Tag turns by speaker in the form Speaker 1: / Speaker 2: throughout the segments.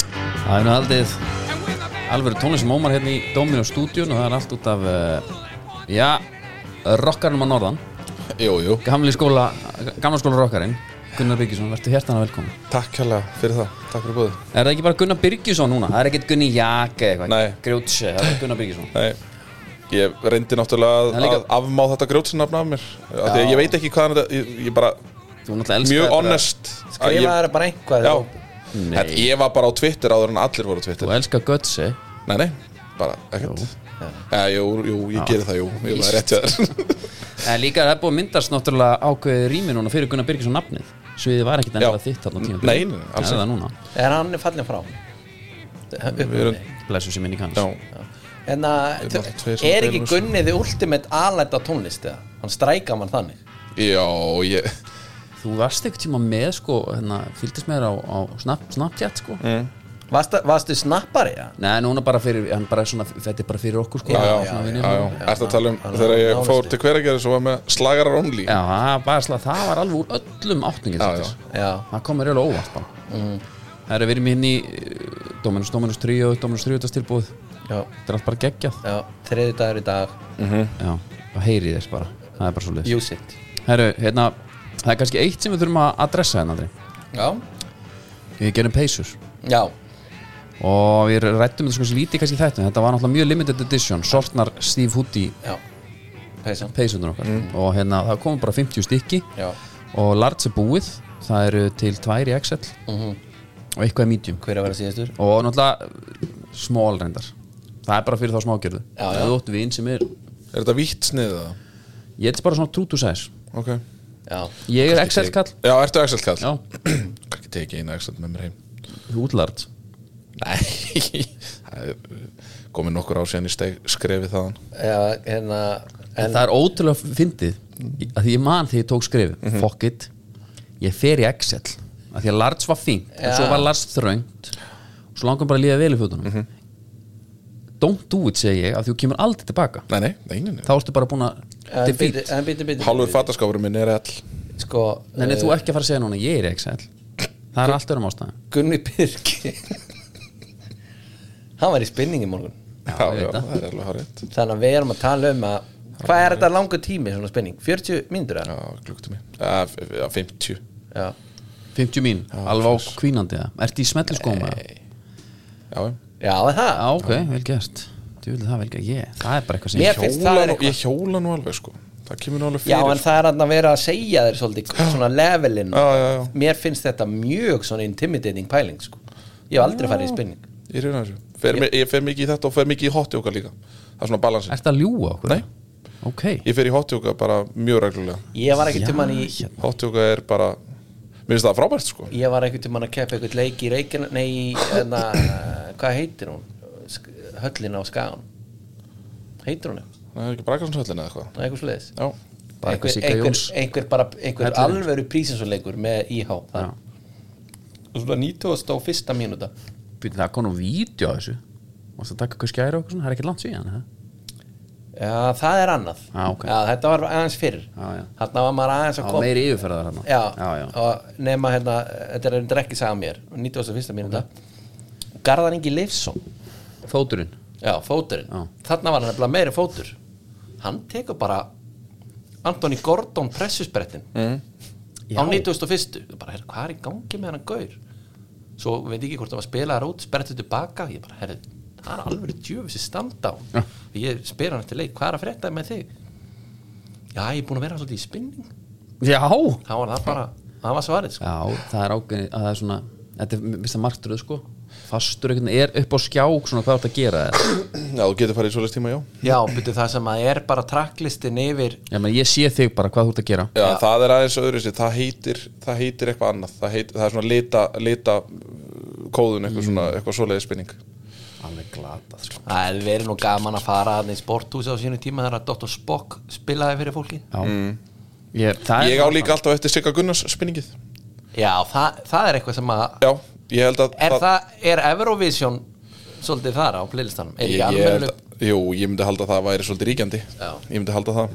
Speaker 1: hefur nú haldið alveg tónlist sem ómar hérna í Dominó stúdíun og það er allt út af uh, já, rockarnum að norðan
Speaker 2: Jú, jú,
Speaker 1: gamli skóla, gamla skóla rockarinn Gunnar Byrkisson, verður hjertana velkomin
Speaker 2: takk hérlega fyrir það, takk fyrir búið
Speaker 1: Er það ekki bara Gunnar Byrkisson núna? Það er ekkert Gunni Jake eða
Speaker 2: Nei.
Speaker 1: eitthvað Grjótse, það er Gunnar Byrkisson
Speaker 2: Nei, ég reyndi náttúrulega að,
Speaker 1: Það er líka-
Speaker 2: að afmá þetta grjótsinafna af mér af því að ég veit ekki hvaðan þetta, ég, ég bara
Speaker 1: Þú náttúrulega elskar
Speaker 2: mjög
Speaker 1: þetta.
Speaker 2: honest að
Speaker 3: Skrifaði
Speaker 2: ég,
Speaker 3: það bara einhvað
Speaker 2: Já,
Speaker 3: og-
Speaker 2: en ég var bara á Twitter áður en allir voru á
Speaker 1: Þú
Speaker 2: Twitter
Speaker 1: elskar Götse
Speaker 2: Nei, nei, bara ekkert Já, jú, jú, ég geri það, jú, ég var rétt hjá þér
Speaker 1: En líka það er búið að myndast náttúrulega ákveðið rými núna fyrir Gunnar Byrkisson nafnið Sviðið var ekkert ennilega
Speaker 2: Já.
Speaker 1: þitt þarna á tíma
Speaker 2: Nei, nei, alls
Speaker 1: Það er það núna
Speaker 3: Er hann fallin frá?
Speaker 2: Við erum,
Speaker 1: Blessu sem minni kannast
Speaker 2: já,
Speaker 3: En að,
Speaker 2: Einn af tveir sem
Speaker 3: Hérna, er ekki
Speaker 2: deilur þessu.
Speaker 3: Gunniði ultimate alætt á tónlist eða? Hann stræka mann þannig
Speaker 2: já, ég
Speaker 1: Þú varst eitthvað tíma með sko hérna, Fylgdist með þér á, á snap, Snapchat sko
Speaker 2: Mm.
Speaker 3: Varstu, varstu snappari, ja?
Speaker 1: Nei, núna bara fyrir hann bara er svona, Þetta er bara fyrir okkur sko
Speaker 2: Já, já,
Speaker 1: svona
Speaker 2: já,
Speaker 1: vinir.
Speaker 2: já, ertu að tala um þegar ég fór til hveragerði svo var með slagarar only
Speaker 1: Já, það var bara slá- það var alveg úr öllum átningin
Speaker 2: Já, Mm. já.
Speaker 3: Já,
Speaker 1: Það komur alveg óvart bara Það er að vera mér inn í eh, Dominus Dominus 3 og Dominus 3 tilbúið
Speaker 3: já,
Speaker 1: Þetta er allt bara geggjað
Speaker 3: já Þriði dagur í dag,
Speaker 2: Mm.
Speaker 1: Já, það heyri þess bara Það er bara svo liðs
Speaker 3: use it
Speaker 1: Herru, hérna, það er kannski eitt sem við þurfum að adressa hérna Andri.
Speaker 3: Já,
Speaker 1: Við gerum peysur
Speaker 3: já,
Speaker 1: Og við rættum þetta sko lítið kannski þetta Þetta var náttúrulega mjög limited edition Sortnar Steve Hoodie
Speaker 3: já Pæsan,
Speaker 1: peysundur okkar
Speaker 2: Mm.
Speaker 1: Og hérna, það komum bara 50 stykki
Speaker 3: já
Speaker 1: Og large er búið Það eru til tvær í XL
Speaker 3: Mhm.
Speaker 1: Og eitthvað er medium
Speaker 3: Hver er að vera síðastur?
Speaker 1: og náttúrulega eh, small reyndar það er bara fyrir þá smágjörðu
Speaker 3: Já,
Speaker 1: það
Speaker 3: já.
Speaker 1: er ótt vin sem er
Speaker 2: Er þetta vítt sniðið það?
Speaker 1: ég er bara svona true to size
Speaker 2: Ok
Speaker 3: Já,
Speaker 1: ég er XL kall
Speaker 2: Já, ertu Axel kall?
Speaker 1: já
Speaker 2: Kannski tekið einu Axel með mér heim
Speaker 1: þú útlart
Speaker 2: Nei Það er eh, komið nokkur ár síðan í steg, skrefið þaðan
Speaker 3: já, hérna
Speaker 1: en
Speaker 3: En,
Speaker 1: það er ótrúlega fyndið að því ég man þegar ég tók skrif
Speaker 3: Mhm.
Speaker 1: fuck it ég fer í XL að því að large var fínt en
Speaker 3: Já. Mhm.
Speaker 1: svo var large þröngt og svo langar bara að líða vel í fjóttunum don't do it segi ég af því þú kemur aldrei tilbaka
Speaker 2: Nei, nei, nei, nei, nei.
Speaker 1: þá ertu bara búin að
Speaker 3: en
Speaker 1: defeat
Speaker 3: býtu, en býtu, býtu
Speaker 2: Hálfur fattaskapur minn er all
Speaker 3: Sko,
Speaker 1: nei, nei, þú ekki að fara að segja núna ég er í XL það er allt örum ástæðum
Speaker 3: Gunni Birki Hann var í spinning í morgun
Speaker 2: Já,
Speaker 1: ég
Speaker 2: já,
Speaker 1: veit það.
Speaker 2: það er alveg hárétt
Speaker 3: Þannig að við erum að tala um að Hvað er þetta langur tími svona spinning? 40 mínútur eða?
Speaker 2: Já, klukktum ég Já, 50
Speaker 3: Já.
Speaker 1: 50 mín, alveg á kvínandi það Ertu í smetliskóma?
Speaker 2: Já, já.
Speaker 3: Já, er það
Speaker 1: Já, ok, vel gert Djúli, það er vel gert, ég, það er bara eitthvað sem
Speaker 3: Mér
Speaker 1: ég
Speaker 3: finnst
Speaker 2: Hjóla
Speaker 3: það er
Speaker 2: nú-
Speaker 3: eitthvað
Speaker 2: Ég hjóla nú alveg sko Það kemur nú alveg
Speaker 3: Já,
Speaker 2: fyrir
Speaker 3: en það er að vera að segja þér svolítið svona levelin
Speaker 2: Já, já, já.
Speaker 3: Mér finnst þetta mjög svona intimidating pæling sko. Ég hef aldrei farið í spinning
Speaker 2: Ég reyna þessu fer, mi- Ég fer mikið í þetta og fer mikið í hotjóka líka Það er svona balansin
Speaker 1: Ertu að ljúga okkur?
Speaker 2: Nei.
Speaker 1: Ok,
Speaker 2: Ég fer í hotjóka bara mjög reglulega
Speaker 3: Ég var ekkert
Speaker 1: Já,
Speaker 3: tímann í
Speaker 1: hérna.
Speaker 2: Hotjóka er bara Mér finnst það frábært sko
Speaker 3: Ég var ekkert tímann að keppa eitthvað leik í reikina Nei, í, hérna, hvað heitir hún? Sk- Höllin á Skagan Heitir hún eitthvað?
Speaker 2: Það er ekki brakarnshöllin eða eitthvað
Speaker 3: Það er eitthvað svoleiðis
Speaker 2: Já,
Speaker 1: Bara eitthvað
Speaker 3: einhver,
Speaker 1: Sigga
Speaker 3: einhver,
Speaker 1: Jóns.
Speaker 3: einhver, bara, einhver
Speaker 1: Hellirinn.
Speaker 3: alvöru prísinsuleikur með IH
Speaker 1: já
Speaker 3: þar. og svona 91. mínúta
Speaker 1: Býtum það konum vídeo á þessu Mástu að taka eitthvað skæri og eitthvað svona, það er ekkert langt síðan eða?
Speaker 3: Já, það er annað
Speaker 1: Já, Ah, ok.
Speaker 3: já, Þetta var aðeins fyrr
Speaker 1: Já, já.
Speaker 3: Þarna var maður aðeins að
Speaker 1: Já,
Speaker 3: koma
Speaker 1: meiri yfirferðar hérna
Speaker 3: já,
Speaker 1: já, já.
Speaker 3: og nema hérna Þetta er reyndar ekki sagði mér 91. mínúta Garðan Ingi Leifsson
Speaker 1: Fóturinn
Speaker 3: Já, fóturinn
Speaker 1: Já.
Speaker 3: Þarna var hann nefnilega meiri fótur Hann tekur bara Antoni Gordon pressusbrettin mm.
Speaker 1: Já.
Speaker 3: Á 91. Bara, herr, hvað er í gangi með hann gaur? Svo veit ég ekki hvort það var spilaðar út Sprettu tilbaka Ég bara, herri, það er alveg djöfis í standa á
Speaker 1: Já.
Speaker 3: Ég spyr hann eftir leik, hvað er að frétta með þig? Já, ég er búin að vera svolítið í spinning
Speaker 1: Já, já,
Speaker 3: Það var það bara, það var svarið sko.
Speaker 1: það er ákveðin að það er svona Þetta er mista martröð sko Fastur einhvern veginn, er upp á skják svona hvað átt að gera það
Speaker 2: já þú getur farið í svoleiðs tíma, já
Speaker 3: Já, byrju það sem að er bara tracklistin yfir
Speaker 1: Já, menn ég sé þig bara hvað þú ert að gera
Speaker 2: Já, það er aðeins öðru sér, það heitir, það heitir eitthvað annað, það, heit, það er svona lita, lita uh, kóðun, eitthvað svona, eitthvað svoleiði spinning.
Speaker 1: Alveg glatað sko
Speaker 3: Það hefði verið nú gaman að fara hann í sporthúsi á sínu tíma þegar að Dr. Spock spilaði fyrir fólki
Speaker 1: Já Ég, það er-
Speaker 2: Ég á líka alltaf eftir Sigga Gunnars spinningið.
Speaker 3: Já, það, það er eitthvað sem að
Speaker 2: Já, ég held að...
Speaker 3: Er, það, er Eurovision svolítið þar á playlistanum? Er
Speaker 2: Ég,
Speaker 3: ekki
Speaker 2: ég held,
Speaker 3: alveg
Speaker 2: að- jú, ég myndi halda að það væri svolítið ríkjandi.
Speaker 3: Já.
Speaker 2: Ég myndi halda það.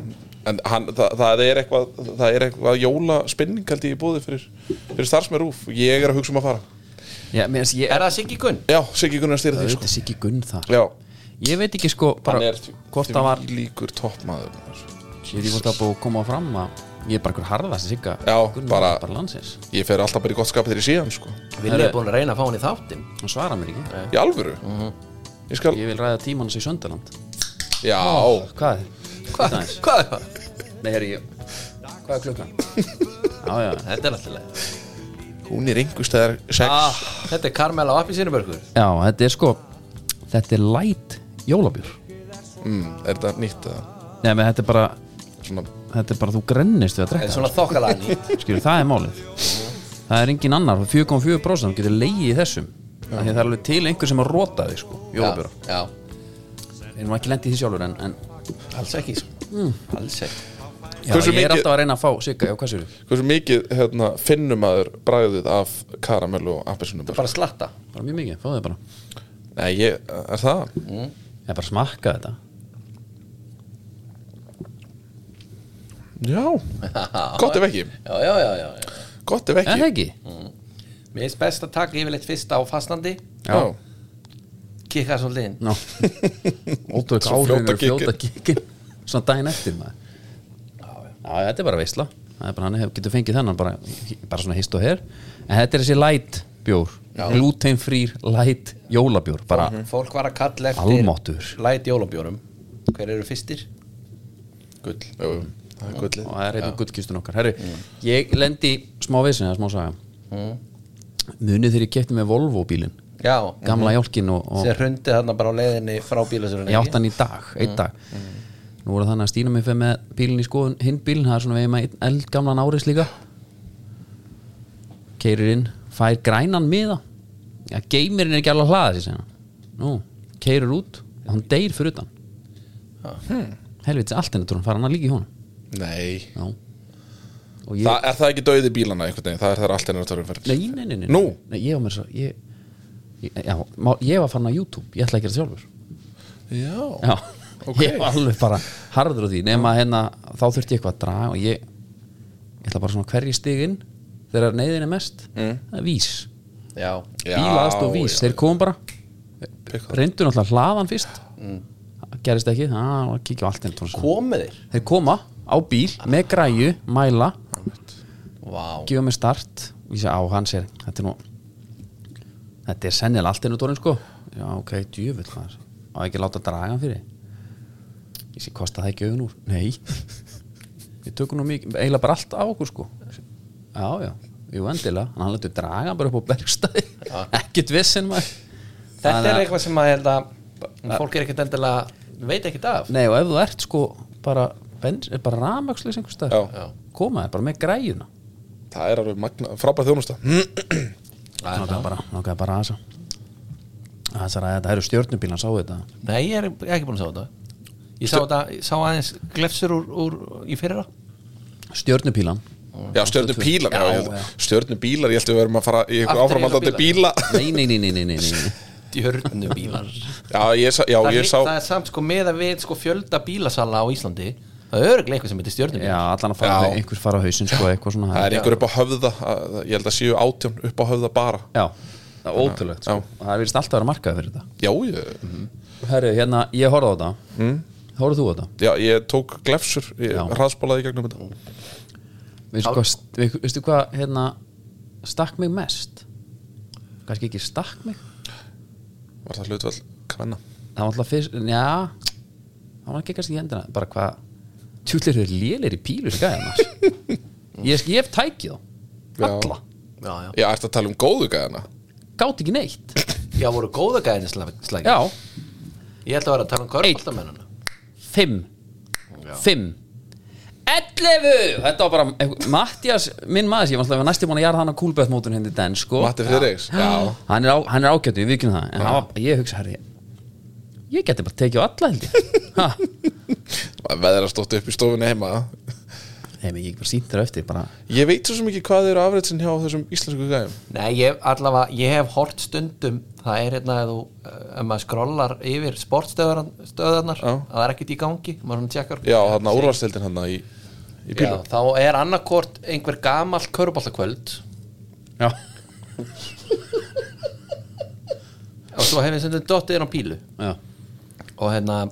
Speaker 2: En hann, það, það er eitthvað, það er eitthvað jóla spinning held ég í búði fyrir, fyrir starfsmenn rúf. Ég er að hugsa um að fara.
Speaker 1: Já, mér finnst ég
Speaker 3: Er það Siggi Gunn?
Speaker 2: Já, Siggi Gunnar stýrði
Speaker 1: Það
Speaker 2: því sko
Speaker 1: veitir Siggi Gunn þar
Speaker 2: Já,
Speaker 1: Ég veit ekki sko bara hvort það var
Speaker 2: líkur toppmaður maður.
Speaker 1: Ég veit ekki hvort það var búið að koma fram að Ég er bara einhver harðast Sigga
Speaker 2: Já,
Speaker 1: Gunn
Speaker 2: bara-
Speaker 1: bara landsins
Speaker 2: Ég fer alltaf bara í gott skapið þegar ég sé hann sko
Speaker 3: Vilja er búin að reyna að fá hann í þáttin
Speaker 1: Hann svarar mér ekki
Speaker 2: Í alvöru Ég skal,
Speaker 1: Ég Ah. vil ræða tímann hans í Söndaland
Speaker 2: já
Speaker 1: Hvað er? Þetta
Speaker 3: Hvað
Speaker 1: aðeins.
Speaker 3: hvað er það?
Speaker 1: Nei, herri ég Hvað er klukkan? Já, já
Speaker 3: Þetta er alltaf
Speaker 2: Hún er einhverstaðar sex
Speaker 3: ah, Þetta er Karmel á appi sínubörgur
Speaker 1: Já, þetta er sko Þetta er light jólabjör
Speaker 2: mm, Er þetta nýtt eða
Speaker 1: Nei, menn þetta er bara
Speaker 2: Svona
Speaker 1: Þetta er bara þú grennist við að
Speaker 3: En
Speaker 1: drekka
Speaker 3: svona þokkalega nýtt
Speaker 1: Skilur, það er málið Það er engin annar, 4,4% getur leiði í þessum Af því að Það er alveg til einhver sem að rota þig sko, jólabjörn
Speaker 3: Já,
Speaker 1: Við erum ekki lendið í því sjálfur en, en
Speaker 3: já, alls ekki sko. Alls ekki
Speaker 1: já, ég
Speaker 2: Hversu
Speaker 1: er
Speaker 2: mikið-
Speaker 1: alltaf að reyna að fá Sigga, já hvað sér við?
Speaker 2: Hversu mikið hérna, finnum maður bræðið af karamellu og appisunum
Speaker 3: Bara slatta
Speaker 1: Bara mjög mikið, fáðu þið bara
Speaker 2: Nei, ég, er það?
Speaker 1: Ég bara smakka þetta
Speaker 2: Já, gott ef ekki
Speaker 3: Já, já, já, já, já.
Speaker 2: Gott ef
Speaker 1: En það
Speaker 2: ekki
Speaker 1: ekki?
Speaker 3: Mér finnst best að taka yfirleitt fyrsta á fastandi
Speaker 1: Já.
Speaker 3: Kikka svolítið inn
Speaker 1: Ná Ótrúið
Speaker 2: Svo
Speaker 1: árið
Speaker 2: fljóta
Speaker 1: er fljóta kikin Svona daginn eftir maður Já, þetta er bara veisla Það er bara hann hef- getur fengið þennan bara, bara svona hist og her En þetta er þessi light bjór Glutenfrýr light jólabjór
Speaker 2: Mhm.
Speaker 1: Bara
Speaker 3: Fólk var að kalla eftir
Speaker 1: Almáttugur.
Speaker 3: Læt jólabjórum Hver eru fyrstir? Gull
Speaker 2: Jú, jú, það er gullið
Speaker 1: og það er einn gullkistun okkar Herri, ég lendi í smá vissin eða smá saga munið þegar ég kefti með Volvo bílinn
Speaker 3: Já
Speaker 1: gamla jálkin og, og
Speaker 3: Sér hrundi þarna bara á leiðinni frá bílasurinn
Speaker 1: ég átt hann í dag, einn dag nú voru þannig að Stína mig fyrir með bílinn í skoðun hinn bílinn, það er svona veginn með einn eldgamlan áris líka keirir inn, fær grænan miða ja, geimirinn er ekki alveg að hlaða sér segna. nú, keirir út og hann deyr fyrir utan helvits, allt henni trúin fara hann líka í honum
Speaker 2: Nei
Speaker 1: Já. og ég
Speaker 2: Það er það ekki dauði bílana einhvern veginn, það er það er allt ennur törnum fyrir
Speaker 1: Nei, nei, nei, nei.
Speaker 2: Nú?
Speaker 1: Nei, ég var mér svo ég, ég, já, má, ég var fann á YouTube, ég ætla að gera það sjálfur
Speaker 2: Já,
Speaker 1: Já,
Speaker 2: Ok.
Speaker 1: ég var alveg bara harður á því nema hérna, þá þurfti ég eitthvað að draga og ég, ég ætla bara svona hverji stiginn þegar neyðin er mest það er vís,
Speaker 3: Já
Speaker 2: Mm. Já,
Speaker 1: bílaðast og vís
Speaker 2: já.
Speaker 1: þeir komum bara, reyndu náttúrulega hlaðan fyrst
Speaker 2: Mm.
Speaker 1: það gerist ekki, það kíkja á allt einu tónlist.
Speaker 3: Komið þér
Speaker 1: þeir koma á bíl með græju, mæla
Speaker 3: Vá
Speaker 1: gefa mér start og ég segi á hann sér þetta er nú þetta er sennilega allt einu dórinn sko já ok, djöfull maður á ekki að láta draga hann fyrir ég sé kosta það ekki augun úr nei við tökum nú mikið eiginlega bara allt á okkur sko já já, jú endilega en hann letur draga hann bara upp á bergstæði ekkert vissin maður
Speaker 3: Þetta
Speaker 1: Þannig
Speaker 3: er
Speaker 1: að-
Speaker 3: eitthvað sem að held að Fólk er ekkert endilega Veit ekkert af
Speaker 1: nei og ef þú ert sko bara, bens, er bara ramakslis einhvers stað
Speaker 2: Já.
Speaker 3: Já.
Speaker 1: koma þér bara með græjuna
Speaker 2: það er alveg magna, frábæð þjónusta mm.
Speaker 1: Nókaði bara, nókaði bara að þessa að þessa ræða, þetta eru stjórnubílan sáu þetta
Speaker 3: Nei, ég er ég er ekki búin að sjá þetta Ég sá þetta Ég sá aðeins glefsur úr, úr Í fyrra
Speaker 1: stjörnupílan
Speaker 2: Já, stjörnum bílar
Speaker 1: Já, já.
Speaker 2: Stjörnum bílar, ég held að við verum að fara í
Speaker 3: Aftur í
Speaker 2: einhver áframaldandi bíla
Speaker 1: nei, nei, nei, nei, nei, nei, nei.
Speaker 3: Djörnu bílar
Speaker 2: Já, ég sá, já,
Speaker 3: það, er
Speaker 2: ég
Speaker 3: lí-
Speaker 2: sá
Speaker 3: það er samt sko með að við sko fjölda bílasala á Íslandi það er örglega eitthvað sem heitir stjörnum
Speaker 1: já, allan að fara
Speaker 2: Já.
Speaker 1: einhver fara á hausinn sko, eitthvað svona
Speaker 2: Það er einhver upp á höfða, að- ég held að séu átjón upp á höfða bara
Speaker 1: já, það er ótrúlegt sko. það er virðist alltaf að vera markaði fyrir þetta
Speaker 2: Já, ég,
Speaker 1: herru, hérna, ég horfði á þetta mm? horfðu þú á þetta
Speaker 2: já, ég tók glefsur, ég
Speaker 1: Já.
Speaker 2: hraðspólaði í gegnum þetta
Speaker 1: veistu hvað, st- vei- veistu hvað, hérna stakk mig mest kannski ekki stakk mig
Speaker 2: Var það hlutvall kvenna
Speaker 1: það var alltaf fyrst, já það var ekki kannski í hendina, bara hvað tjúlir eru lélir í pílu skæðan ég, ég hef tækið þá
Speaker 2: Já.
Speaker 1: alla,
Speaker 3: já, já.
Speaker 2: Já, ertu að tala um góðu gæðina
Speaker 1: gátt ekki neitt
Speaker 3: já, voru góða gæðinni slagi
Speaker 1: já,
Speaker 3: ég ætla að vera að tala um körfaldamennana
Speaker 1: Fimm Fimm Ellefu Þetta var bara Mattias, minn maður Ég var alltaf næstu búin að gera hann á kúlböðmótun hindi den sko
Speaker 2: Matti Friðriks, já,
Speaker 1: Hann er, á- hann er ágættu, við vikjum það En hann var, ég hugsa herri Ég geti bara tekið á alla held ég Ha.
Speaker 2: veðra stótt upp í stofunni heima
Speaker 1: Nei, menn ég get bara sínt þér á eftir bara
Speaker 2: Ég veit svo sem ekki hvað þið eru afreitsin hjá þessum íslensku gæðum
Speaker 3: nei, ég, allavega, ég hef hort stundum það er hérna að þú ef maður skrollar yfir sportstöðarnar
Speaker 2: Já.
Speaker 3: að það er ekkert í gangi maður svona tjekkar
Speaker 2: Já, þarna úrvarstildin hann í, í
Speaker 3: Já,
Speaker 2: pílu
Speaker 3: þá er annarkort einhver gamall köruboltakvöld
Speaker 1: Já
Speaker 3: svo hef ég sendið dottið er á pílu
Speaker 1: já,
Speaker 3: og hérna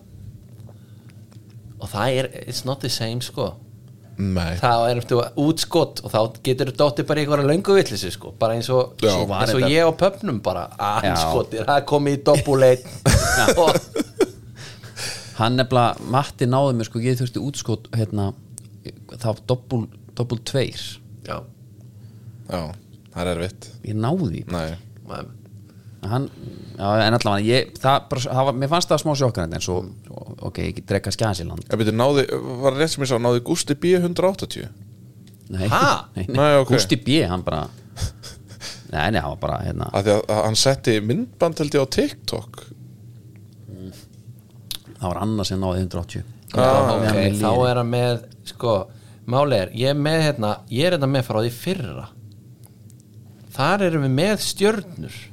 Speaker 3: og það er, it's not the same sko
Speaker 2: Nei
Speaker 3: þá erum þú útskott og þá getur þú dottið bara í einhverja löngu villisu sko bara eins og,
Speaker 2: Já.
Speaker 3: svo
Speaker 1: var
Speaker 3: eins og
Speaker 1: þetta.
Speaker 3: ég á pöpnum bara að
Speaker 1: Já.
Speaker 3: hann skottir, það komið í doppuleit og
Speaker 1: hann nefnilega Matti náði mér sko, ég þurfti útskot hérna, þá doppul, doppul tveir
Speaker 3: já,
Speaker 2: Já, það er erfitt
Speaker 1: ég náði því
Speaker 2: Nei
Speaker 3: maður
Speaker 1: hann, já, en allavega ég, það, bara, það var, mér fannst það smá sjokkarandi en svo, svo ok, ég drekka skjæðsiland
Speaker 2: Ég byrja, náði, var rétt sem ég sá, náði Gústi B 180
Speaker 1: nei,
Speaker 3: Ha?
Speaker 1: nei,
Speaker 2: Nei, ok.
Speaker 1: Gústi B, hann bara nei, nei, hann var bara hérna,
Speaker 2: Af því að að hann setti myndband held ég á TikTok
Speaker 1: það var annars sem náði 180
Speaker 3: Já,
Speaker 1: Meðan
Speaker 3: Ah, ok,
Speaker 1: mér
Speaker 3: þá
Speaker 1: líður.
Speaker 3: er hann með sko, máli er, ég er með hérna ég er hérna með frá því fyrra þar erum við með stjörnur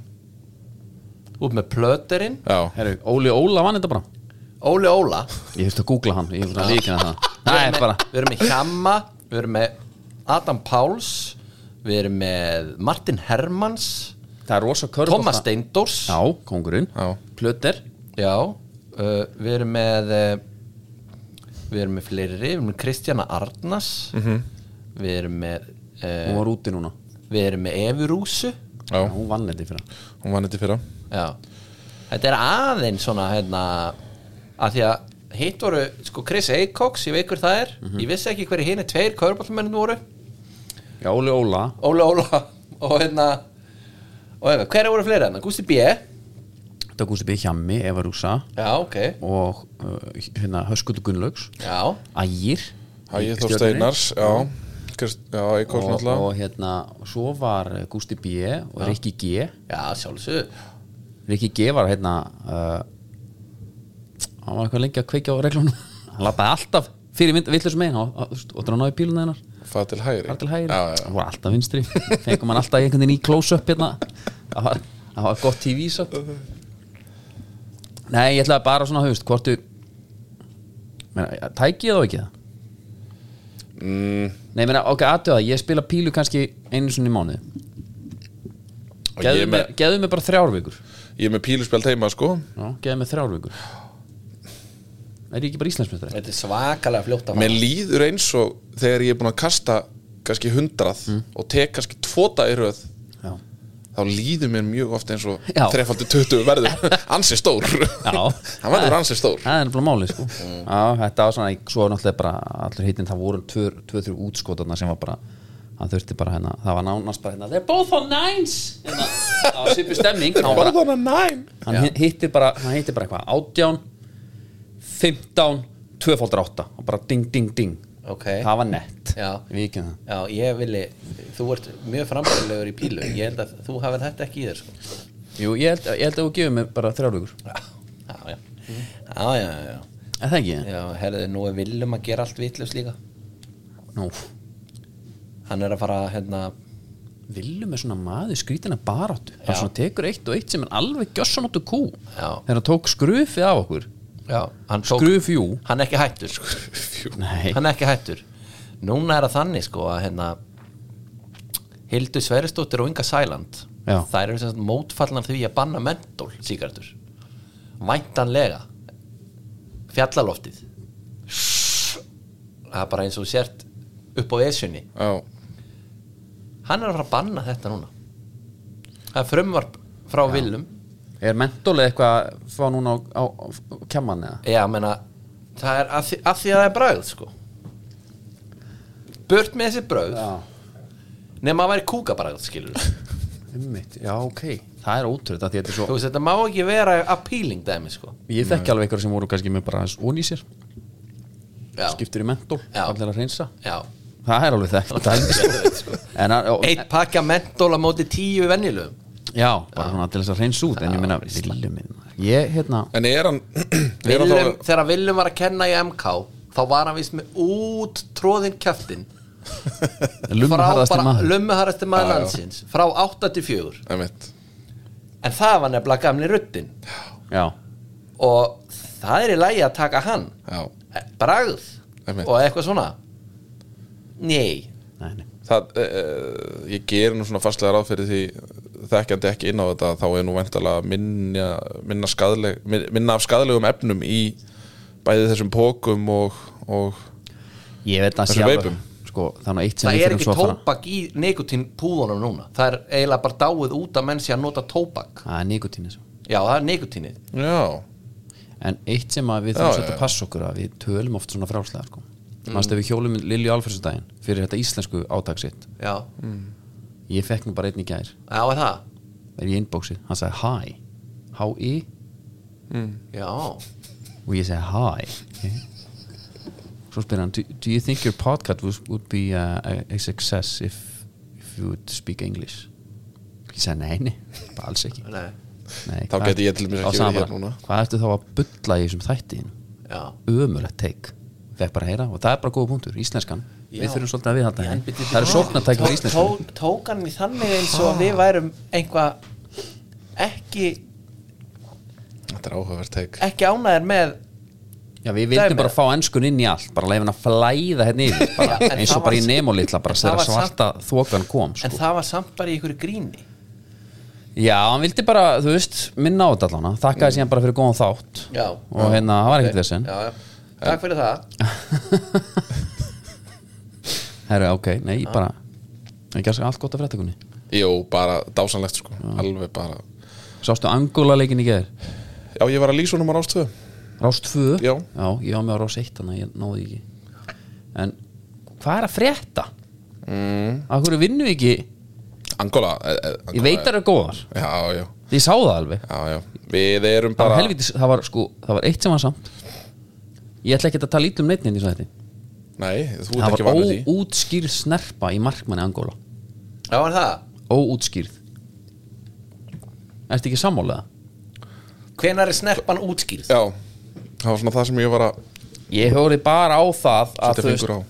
Speaker 3: út með plöterinn
Speaker 2: Já,
Speaker 1: Herru, Óli Óla vann þetta bara
Speaker 3: Óli Óla
Speaker 1: ég þurfti að googla hann, ég þurfti að líka það
Speaker 3: við
Speaker 1: það
Speaker 3: erum
Speaker 1: er
Speaker 3: með-
Speaker 1: bara,
Speaker 3: við erum með Hjamma, við erum með Adam Páls við erum með Martin Hermans
Speaker 1: það er rosa körf
Speaker 3: Thomas Steindors
Speaker 1: já, kongurinn,
Speaker 2: Já.
Speaker 1: plöter
Speaker 3: Já, uh, við erum með uh, við erum með fleiri við erum með Kristjana Arnas við erum með uh,
Speaker 1: hún var úti núna,
Speaker 3: Við erum með Evurúsu
Speaker 2: já,
Speaker 1: hún vann þetta í fyrra
Speaker 2: hún vann þetta fyrir
Speaker 3: Já Þetta er aðeins svona hérna að því að hitt voru sko Chris Aycox, ég veit hver það er ég vissi ekki hverju hinn er tveir kauruballmennin voru
Speaker 1: já, Óli Óla,
Speaker 3: Óla Óla og hérna og hérna, hverju voru fleiri hérna? Gusti B Já,
Speaker 1: þetta er Gústi B, Hjammi, Eva Rúsa
Speaker 3: ok
Speaker 1: og uh, hérna, Höskuldur Gunnlaugs
Speaker 3: Já,
Speaker 1: Ægir
Speaker 2: Hægir
Speaker 1: í
Speaker 2: Þór
Speaker 1: stjörnunni.
Speaker 2: Steinars Já, Krist, já ég
Speaker 1: og,
Speaker 2: komst náttúrulega
Speaker 1: og hérna, svo var eh, Gústi B og Rikki G
Speaker 3: já, sjálfsög
Speaker 1: Rikki G var hérna uh, hann var eitthvað lengi að kveikja á reglunum hann lappaði alltaf fyrir mynd villusum megin og, og, og þetta var náði bílun hennar
Speaker 2: Fað til hægri
Speaker 1: þar til hægri,
Speaker 2: Já, já,
Speaker 1: hann var alltaf vinstri fengum hann alltaf í einhvern veginn í close-up hérna það var, það var gott tv satt nei, ég ætlaði bara svona, þú veist, hvort þú meina, tæki ég þá ekki það
Speaker 2: mm,
Speaker 1: Nei, meina, ok, aðtöða, ég spila pílu kannski einu sinni í mánuði
Speaker 2: og ég,
Speaker 1: Geðu mér,
Speaker 2: er með,
Speaker 1: geðu mér bara þrjár vikur
Speaker 2: ég er með píluspjald heima sko
Speaker 1: Já, geðu mér þrjár vikur Er ég ekki bara Íslandsmeistari?
Speaker 3: Þetta er svakalega fljótt að fara
Speaker 2: Mér líður eins og þegar ég er búin að kasta kannski hundrað
Speaker 1: Mm.
Speaker 2: og tek kannski tvo dagiröð
Speaker 1: Já
Speaker 2: þá líður mér mjög oft eins og
Speaker 1: Já.
Speaker 2: þrefaldur 20 verður ansi stór
Speaker 1: Já.
Speaker 2: hann verður ansi stór
Speaker 1: Það er nefnilega máli, sko
Speaker 2: Mm.
Speaker 1: Já, þetta var svona, svo er náttúrulega bara allur hittin, það voru tvö, tvö, þrjú útskotarna sem var bara hann þurfti bara hérna, það var nánast bara hérna They're both on nines hérna, Það var svipu stemming Það var bara,
Speaker 2: Báðana næn
Speaker 1: hann hi- hittir bara, hann hittir bara eitthvað átján, 15 tvöfaldur átta og bara ding, ding, ding
Speaker 3: Ok.
Speaker 1: Það var nett
Speaker 3: Já.
Speaker 1: Við ekki það
Speaker 3: Já, ég villi, þú ert mjög frambærilegur í pílu ég held að þú hafið þetta ekki í þér sko
Speaker 1: Jú, ég held, ég held að þú gefur mér bara þrjár vikur
Speaker 3: Já, já, já, já, já,
Speaker 1: Er það ekki?
Speaker 3: já. já herðu, nú er Willum að gera allt vitlaus líka
Speaker 1: Nú,
Speaker 3: Hann er að fara, hérna,
Speaker 1: Villum er svona maður skrítina baráttu
Speaker 3: Já.
Speaker 1: hann svona tekur eitt og eitt sem er alveg gjössan áttu kú
Speaker 3: Já.
Speaker 1: þegar hann tók skrufið af okkur
Speaker 3: já, hann tók
Speaker 1: skrufjú
Speaker 3: Hann er ekki hættur sko.
Speaker 1: Nei,
Speaker 3: Hann er ekki hættur Núna er það þannig, sko, að hérna Hildur Sveristóttir og Inga Sæland
Speaker 1: Já.
Speaker 3: Þær eru sem sagt mótfallnar því að banna mentól síkartur Væntanlega Fjallaloftið Það er bara eins og þú sért upp á esjunni
Speaker 2: Já,
Speaker 3: hann er að fara að banna þetta núna það er frumvarp frá Willum
Speaker 1: er mentólið eitthvað að fá núna á, á, á kemman eða?
Speaker 3: já, menna, það er af því, af því að það er bragð sko burt með þessi bragð nema að væri kúkabragð skilur þú
Speaker 1: Einmitt. Já, ok, það er ótrúð því þetta er svo,
Speaker 3: veist, þetta má ekki vera appealing dæmi sko
Speaker 1: ég þekki alveg eitthvað sem voru kannski með bara aðeins ón í sér
Speaker 3: já,
Speaker 1: skiptur í mentól,
Speaker 3: Já.
Speaker 1: allir að reynsa
Speaker 3: já
Speaker 1: það er alveg þekkt dæmi, sko. en, að- og,
Speaker 3: eitt pakka mentól á móti tíu venjulegum
Speaker 1: já, bara svona til þess að reynsa út en ég meina, Villum minn, maður. ég hérna
Speaker 2: en er hann er hann
Speaker 3: Willum,
Speaker 2: þá
Speaker 3: þegar Willum var að kenna í MK þá var hann vist með út tróðin kjaftin
Speaker 1: lumharðasti maður
Speaker 3: lummuharrasti maður
Speaker 2: Já, já.
Speaker 3: landsins frá 84
Speaker 2: Einmitt.
Speaker 3: En það var nefnilega gamli ruttin
Speaker 1: já,
Speaker 3: og það er í lagi að taka hann
Speaker 2: Já.
Speaker 3: bragð
Speaker 2: Einmitt.
Speaker 3: og eitthvað svona Nei
Speaker 1: nei, nei
Speaker 2: eh, Það, e, e, ég ger nú svona fastlega ráð fyrir því þekkjandi ekki inn á þetta þá er nú væntalega minna, minna, skadleg, minna af skadalegum efnum í bæði þessum pókum og, og
Speaker 1: Ég veit að
Speaker 2: Þessum
Speaker 1: sé alveg
Speaker 2: veipum.
Speaker 1: sko, Þannig að eitt sem
Speaker 3: það
Speaker 1: við
Speaker 3: er
Speaker 1: þurfum
Speaker 3: ekki
Speaker 1: svo að fara
Speaker 3: tóbak í nikotín púðunum núna það er eiginlega bara dáið út að menn sé að nota tóbak
Speaker 1: Það er nikotín þessu
Speaker 3: já, það er nikotínið
Speaker 2: já,
Speaker 1: En eitt sem að við
Speaker 2: Já,
Speaker 1: þurfum
Speaker 2: já,
Speaker 1: svolítið
Speaker 2: já.
Speaker 1: að passa okkur að við tölum oft svona fráslega sko.
Speaker 3: Mm.
Speaker 1: Manstu að við hjólum Lilju Alfredsdaginn fyrir þetta íslensku átak sitt
Speaker 3: já,
Speaker 1: Ég fekk nú bara einn í gær
Speaker 3: já, er það
Speaker 1: er í inboxið, hann sagði hi H-I
Speaker 3: já,
Speaker 1: og ég segi hi okay. Svo spyr hann do, do you think your podcast was, would be uh, a, a success if, if you would speak English Ég segi nei, nei, bara alls ekki
Speaker 3: nei,
Speaker 1: Nei,
Speaker 2: Þá
Speaker 1: hvað-
Speaker 2: gæti ég til dæmis
Speaker 1: Þá
Speaker 2: ekki
Speaker 1: sagði hann
Speaker 2: verið hér
Speaker 1: bara,
Speaker 2: núna.
Speaker 1: Hvað ertu þá að bulla í þessum þættin
Speaker 3: já
Speaker 1: Ömulegt teik Fekk bara að heyra og það er bara góða punktur, íslenskan
Speaker 3: Já.
Speaker 1: Við þurfum svolítið að viðhalda
Speaker 3: En
Speaker 1: henni
Speaker 3: byrju,
Speaker 1: Það eru
Speaker 3: byrju,
Speaker 1: sóknartækjum
Speaker 3: tó-
Speaker 1: í íslenskan
Speaker 3: tó- tók hann í þannig eins og að við værum einhvað ekki,
Speaker 2: þetta er áhugavert teik
Speaker 3: ekki ánæðir með
Speaker 1: Já, við vildum
Speaker 3: Dæmi.
Speaker 1: bara fá ennskun inn í allt bara leifin að flæða hérna yfir bara,
Speaker 3: Já, en
Speaker 1: eins
Speaker 3: það
Speaker 1: og bara í
Speaker 3: var-
Speaker 1: Nemo litla bara
Speaker 3: það
Speaker 1: þegar
Speaker 3: var samt-
Speaker 1: svarta þokan kom sko.
Speaker 3: en það var samt bara í ykkur gríni
Speaker 1: Já, hann vildi bara, þú veist, minna á þetta allana þakkaði síðan bara fyrir góðan þátt
Speaker 3: Mm. Já.
Speaker 1: og hérna, það var ekkert þess en
Speaker 3: já, já, takk fyrir það
Speaker 1: Herru, ok, nei, ég bara ekki að segja allt gott af fréttakunni
Speaker 2: Jó, bara dásanlegt sko, alveg bara
Speaker 1: Sástu Angola leikin í geður,
Speaker 2: Já, ég var að lýsa honum á rástöðu
Speaker 1: Rás 2
Speaker 2: Já.
Speaker 1: ég var með á Rás 1 þannig að ég náði því ekki En hvað er að frétta? Mm. Af hverju vinnum við ekki?
Speaker 2: Angola, eh, eh, Angola
Speaker 1: Ég veit að það eru góðar,
Speaker 2: Já, já,
Speaker 1: því ég sá það alveg
Speaker 2: já, já Við erum
Speaker 1: það
Speaker 2: bara
Speaker 1: var helvitis, það var sko, það var eitt sem var samt ég ætla ekki að tala ítlum neitt neitt hérna í svo þetta
Speaker 2: Nei, þú ert
Speaker 1: það
Speaker 2: ekki vanur
Speaker 1: var
Speaker 2: því
Speaker 1: óútskýrð snerpa í markmanni Angóla
Speaker 3: já, er það
Speaker 1: óútskýrð ertu ekki sammálega?
Speaker 3: hvenær er snerpan útskýrð
Speaker 2: Já, það var svona það sem ég var að
Speaker 1: ég höfði bara á það að
Speaker 2: setja
Speaker 1: þú veist
Speaker 2: fingur á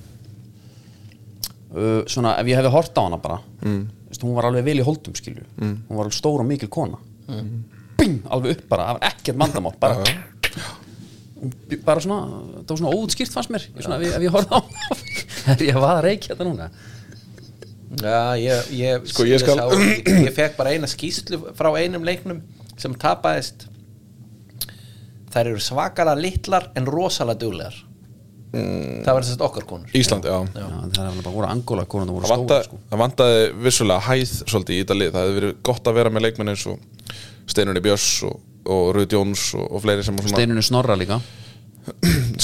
Speaker 1: uh, svona, ef ég hefði hort á hana bara mm. veist, hún var alveg vel í holdum skilju mm. hún var alveg stór og mikil kona Mm. bing, alveg upp bara, það var ekkert mandamátt bara Hún bj- bara svona, það var svona óútskýrt fannst mér Ég svona, ef, ég, ef ég horfði á hana er ég að vaða reykja þetta núna
Speaker 3: Já, ég, ég,
Speaker 2: Sko, ég skal-
Speaker 3: ég, ég fekk bara eina skýslu frá einum leiknum sem tapaðist Þær eru svakalega litlar en rosalega duglegar
Speaker 1: Mm.
Speaker 3: Það var þess að okkar konur
Speaker 2: Ísland, já,
Speaker 1: Já, það er alveg bara voru angóla konan það voru
Speaker 2: Það, vanta,
Speaker 1: stóra sko.
Speaker 2: það vantaði vissulega hæð svolítið í þetta lið, það hefði verið gott að vera með leikmenn eins og Steinunni Björns og, og Rut Jóns og, og fleiri sem var svona
Speaker 1: Steinunni Snorra líka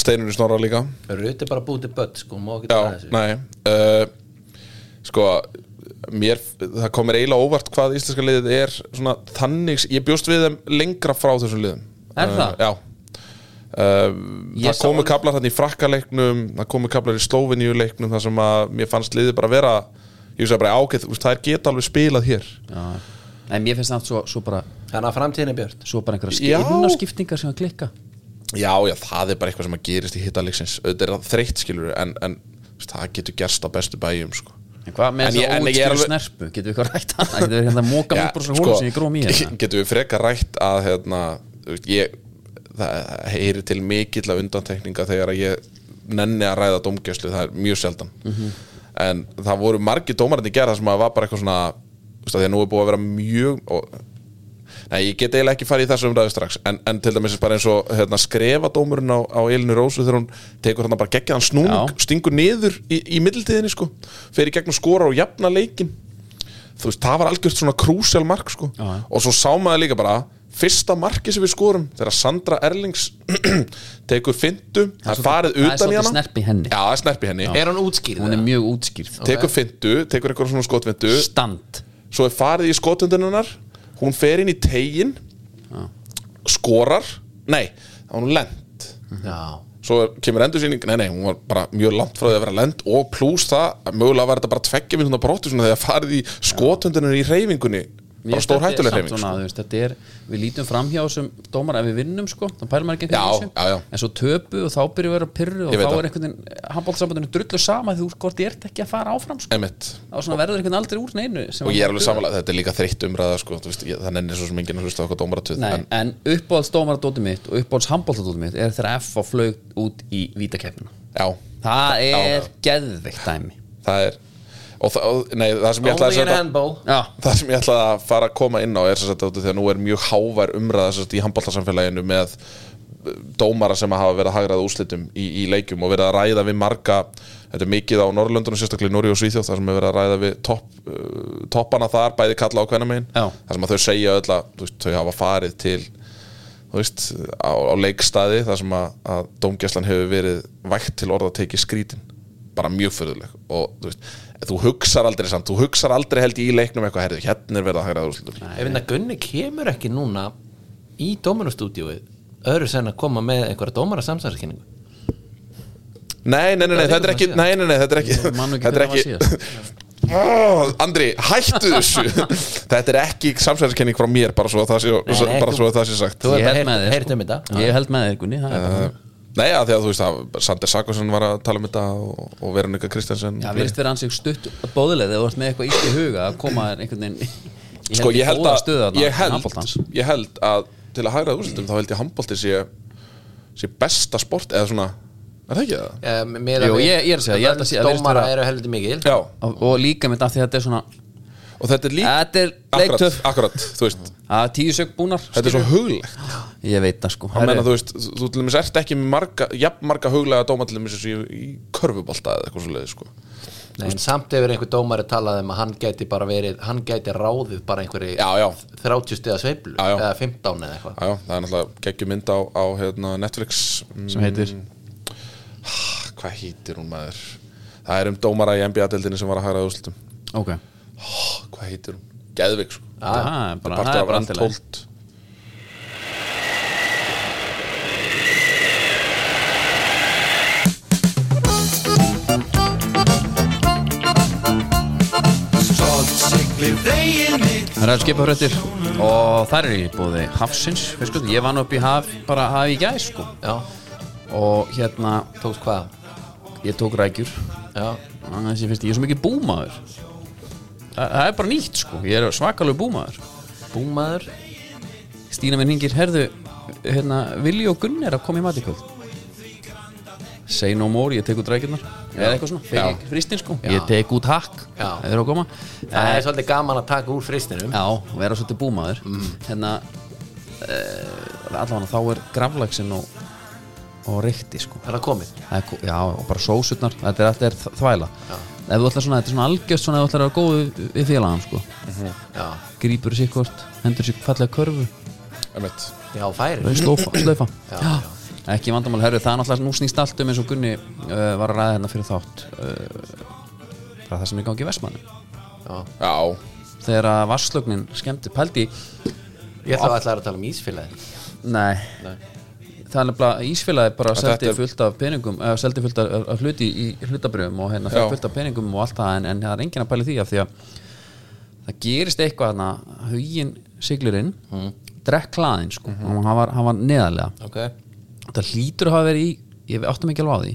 Speaker 2: Steinunni Snorra líka
Speaker 3: Ruti bara búið til börn sko, má ekki
Speaker 2: Já,
Speaker 3: tala þessu
Speaker 2: nei uh, Sko mér, það komir eiginlega óvart hvað íslenska liðið er svona þannig, ég bjóst við þeim lengra frá þessum liðum
Speaker 1: Er það?
Speaker 2: Uh, já Uh,
Speaker 1: Ég
Speaker 2: það
Speaker 1: sá um-
Speaker 2: komu
Speaker 1: alveg-
Speaker 2: kaplar þannig í frakkaleiknum það komu kaplar í slóviníuleiknum þar sem að mér fannst liðið bara vera ég veist bara ágæð, það er geta alveg spilað hér
Speaker 1: Já. en mér finnst það svo, svo bara
Speaker 3: Þannig að framtíðin er björn
Speaker 1: svo bara einhverja
Speaker 2: Já.
Speaker 1: skipnarskiptingar sem að klikka
Speaker 2: já, já, það er bara eitthvað sem að gerist í hittalegsins auðvitað er það þreytt skilur en, en þú veist, það getur gerst á bestu bæjum sko.
Speaker 1: en hvað
Speaker 2: En
Speaker 1: með
Speaker 2: ég-
Speaker 1: þess
Speaker 2: en
Speaker 1: að
Speaker 2: ég
Speaker 1: útskýra
Speaker 2: er alveg-
Speaker 1: snerpu getum við eitthvað rætt hana getum við hérna að móka
Speaker 2: Já, sko,
Speaker 1: mig bara svo hólum sem ég gróm í hérna
Speaker 2: getum við frekar rætt að hérna, þú veist, ég, það heyri til mikill af undantekninga þegar að ég nenni að ræða dómgjöslu, það er mjög sjaldan
Speaker 1: Mhm.
Speaker 2: en það voru margir dómarinn í gerða sem að var bara eitthvað svona þú veist, af því að nú er búið að vera mjög og, Nei, ég get eiginlega ekki farið í þessu umræðu strax en, en til dæmis er bara eins og hérna, skrefa dómurinn á, á Elinu Rósu þegar hún tekur hann bara geggjaðan snúning
Speaker 1: Já.
Speaker 2: stingur niður í, í middiltíðinni sko fer í gegn og skora og jafna leikin þú veist, það var algjört svona krúsel mark sko,
Speaker 1: Já, já.
Speaker 2: og svo sá maður líka bara fyrsta marki sem við skorum þegar Sandra Erlings tekur fintu, það er
Speaker 1: svolítið-
Speaker 2: farið
Speaker 1: það er
Speaker 2: utan í
Speaker 1: svolítið
Speaker 2: hana
Speaker 1: snerp í henni.
Speaker 2: já, það er snerp í henni,
Speaker 3: Er hann útskýrð?
Speaker 1: hún er
Speaker 3: eða?
Speaker 1: mjög útskýrð
Speaker 2: tekur fintu tekur eitthvað svona skotvindu
Speaker 1: stand
Speaker 2: svo er farið í skotunduninnar hún fer inn í tegin skorar, nei þá er hún lent
Speaker 3: Já,
Speaker 2: svo er- kemur endursýning, nei nei, hún var bara mjög langt frá því að vera lend og pluss það að mögulega var þetta bara tveggja við svona brotti svona þegar farið í skotundunir í reyfingunni bara stór hættuleg sko. reyfing
Speaker 1: svona, þú veist, þetta er, við lítum fram hjá þessum dómar ef við vinnum sko, þá pælum maður ekki
Speaker 2: Já,
Speaker 1: einhvern veginn í
Speaker 2: já, já.
Speaker 1: þessu. en svo töpu og þá byrjum við að vera pyrru og
Speaker 2: Ég veit
Speaker 1: þá
Speaker 2: það.
Speaker 1: er einhvern veginn handbóltsambandinu drullu sama því þú skort ég ert ekki að fara áfram sko.
Speaker 2: Emitt.
Speaker 1: þá svona verður einhvern aldrei úr neinu sem
Speaker 2: og
Speaker 1: að-
Speaker 2: ég er alveg samanlega, þetta er líka þreytt umræða sko, þú veist, ég, það nennir svo sem enginn að hlusta á okkur dómaratöð
Speaker 1: Nei,
Speaker 2: en
Speaker 1: en, en uppáhaldsdómaradótið mitt og uppáhaldshandbóltadótið mitt er þegar F á flaug út í vítakeppnina
Speaker 2: já,
Speaker 1: Það
Speaker 2: Já.
Speaker 1: er geðveikt dæmi
Speaker 2: það er og það, nei, það sem ég ætlaði að
Speaker 3: Only in
Speaker 2: setja-
Speaker 3: handball
Speaker 1: Já,
Speaker 2: það sem ég ætlaði að fara að koma inn á er þess að þegar nú er mjög hávær umræða sem sagt, í handbóltarsamfélaginu með eh, dómara sem hafa verið að hagraða úslitum í, í leikjum og verið að ræða við marga þetta er mikið á Norrlöndunum, sérstaklega í Nóri og Svíþjóð þar sem er verið að ræða við topp, uh, toppana þar, bæði kalla á hvenna megin
Speaker 1: Já.
Speaker 2: þar sem að þau segja öll að þú veist, þau hafa farið til þú veist, á, á leikstaði þar sem að, að dómgæslan hefur verið vægt til orða að teki skrítin bara mjög fyrðuleg og þú veist, þú hugsar aldrei samt, þú hugsar aldrei held ég í leiknum eitthvað herðu, hérna er verið að hægraða úrslutum
Speaker 3: Ef þetta Gunni kemur ekki núna í dómarastúdíóið öðru sem að koma með einhverja dómara samsæðarkynningu
Speaker 2: nei, nei, nei, nei,
Speaker 3: Það er
Speaker 2: þetta er ekki,
Speaker 3: síðan.
Speaker 2: nei, nei, nei, þetta er ekki
Speaker 1: Ég man nú ekki
Speaker 2: þetta er
Speaker 1: hvenær það var
Speaker 2: ekki Oh, Andri, hættu þessu Þetta er ekki samsverðiskenning frá mér bara svo að það sé,
Speaker 3: Nei,
Speaker 2: bara
Speaker 3: þú-
Speaker 2: svo að það sé sagt
Speaker 3: Þú
Speaker 1: Ég
Speaker 3: hefur
Speaker 1: held
Speaker 3: bara
Speaker 1: með þér,
Speaker 3: heyrt- heyrt
Speaker 1: sko.
Speaker 3: um þetta
Speaker 1: ég held með þér Gunni það er bara-
Speaker 2: Nei, að því að þú veist að Sander Sakursson var að tala um þetta og, og Veronika Kristensen
Speaker 1: Já, við erum verið ansið stutt bóðileg þegar þú ert með eitthvað ítt í huga að koma þér einhvern veginn í-
Speaker 2: sko, ég held
Speaker 1: góða
Speaker 2: að,
Speaker 1: stöðu þarna
Speaker 2: ég
Speaker 1: í handboltans.
Speaker 2: held, ég held að til að hægra úrslutum þá held ég handbólti sé, sé besta sport eða svona, er það ekki það?
Speaker 3: Eh, miðað
Speaker 1: Jú,
Speaker 3: við-
Speaker 1: ég- ég er að segja, ég held að sé- að virðist
Speaker 3: Dómara
Speaker 1: vera-
Speaker 3: eru heldur mikil
Speaker 2: Já,
Speaker 1: og, og líka mitt af því að þetta er svona
Speaker 2: og þetta er líka
Speaker 1: Þetta er
Speaker 2: akkurat,
Speaker 1: leiktöf
Speaker 2: akkurat, þú veist,
Speaker 1: að tíu sök búnar
Speaker 2: þetta er svo huglegt
Speaker 1: Ég veit það sko
Speaker 2: þá menna
Speaker 1: Herri,
Speaker 2: þú veist, þú- þú til dæmis ert ekki með marga, jafn marga huglega dóma til dæmis þessu í, í körfubólta eða eitthvað svo sko
Speaker 3: Nei, en samt hefur einhver dómari talað um að hann gæti bara verið, hann gæti ráðið bara einhverju
Speaker 2: Já, já,
Speaker 3: 30 stiða sveiflu
Speaker 2: Já, já.
Speaker 3: eða 15 eða eitthvað
Speaker 2: já, já það er náttúrulega geggjum mynd á, á hérna, Netflix mm,
Speaker 1: sem heitir
Speaker 2: Hvað hýtir hún maður? Það er um dómara í NBA-deldinni sem var að hægra úrslutum
Speaker 1: Ok
Speaker 2: Hvað hýtir hún? Geðvik sko
Speaker 1: Það er bara-
Speaker 2: Partur
Speaker 1: það er
Speaker 2: af
Speaker 1: bara allt í lagi.
Speaker 2: Antolt
Speaker 1: Það er skipafröttir og þar er ég búið hafsins veist hvað, Ég vann upp í haf bara haf í gæð sko
Speaker 3: Já,
Speaker 1: og hérna
Speaker 3: tókst hvað?
Speaker 1: ég tók rækjur
Speaker 3: Já,
Speaker 1: Þessi finnst ég er svo mikið búmaður Þa, Það er bara nýtt sko Ég er svakalegu búmaður
Speaker 3: búmaður
Speaker 1: Stína minn hingir, herðu hérna, Vilji og Gunn er að koma í matikvöld Say no more, ég tek út rækjurnar Eða eitthvað svona,
Speaker 2: Já.
Speaker 1: fyrir fristin sko Ég tek út hakk,
Speaker 3: Já.
Speaker 1: það er að koma
Speaker 3: Það er svolítið gaman að taka úr fristinum
Speaker 1: Já, og vera svolítið búmaður
Speaker 2: Mm.
Speaker 1: Hérna uh, Allavega þá er graflagsinn og, og reykti sko
Speaker 3: Það er komið
Speaker 1: Það er ko- Já, og bara sósutnar, þetta er, þetta er þ- þvæla Ef þú ætlar svona, þetta er svona algjört svona ef þú ætlar að vera góð við- við félagam sko
Speaker 3: Já,
Speaker 1: Grípur sér hvort, hendur sér fallega körfu
Speaker 2: Emmett
Speaker 3: já færir
Speaker 1: slöfa, slöfa.
Speaker 3: Já,
Speaker 1: Já. ekki vandamál herri, það er náttúrulega nú snýst allt um eins og Gunni uh, var að ræða hérna fyrir þátt uh, bara það sem er í gangi í Vestmanni
Speaker 3: Já.
Speaker 2: Já,
Speaker 1: þegar að vasslögnin skemmti pældi í-
Speaker 3: Ég ætla að ætla að tala um ísfélagi
Speaker 1: nei,
Speaker 3: Nei.
Speaker 1: það er nefnilega ísfélagi bara
Speaker 2: Þetta
Speaker 1: seldi
Speaker 2: er-
Speaker 1: fullt af peningum eða seldi fullt af, af hluti í hlutabröfum og hérna
Speaker 2: Já.
Speaker 1: fékk fullt af peningum og allt það en, en það er enginn að pæla í því af því að það gerist eitthvað hérna hugin siglurinn
Speaker 2: Mhm.
Speaker 1: mm. drekk hlaðin sko og hann var, hann var neðarlega
Speaker 3: Ok
Speaker 1: það hlýtur að hafa verið í ég áttum ekki alveg á því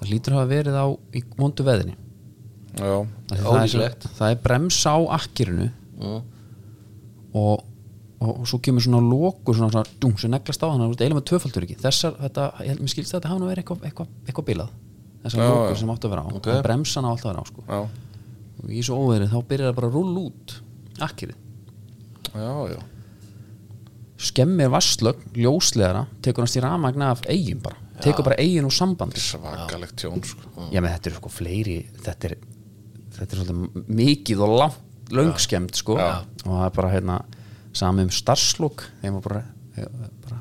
Speaker 1: það hlýtur að hafa verið á í vondu veðinni
Speaker 2: já,
Speaker 1: Af því það er,
Speaker 3: Ólíklegt.
Speaker 1: sem- það er brems á akkirinu
Speaker 2: Mm.
Speaker 1: og, og, og svo kemur svona lókur svona, svona dung sem neglast á hann það er eiginlega með tvöfaldur ekki þessar, þetta, ég held mér skilst að þetta hafa nú verið eitthvað eitthva, eitthva bilað þessar
Speaker 2: Já,
Speaker 1: lókur
Speaker 2: já.
Speaker 1: sem áttu að vera á
Speaker 3: Ok.
Speaker 1: okay. bremsan á alltaf að vera á sko.
Speaker 2: já,
Speaker 1: og í svo óveðri þá byrjar það bara að rulla út akkirið
Speaker 2: já, já.
Speaker 1: skemmir vasslögn, ljóslegara tekur hans í ramagna af eigin bara tekur bara eigin úr sambandi
Speaker 2: Svakalegt tjón sko
Speaker 1: Já, menn þetta eru sko fleiri þetta er, þetta er svolítið mikið og langt, löngskemmt sko og það er bara hérna sami um starfslok þeim var bara, eh, bara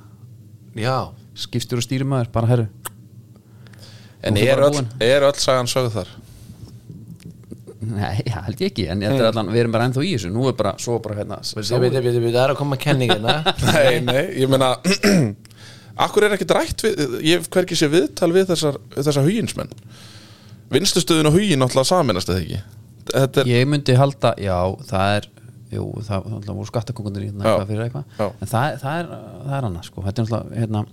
Speaker 3: Já,
Speaker 1: skipstjóri og stýrimaður, bara herru
Speaker 2: En
Speaker 1: Þú ert
Speaker 2: er
Speaker 1: bara
Speaker 2: öll,
Speaker 1: búin.
Speaker 2: er öll sagan sögð þar?
Speaker 1: Nei, það held ég ekki, en þetta er allan við erum bara ennþá í þessu, nú er bara, svo bara hérna
Speaker 3: Ég veit, ég veit, ég veit, það er að koma kenningina
Speaker 2: Nei, nei, ég meina Akkur er ekki drætt við Ég hef hvergi sé viðtal við þessar, þessar huginsmenn Vinstustöðun og hugin náttúrulega saminast eða ekki Þetta er,
Speaker 1: ég myndi halda, já, það er jú, það það náttúrulega voru skattakongundir hérna,
Speaker 2: Já.
Speaker 1: eitthvað fyrir
Speaker 2: Já.
Speaker 1: eitthvað en það, er- það er, það er annað, sko þetta er náttúrulega, hérna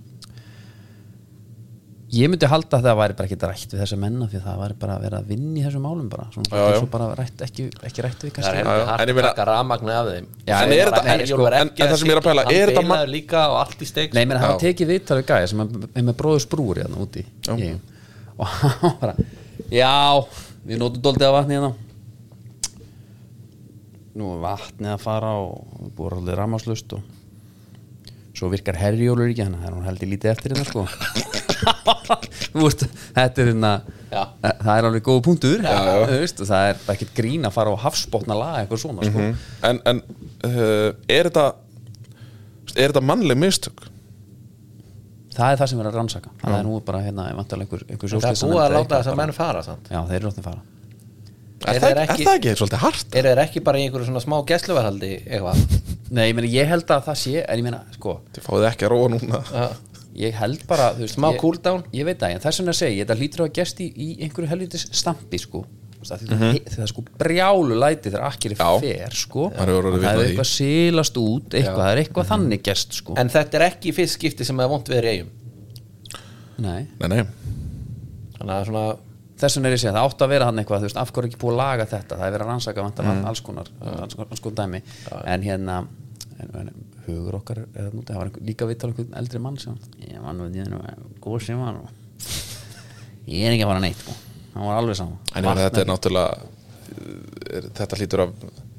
Speaker 1: ég myndi halda að það væri bara ekki rætt við þessa menna, því það væri bara að vera að vinna í þessum málum bara, svona,
Speaker 2: Já, já.
Speaker 1: svo bara rætt ekki, ekki rætt við
Speaker 3: Það
Speaker 1: kannski
Speaker 3: er
Speaker 2: Já, já,
Speaker 3: hægt
Speaker 2: en
Speaker 3: að
Speaker 2: ég meina-
Speaker 3: taka rafmagni af þeim
Speaker 1: Já,
Speaker 2: en er þetta-
Speaker 1: sko,
Speaker 2: en- en það sem ég er að pæla, er þetta
Speaker 3: Hann
Speaker 2: ma-
Speaker 3: beilaður líka og allt í steik
Speaker 1: Nei, menn það var
Speaker 2: Já.
Speaker 1: tekið viðtalið gæja sem er er með bróður sprúri hérna úti í Eyjum. og hann var bara já, við notum doldið af vatni hérna nú er vatnið að fara og búið allir rammaslust og svo virkar herjólur ekki þannig að það er hún heldur lítið eftir þetta sko Þú veist, þetta er hérna
Speaker 3: Já.
Speaker 1: það er alveg góð punktur
Speaker 3: Já, já.
Speaker 1: þú veist, og það er ekkert grín að fara á hafsbotna laga eitthvað svona
Speaker 3: Mhm.
Speaker 1: sko.
Speaker 2: Mhm. en, en uh, er þetta er þetta mannleg mistök
Speaker 1: það er það sem er að rannsaka það er nú bara hérna vantarlega einhver, einhver
Speaker 3: Það er
Speaker 1: sjóslysanefnd
Speaker 3: búið að
Speaker 1: eða
Speaker 3: láta
Speaker 1: eitthvað
Speaker 3: þess að
Speaker 1: bara.
Speaker 3: menn fara samt
Speaker 1: já, þeir eru ráttið að fara
Speaker 2: er,
Speaker 3: Er
Speaker 2: það, ekki,
Speaker 3: það ekki-
Speaker 2: er það ekki svolítið hart
Speaker 3: Eru þeir ekki bara í einhverju svona smá gæsluvarhaldi eitthvað?
Speaker 1: nei, ég, meina, ég held að það sé en ég meina, sko,
Speaker 2: þið fáið ekki að róa núna
Speaker 3: Já.
Speaker 1: ég held bara þú veist,
Speaker 3: Smá
Speaker 1: ég,
Speaker 3: cool down.
Speaker 1: ég veit það, en þess vegna segi ég þetta hlýtur að hafa gerst í, í einhverju helvitis stampi sko Þú veist, af því mm -hmm. það er sko brjálu læti þegar akkir er
Speaker 2: Já.
Speaker 1: fer sko
Speaker 2: Maður hefur
Speaker 1: það
Speaker 2: orðið vitni
Speaker 1: er
Speaker 2: að því.
Speaker 1: eitthvað silast út eitthvað, það er eitthvað þannig gerst sko
Speaker 3: En þetta er ekki í fyrst skipti sem það er vond við er eigum
Speaker 1: Nei.
Speaker 2: nei, nei,
Speaker 3: Þannig að svona
Speaker 1: þess vegna er ég að segja, það átt að vera hann eitthvað þú veist, af hverju er ekki búið að laga þetta, það er verið að rannsaka vantar mm. alls konar, alls konar, alls konar dæmi en hérna en, en, hugur okkar, er þarna úti, það var einhver, líka viðtal einhvern eldri mann sem, ég var nú ég var nú góð sem var og ég er ekki að fara neitt, sko hann var alveg saman
Speaker 2: en ég meina, þetta er náttúrulega eh, er, þetta hlýtur að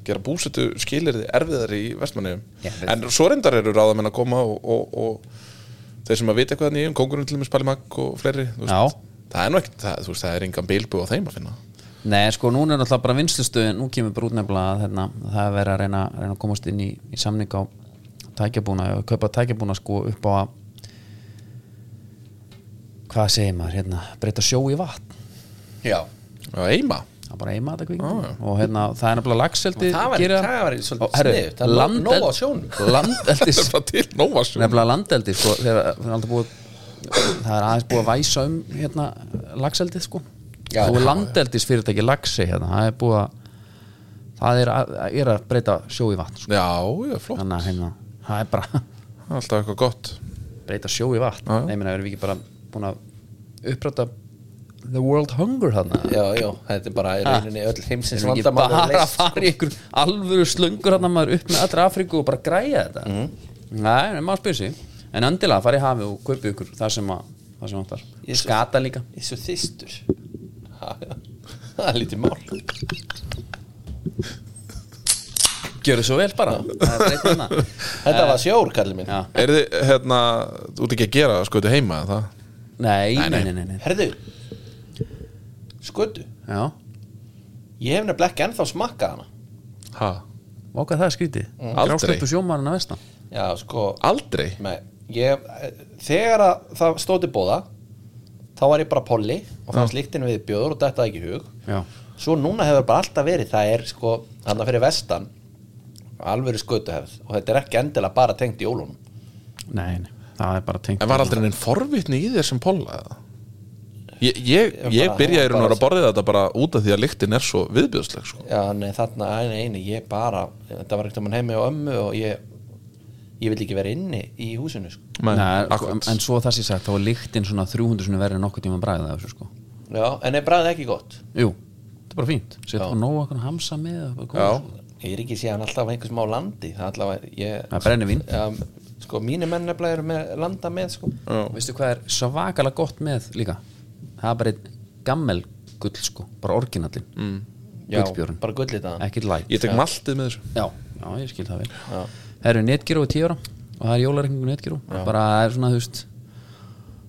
Speaker 2: gera búsetu skilirði erfiðari í vestmanniðum
Speaker 1: Já, við-
Speaker 2: en svo reyndar eru ráðamenn að koma og, og, og þeir sem að vita eitthvað nýjum, kongurinn til með Spalimak og fleiri þú
Speaker 1: Já.
Speaker 2: veist, það er nú ekkert, það, þú veist, það er engan bilbu á þeim að finna
Speaker 1: Nei, en sko, núna er alltaf bara vinslustöðin nú kemur bara út nefnilega að hérna, það er verið að reyna, reyna að komast inn í, í samning á tækjabúna, eða kaupa tækjabúna sko upp á að hvað segir maður, hérna breyta sjó í vatn,
Speaker 3: Já
Speaker 2: Já, eima
Speaker 1: það er bara eima þetta kvík
Speaker 2: Já, já.
Speaker 1: og hérna, það er nefnilega lagseldi
Speaker 3: Ah, Það væri- það væri svolítið sniðugt, það er nóg- nóg á sjónum.
Speaker 1: Landeldis
Speaker 2: það er bara til nóa sjón
Speaker 1: nefnilega landeldi sko, þegar það er alltaf búið það er aðeins búið að væsa um hérna, lagseldið sko
Speaker 3: Já,
Speaker 1: þú er
Speaker 3: já,
Speaker 1: landeldis fyrirtæki lagsi hérna, það er búið að það er að, er að breyta sjó í vatn sko.
Speaker 2: já, já, flott,
Speaker 1: þannig að hérna, það er bara
Speaker 2: það er alltaf eitthvað gott
Speaker 1: breyta sjó í vatn
Speaker 2: Já, já.
Speaker 1: Nei, meina, erum við ekki bara búin að uppræta the world hunger þarna
Speaker 3: Já, já, þetta er bara í rauninni öll heimsins
Speaker 1: erum við Ah. ekki
Speaker 3: vandamál
Speaker 1: bara
Speaker 3: er
Speaker 1: að
Speaker 3: leyst, sko.
Speaker 1: fara í ykkur alvöru slöngur hann maður upp með allra Afríku og bara græja þetta nei, en maður spyr sig en endilega farið hafið og kaupið ykkur það sem að það sem vantar
Speaker 3: Ég-
Speaker 1: skata líka
Speaker 3: Ég er svo þystur Ha, já. Það er lítið mál
Speaker 1: gjöru svo vel bara það er breytt hérna.
Speaker 3: Þetta var sjór, kallið minn
Speaker 1: Já.
Speaker 2: er þið, hérna, þú ert ekki að gera skoðu heima, eða það?
Speaker 1: nei,
Speaker 2: Nei, nei.
Speaker 1: nei, nei, nei, nei.
Speaker 3: Herðu Skötu
Speaker 1: já
Speaker 3: Ég hef nefnilega ekki ennþá smakkað hana
Speaker 2: Ha?
Speaker 1: Váka það er skrítið
Speaker 2: Mm.
Speaker 1: Grásleppu
Speaker 2: Aldrei.
Speaker 1: sjómarinn að vestan
Speaker 3: Já, sko
Speaker 2: aldrei
Speaker 3: Nei, ég, eh, þegar að það stóti bóða þá var ég bara polli og fannst líktinu við bjóður og þetta ekki í hug
Speaker 1: Já
Speaker 3: svo núna hefur bara alltaf verið það er sko, hann fyrir vestan alvöru skötuhefð og þetta er ekki endilega bara tengt jólunum
Speaker 1: Nei, nei Það er bara tengt
Speaker 2: En var aldrei neinn forvitni í þér sem polla eða? Ég, ég,
Speaker 3: Ég
Speaker 2: ég
Speaker 3: bara-
Speaker 2: byrja í raun og veru
Speaker 3: bara-
Speaker 2: að borðið þetta bara út af því að lyktin er svo viðbjöðsleg sko.
Speaker 3: Já, nei, þarna, æ, nei, nei, ég bara þetta var ekkert um hann heimi og ömmu og ég ég vil ekki vera inni í húsinu sko.
Speaker 1: Nei, sko, en,
Speaker 2: akkurat.
Speaker 1: en svo það sé sagt þá er lyktin svona 300 sinni verið en nokkuð tíma bræðið þessu sko
Speaker 3: Já, en er bræðið ekki gott
Speaker 1: Jú, þetta er bara fínt Sett
Speaker 3: Já.
Speaker 1: bara nógu okkur hamsa með og bara
Speaker 2: Já,
Speaker 1: koma.
Speaker 3: Ég er ekki síðan alltaf einhvers má landi það er allavega, ég
Speaker 1: Það er brennivín.
Speaker 3: Já, sko, mínu menn nefnilega eru með landa með sko
Speaker 2: já.
Speaker 1: Veistu hvað er svakalega gott með líka? Það er bara einn gammel gull sko, bara orginallin mm.
Speaker 3: Já,
Speaker 1: Gullbjörn,
Speaker 3: bara gullitaðan
Speaker 1: ekkert læk
Speaker 2: Ég tek maltið með þessu
Speaker 1: já, já, ég skil það vel
Speaker 3: Já.
Speaker 1: Það eru netgíró í tíu ára og það er jólareikningu netgíró bara það er svona, þú veist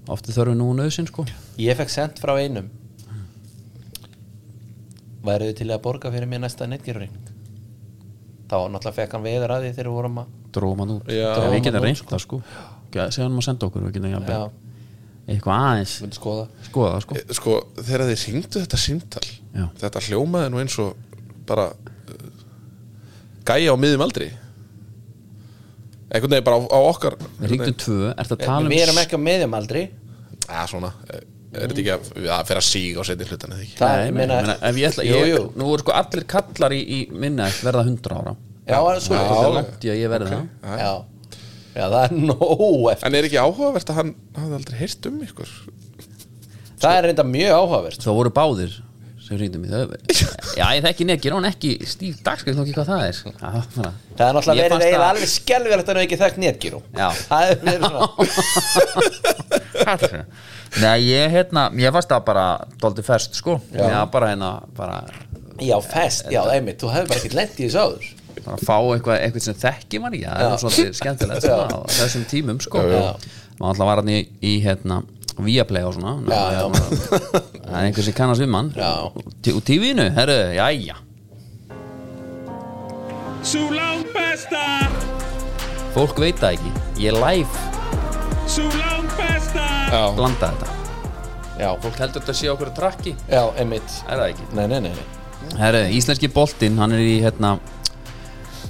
Speaker 1: ofta þörfum nú nöðsinn sko
Speaker 3: Ég fekk sendt frá einum Væruðu til að borga fyrir mér næsta netgerurreikning Þá náttúrulega fekk hann veður að því þegar við vorum að
Speaker 1: dróma nú,
Speaker 2: Já.
Speaker 1: Dróum við
Speaker 3: Dróum hann
Speaker 1: getum
Speaker 3: út,
Speaker 1: reynt það sko segja hann að senda okkur, við getum jafnvel
Speaker 3: Já,
Speaker 1: eitthvað aðeins,
Speaker 3: myndi skoða
Speaker 1: skoða það sko
Speaker 2: Eh, Sko, þegar þið syngdu þetta síntal
Speaker 1: Já.
Speaker 2: Þetta hljómaði nú eins og bara uh, gæja á miðum aldri Einhvern veginn bara á, á okkar
Speaker 1: við ringdum tvö, ertu að tala um
Speaker 3: Við erum ekki á meðjum aldrei
Speaker 2: Já, svona Eh, Er þetta ekki að, það fer að síga og setja hlutan eða ekki
Speaker 3: Það
Speaker 1: Nei,
Speaker 3: er,
Speaker 1: meina, meina, ef ég ætla, ég,
Speaker 3: Jú, jú
Speaker 1: nú voru sko allir kallar í, í minna verða 100 ára
Speaker 3: Já, það er
Speaker 1: þetta er
Speaker 3: svolítið
Speaker 1: langt í að ég verði það
Speaker 3: Já, já það er nóg eftir
Speaker 2: En er ekki áhugavert að hann hafði aldrei heyrt um ykkur
Speaker 3: Það er reynda mjög áhugavert
Speaker 1: Svo voru báðir sem rýndum í þau Já, ég þekki nekir, hún ekki stíf dagskrif ekki hvað það er Já, bara.
Speaker 3: Það er náttúrulega
Speaker 1: Mér
Speaker 3: verið
Speaker 1: fannst
Speaker 3: eiginlega
Speaker 1: það-
Speaker 3: alveg skelverið að hann ekki þekkt netgíru
Speaker 1: Já.
Speaker 3: Það er verið svona
Speaker 1: Kallur. Nei, ég hérna, ég varst það bara dóldi fest, sko Já, bara hérna, bara
Speaker 3: Já, fest, já, einmitt, þú hefur bara ekkert lent í þessu áður
Speaker 1: bara að fá eitthvað, eitthvað sem þekki mann ekki það er nú svolítið skemmtilegt svona, á þessum tímum sko maður alltaf var hann í, í hérna Viaplay og svona Ná,
Speaker 3: Já, já.
Speaker 1: hérna, það er einhver sem kannast við mann
Speaker 3: Já.
Speaker 1: Tí- og tífinu, herru, jæja
Speaker 4: Sú langt besta,
Speaker 1: fólk veit það ekki, ég live
Speaker 4: sú langt besta,
Speaker 2: Já,
Speaker 1: blanda þetta
Speaker 3: Já,
Speaker 1: fólk heldur þetta sé okkur að trakki,
Speaker 3: já, emitt
Speaker 1: er það ekki
Speaker 3: Nei, nei, nei, nei.
Speaker 1: herru, íslenski boltinn, hann er í hérna,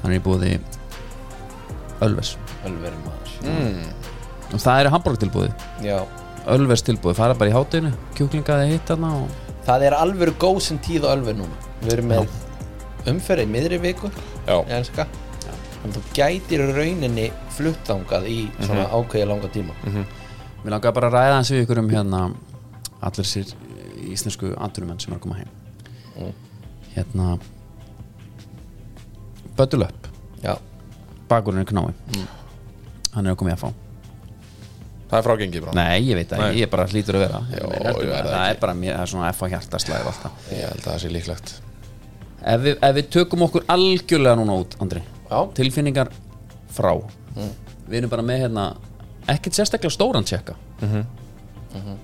Speaker 1: hann er í búði Ölvers
Speaker 3: Ölveri maður mm.
Speaker 1: og það eru hambúrgtilbúði,
Speaker 3: Já
Speaker 1: Ölvers tilbúði fara bara í hátinu, kjúklingaði hitt hann og
Speaker 3: Það er alveg góð sem tíð á Ölver núna Við erum með umferðið miðri viku
Speaker 2: Já.
Speaker 3: Ég elska En þú gætir í rauninni flutt þangað í svona ákveðið langa tíma
Speaker 1: Mér langar bara að ræða hans við ykkur um hérna allir sér íslensku atvinnumenn sem er að koma heim Mm. hérna Böttul upp
Speaker 3: Já,
Speaker 1: bakurinn er knái hann er að koma í að fá
Speaker 2: það er frágengið bara
Speaker 1: Nei, ég veit það,
Speaker 2: Nei.
Speaker 1: ekki, ég bara hlýtur að vera
Speaker 2: Jó,
Speaker 1: Ég heldur
Speaker 2: ég
Speaker 1: bara,
Speaker 2: verð
Speaker 1: það
Speaker 2: ekki.
Speaker 1: er bara mér, það er svona F á hjartaslæðið alltaf
Speaker 2: Ég held að það sé líklegt
Speaker 1: ef við, ef við tökum okkur algjörlega núna út, Andri
Speaker 3: Já.
Speaker 1: tilfinningar frá
Speaker 2: Mm.
Speaker 1: við erum bara með hérna ekkert sérstaklega stóran tjekka
Speaker 2: Mhm.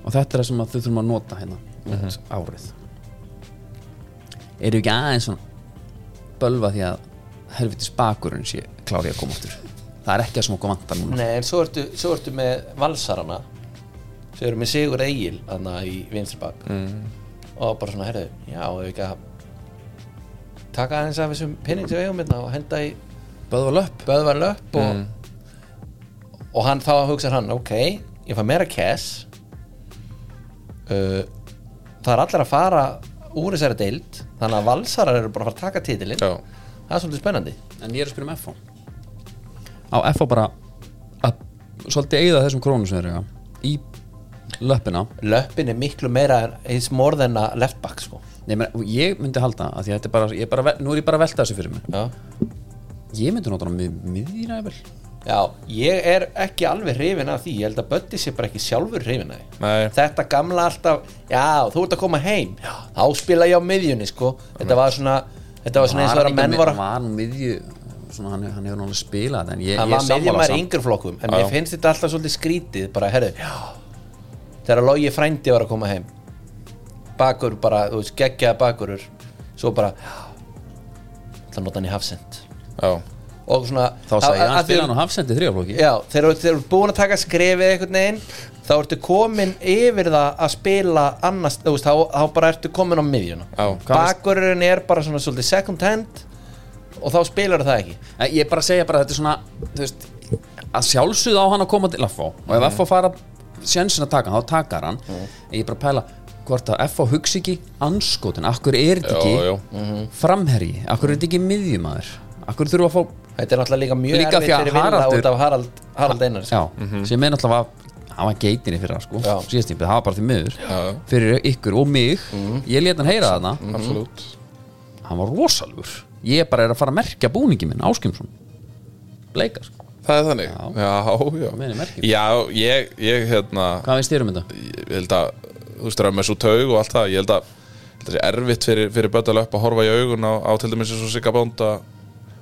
Speaker 1: og þetta er það sem að þau þurfum að nota hérna
Speaker 2: Mhm.
Speaker 1: út árið eru ekki aðeins svona bölva því að helvitis bakurinn sé klári að koma áttur það er ekki það sem okkur vantar núna
Speaker 3: Nei, en svo ertu, svo ertu með valsarana sem eru með Sigur Egil þarna í vinstribak mm. og bara svona, herðu, já, hefur ekki að taka aðeins af þessum pinning sem við eigum hérna og henda í
Speaker 1: bölva löpp
Speaker 3: Böðvar löpp og, og hann þá hugsa hann, ok ég fæ meira cash uh, það er allir að fara úr þessari deild þannig að valsarar eru bara að fara að taka titilinn
Speaker 2: Já.
Speaker 3: það er svolítið spennandi
Speaker 1: en ég er að spyrja um FH á FH bara að svolítið eigða þessum krónu sem þeir eru í löppina
Speaker 3: löppin er miklu meira his more than a left back sko.
Speaker 1: Nei, menn, ég myndi halda að því að þetta er bara, ég er bara vel- nú er ég bara að velta þessu fyrir mig
Speaker 3: já.
Speaker 1: ég myndi nota hann með miðjina eða vel
Speaker 3: já, ég er ekki alveg hrifin af því ég held að Böddi sé bara ekki sjálfur hrifin af því
Speaker 2: Nei.
Speaker 3: þetta gamla alltaf, já, þú ert að koma heim já, þá spila ég á miðjunni sko. þetta var svona, þetta var svona eins og
Speaker 1: hann
Speaker 3: þegar menn
Speaker 1: ekki-
Speaker 3: var að
Speaker 1: var nú miðju svona, hann, hann hefur náttúrulega spilað en ég,
Speaker 3: hann
Speaker 1: ég
Speaker 3: var
Speaker 1: er
Speaker 3: meðjum
Speaker 1: sammála
Speaker 3: maður í
Speaker 1: samt
Speaker 3: yngri flokkum en mér finnst þetta alltaf svolítið skrítið bara, herru, þegar Logi frændi var að koma heim bakur bara, þú veist, geggjaða bakurur svo bara það nota hann í hafsend
Speaker 2: Já,
Speaker 3: og svona
Speaker 1: þá sagði ég
Speaker 3: að-
Speaker 1: hann
Speaker 3: að því-
Speaker 1: spila hann á hafsendi þrjáflóki
Speaker 3: já, þegar þú- þegar þú ert búin að taka skrefið einhvern veginn þá ertu komin yfir það að spila annars, þú veist, þá, þá bara ertu komin á miðjuna
Speaker 2: Já,
Speaker 1: hvað veist-
Speaker 3: bakururinn er bara svona svolítið second hand og þá spilar það ekki
Speaker 1: Eh, ég er bara að segja bara þetta er svona þú veist, að sjálfsögð á hann að koma til FH og
Speaker 2: Mhm.
Speaker 1: ef FH fara sjensin að taka hann þá takar hann en ég er bara að pæla hvort að FH hugsi ekki anskotin akkur er þetta
Speaker 2: já, já. Mhm.
Speaker 1: ekki framherji, akkur er þetta ekki miðjumæður akkur þurfa að fá
Speaker 3: Þetta er náttúrulega líka mjög
Speaker 1: Líka því
Speaker 3: erfitt
Speaker 1: að
Speaker 3: fyrir Villa
Speaker 1: Haraldur-
Speaker 3: út af Harald, Harald Einar sko.
Speaker 1: Já,
Speaker 2: Mhm.
Speaker 1: sem er náttúrulega var- hann var geitinni fyrir það sko
Speaker 3: Já.
Speaker 1: síðast tímpið, það var bara því miður
Speaker 2: Já. Mhm.
Speaker 1: fyrir ykkur og mig ég lét hann heyra þarna,
Speaker 2: absolutt
Speaker 1: hann var rosalur ég bara er að fara að merkja búningi minn Áskimsson, bleikar sko.
Speaker 2: Það er þannig Já, já
Speaker 1: meina merkið.
Speaker 2: Já, ég, ég hérna
Speaker 1: hvað veist þér um þetta?
Speaker 2: ég held að þú veist, það er með svo taug og allt það ég held að ég held að það sé erfitt fyrir, fyrir böttal upp að horfa í augun á, á til dæmis eins og Sigga Bónda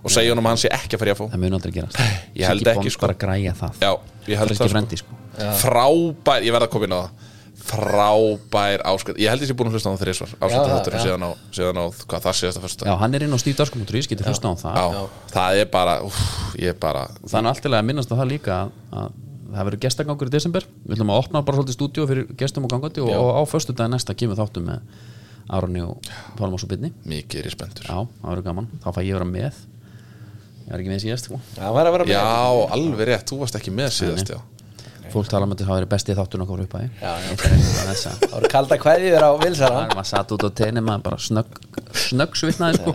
Speaker 2: og segja honum að hann sé ekki að fara í að fá
Speaker 1: það mun aldrei gerast
Speaker 2: Ég held
Speaker 1: Siggi
Speaker 2: ekki,
Speaker 1: Bond
Speaker 2: sko.
Speaker 1: bara að græja það
Speaker 2: Já, ég held
Speaker 1: Helgi frendi sko
Speaker 2: frábær, ég verð að koma inn á það frábær áskrift ég held ég sé búin að hlusta á það þrísvar áskrift
Speaker 3: Já,
Speaker 2: þátturinn
Speaker 3: já.
Speaker 2: síðan á, síðan á hvað það séðast að fyrsta
Speaker 1: já, hann er inn á stífdarskum.ru, ég geti hlusta á það
Speaker 2: Já, það er bara, úf, ég er bara
Speaker 1: þannig allt til að minnast á það líka að- að það verður gestagangur í desember við ætlum að opna bara svolítið stúdíu fyrir gestum og gangandi og, og á föstu dag næsta kemur þáttum með Árni og Pálmás og Byrni
Speaker 2: mikið er ég spendur
Speaker 1: Já, það verður gaman, þá fæ ég vera með Ég var ekki með síðast sko.
Speaker 3: Það var að vera
Speaker 2: Já,
Speaker 3: með
Speaker 2: alveg rétt, þú varst ekki með síðast já.
Speaker 1: Fólk tala um að það verið bestið þáttun okkur upp að ég
Speaker 3: Já, já.
Speaker 1: Þess að
Speaker 3: Það voru kalda kveðjur á Vilsara
Speaker 1: Það er maður satt út á tenni maður bara snögg snögg svitnaði sko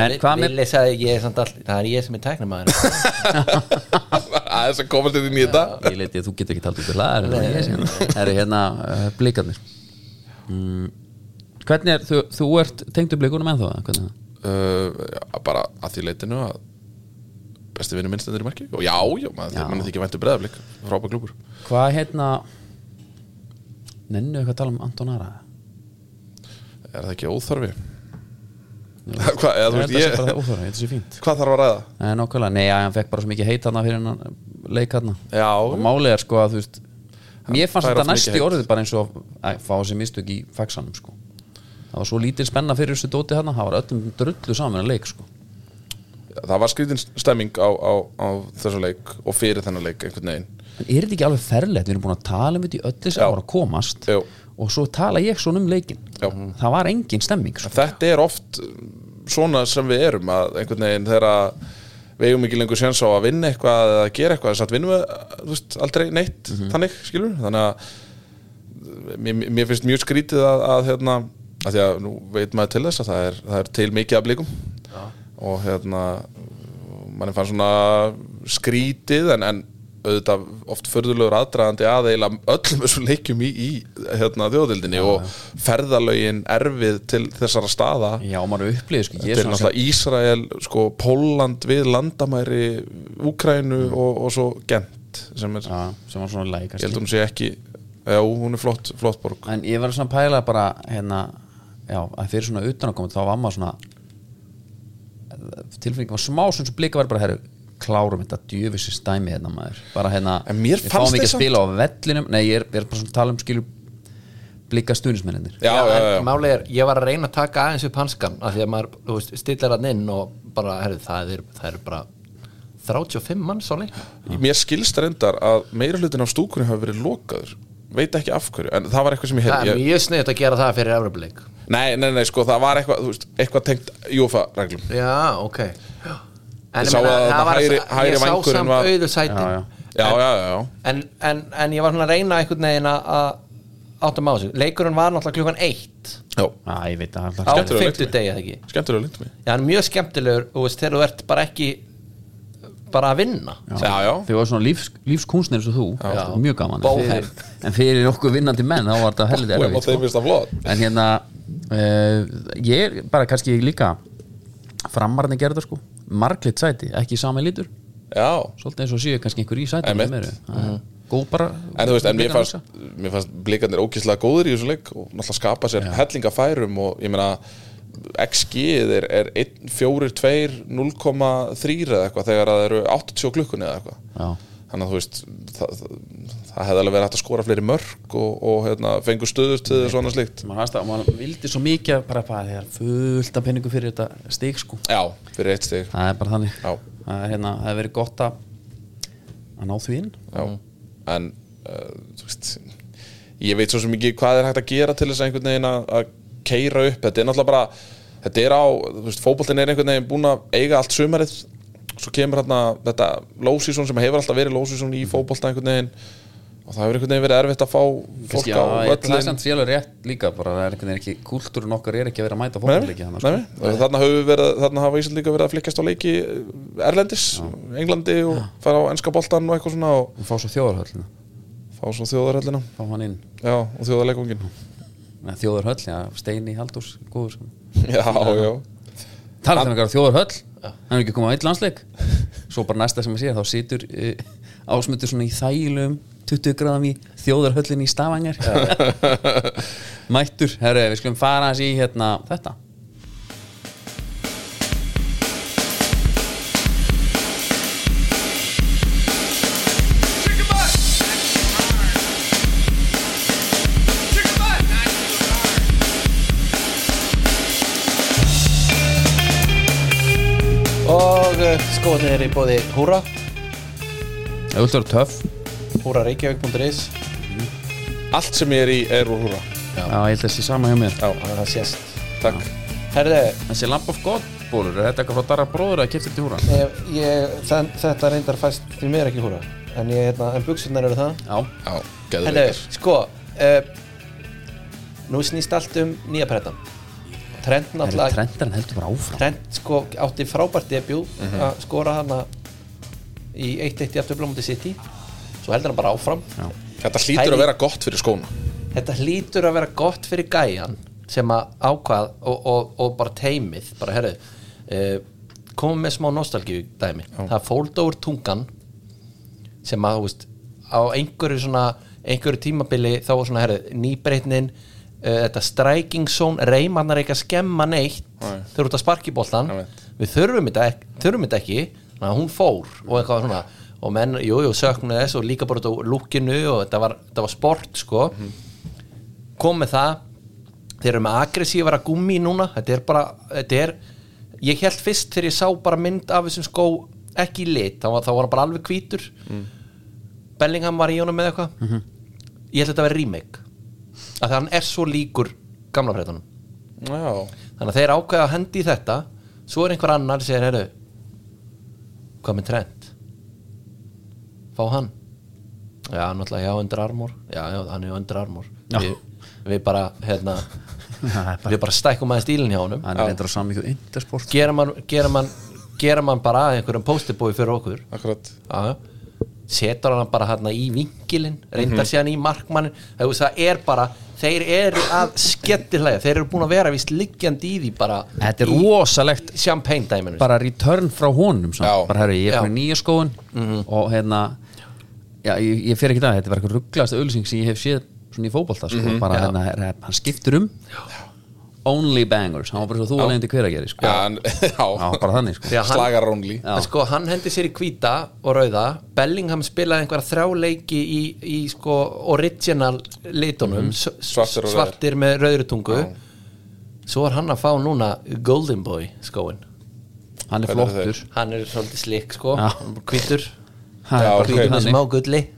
Speaker 1: En hvað með
Speaker 3: Vili sagði ég er samt all Það er ég sem er tæknamaður
Speaker 2: Það er svo komast þetta í nýta
Speaker 1: Ég leiti að þú getur ekki talt út í hlaðar Það eru hérna uh, blikarnir mm, Hvernig er, þú, þú ert tengdu blikunum ennþá eða hvernig er það?
Speaker 2: uh, já, bara að því leitinu að besti vinnu minnstendur í marki og já, já, maður
Speaker 1: Já.
Speaker 2: mann þykir um væntu breðaflik frábæk klúpur
Speaker 1: Hvað hérna Nennu eitthvað að tala um Anton Ara?
Speaker 2: er það ekki óþarfi? Hvað, eða, þú
Speaker 1: held að
Speaker 2: veist,
Speaker 1: sé bara
Speaker 2: ég,
Speaker 1: óþarfi, ég held að sé fínt
Speaker 2: hvað þarf að ræða?
Speaker 1: Nei, nákvæmlega, nei, að hann fekk bara svo mikið heit hann fyrir hann leik hann
Speaker 2: Já.
Speaker 1: og málið er sko að þú veist mér fannst
Speaker 2: fær
Speaker 1: þetta
Speaker 2: oft mikið
Speaker 1: næst í
Speaker 2: heitt.
Speaker 1: orðið bara eins og að fá þessi mistök í faxanum sko það var svo lítil spenna fyrir þessu dóti hann það var öllum drullu saman að leik sko
Speaker 2: Það var skrýtin stemming á, á, á þessu leik og fyrir þennan leik einhvern veginn
Speaker 1: en er þetta ekki alveg ferlegt, við erum búin að tala um þetta í öll þessi
Speaker 2: Já.
Speaker 1: ára að komast
Speaker 2: Jú.
Speaker 1: og svo tala ég svona um leikin
Speaker 2: Já.
Speaker 1: það var engin stemming sko.
Speaker 2: Þetta er oft svona sem við erum að einhvern veginn þegar að við eigum ekki lengur séns á að vinna eitthvað eða gera eitthvað þess að vinnum við þú veist, aldrei neitt þannig skilur þannig að mér, mér finnst mjög skrítið að, að hérna að því að nú veit maður til þess að það er, það er til mikið af blikum og hérna mann fann svona skrítið en, en auðvitað oft förðulegur aðdragandi að eiginlega öllum þessum leikjum í, í hérna, þjóðildinni og ferðalögin erfið til þessara staða
Speaker 1: já, maður upplýði sko, ég
Speaker 2: Þetta
Speaker 1: er
Speaker 2: er
Speaker 1: svona
Speaker 2: náttúrulega Ísrael, sko, Pólland við landamæri Úkrænu og, og svo Gent sem er,
Speaker 1: Já, sem var svona leik
Speaker 2: ég held hún sé ekki Já, hún er flott, flott borg
Speaker 1: en ég var svona að pæla bara hérna, já, að fyrir svona utanakomandi þá var maður svona tilfinningin var smá sem svo blika var bara herru, klárum þetta djöfisir stæmi hérna maður, bara hérna
Speaker 2: En mér
Speaker 1: við
Speaker 2: fannst
Speaker 1: fáum ekki
Speaker 2: þeir
Speaker 1: að spila á vellinum nei, ég er, ég er bara svona að tala um skilur blika stuðnismenninir
Speaker 2: Já, já, já, já.
Speaker 3: Máli er, ég var að reyna að taka aðeins upp hanskan af því að maður, þú veist, stillar hann inn og bara, herrðu, það er, það er bara 35 mann, sorry
Speaker 2: Mér skilst reyndar að meira hlutin af stúkunni hafa verið lokaður Veit ekki af hverju, en það var eitthvað sem ég
Speaker 3: Það
Speaker 2: heyrði
Speaker 3: er
Speaker 2: ég,
Speaker 3: mjög sniðt að gera það fyrir Evropleik
Speaker 2: Nei, nei, nei, sko, það var eitthvað, þú veist, eitthvað tengt Júfa-reglum
Speaker 3: Já, ok
Speaker 2: Ég
Speaker 3: En ég
Speaker 2: sá
Speaker 3: meina,
Speaker 2: að þarna
Speaker 3: það var-
Speaker 2: hægri- hægri
Speaker 3: Ég sá
Speaker 2: vængurinn
Speaker 3: samt
Speaker 2: var-
Speaker 3: auðu sætin
Speaker 1: Já, já.
Speaker 2: Já, já, já, já
Speaker 3: En, en, en ég var svona að reyna einhvern veginn að- að áttum á þessu Leikurinn var náttúrulega klukkan 1
Speaker 2: Já,
Speaker 1: Æ, ég veit að
Speaker 3: á
Speaker 1: það er
Speaker 2: Skemmtilegur leikur.
Speaker 3: fimmtudegi eða ekki
Speaker 2: skemmtilega lindu mig
Speaker 3: Já, hann er mjög skemmtilegur þú veist, þegar þú ert bara ekki bara að vinna
Speaker 2: Já, já,
Speaker 1: þau var svona lífs, lífskúnsnir eins og þú
Speaker 3: Já.
Speaker 1: Þetta var mjög gaman En
Speaker 3: Bóhem.
Speaker 1: fyrir, en fyrir okkur vinnandi menn þá var þetta heldur
Speaker 2: og
Speaker 1: erfitt
Speaker 2: þeim
Speaker 1: sko.
Speaker 2: finnst það flott
Speaker 1: en hérna uh, ég er bara kannski líka framarni gerður sko marglitt sæti, ekki sami lítur
Speaker 2: Já,
Speaker 1: svolítið eins og séu kannski einhver í sæti
Speaker 2: Einmitt. Mhm.
Speaker 1: góð bara
Speaker 2: En þú veist, en mér
Speaker 1: Blikana
Speaker 2: fannst, mér fannst blikarnir ókýrslega góðir í þessu leik og náttúrulega skapa sér hellinga færum og ég meina XG er, er 1, 4, 2, 0,3 eða eitthvað þegar það eru 80 á klukkunni eða eitthvað
Speaker 1: Já.
Speaker 2: þannig að þú veist það, það, það hefði alveg verið hægt að skora fleiri mörk og, og hérna, fengu stöður til þess og annað slíkt
Speaker 1: maður fannst að maður vildi svo mikið bara að það er fullt af penningu fyrir þetta stig sko
Speaker 2: Já, fyrir eitt stig
Speaker 1: það er bara þannig
Speaker 2: Já.
Speaker 1: það er hérna, það er verið gott að að ná því inn
Speaker 2: Já, en uh, þú veist ég veit svo sem ekki hvað er hægt að gera til þess að einhvern veginn að, að keira upp þetta er náttúrulega bara þetta er á, þú veist, fótboltin er einhvern veginn búin að eiga allt sumarið svo kemur hérna þetta lósísón sem hefur alltaf verið lósísón
Speaker 1: Mhm.
Speaker 2: í fótbolta einhvern veginn og það hefur einhvern veginn verið erfitt að fá fólk
Speaker 1: Kannski, já,
Speaker 2: á
Speaker 1: ég- það er
Speaker 2: völlin
Speaker 1: samt félur rétt líka bara það er einhvern veginn ekki, kúltúrun okkar er ekki að vera að mæta
Speaker 2: Nei,
Speaker 1: fólkleiki
Speaker 2: nei,
Speaker 1: þannig
Speaker 2: nei, og þarna, höfum við verið, þarna hafa Íslandingar verið að flikkast á leiki eh, Erlendis, Englandi og fara á enska boltan og eitthvað svona og
Speaker 1: sko og fá svo þjóðarhöllina,
Speaker 2: fá svo þjóðaröllina
Speaker 1: fá hann inn
Speaker 2: já, og þjóðarleikungin
Speaker 1: Nei, þjóðarhöll, já, Steini Haldurs góður sko
Speaker 2: já, já,
Speaker 1: Talar þannig að þjóðarhöll hann er ekki komið á eitt landsleik svo bara næsta sem ég sé, þá situr uh, ásmutur svona í þælum 20 gráðum í þjóðarhöllin í Stavangar mættur, herru, við skulum fara hans í hérna, þetta
Speaker 3: og uh, skoðin er í bóði Húra
Speaker 1: ef þú ert að vera töff,
Speaker 3: húrareykjavík.is
Speaker 2: Allt sem ég er í er úr húra
Speaker 1: já, ég held að sé sama hjá mér
Speaker 2: Já,
Speaker 3: og það sést
Speaker 2: takk
Speaker 3: Herðu,
Speaker 1: þessi lamp of god bólur, er þetta eitthvað frá Darra bróður að kipta til húra?
Speaker 3: ég, eh, ég, þann, þetta reyndar fæst því mér ekki Húra en, ég, hérna, en buksunar eru það
Speaker 1: Já,
Speaker 2: Já, geður
Speaker 3: Herðu, sko uh, nú snýst allt um nýja pretan trend
Speaker 1: er
Speaker 3: náttúrulega
Speaker 1: trendarinn heldur bara áfram
Speaker 3: Trent sko átti frábært debut að skora hana í 1-1 í afturblómundi City svo heldur hann bara áfram
Speaker 1: Já.
Speaker 2: Þetta hlýtur
Speaker 3: Hæli-
Speaker 2: að vera gott fyrir skóna
Speaker 3: þetta hlýtur að vera gott fyrir gæjan sem að ákvað og, og, og bara teimið bara herru uh, komum með smá nostalgíu dæmi það fólda úr tungan sem að þú veist á einhverju svona einhverju tímabili þá var svona herru nýbreytnin uh, þetta striking zone reymannar ekki að skemma neitt
Speaker 2: Nei.
Speaker 3: þeir eru út að sparki boltan
Speaker 2: Nei.
Speaker 3: við þurfum þetta, ek- þurfum þetta ekki þannig að hún fór og eitthvað svona og menn, jú, jú, söknuði þess og líka bara út á lúkinu og þetta var, þetta var sport sko kom með það þeir eru með aggressívara gummi núna þetta er bara, þetta er ég held fyrst þegar ég sá bara mynd af þessum skó ekki í lit, þá var, þá var hann bara alveg hvítur Bellingham var í honum með eitthvað ég held að þetta að vera remake af því að hann er svo líkur gamla fréttanum
Speaker 2: Já,
Speaker 3: þannig að þeir ákveða að hendi í þetta svo er einhver annar sem segir, heyrðu hvað með trend fá hann já, náttúrulega, já, undir armor já, já, hann er undir armor
Speaker 1: Já.
Speaker 3: Vi, við bara, hérna
Speaker 1: Það er bara-
Speaker 3: við bara stækkum aðeins stílinn hjá honum
Speaker 1: hann er reyndar á samíku intersport
Speaker 3: gera mann, gera mann, gera mann bara að einhverjum postibói fyrir okkur
Speaker 2: akkurat
Speaker 3: já, já. setur hann bara hérna í vinkilinn reyndar
Speaker 1: Mhm.
Speaker 3: síðan í markmannin það, það er bara, þeir eru að skettilega, þeir eru búin að vera vist liggjandi í því bara
Speaker 1: þetta er
Speaker 3: í
Speaker 1: rosalegt
Speaker 3: champagne dæminu
Speaker 1: bara return frá honum svona.
Speaker 2: Já.
Speaker 1: bara herru, ég er
Speaker 3: Já.
Speaker 1: með nýja skóin og hérna já, ég, ég fer ekki það, þetta er bara eitthvað rugglaðasta auðlýsing sem ég hef séð svona í fótbolta sko. bara
Speaker 3: Já.
Speaker 1: hérna, her- hann skiptir um only bangers, hann var bara svo þú alveg til hver að gera sko.
Speaker 2: Já, en-
Speaker 1: Já,
Speaker 2: já.
Speaker 1: bara þannig sko.
Speaker 3: Já. hann-
Speaker 2: slagar rónli
Speaker 1: Já.
Speaker 3: en sko hann hendi sér í hvíta og rauða Bellingham spilaði einhverja þrjáleiki í, í sko original litunum, mm.
Speaker 2: Svartir og rauðir.
Speaker 3: svartir með rauðri tungu svo er hann að fá núna Golden Boy skóin
Speaker 1: hann er
Speaker 2: Hvernig er
Speaker 1: flottur
Speaker 3: hann er svolítið slik sko,
Speaker 1: Já.
Speaker 3: hvítur
Speaker 1: Hann er
Speaker 2: Já,
Speaker 1: bara
Speaker 2: ok.
Speaker 1: hvítur
Speaker 3: hvítur með
Speaker 1: þannig.
Speaker 3: smá gulli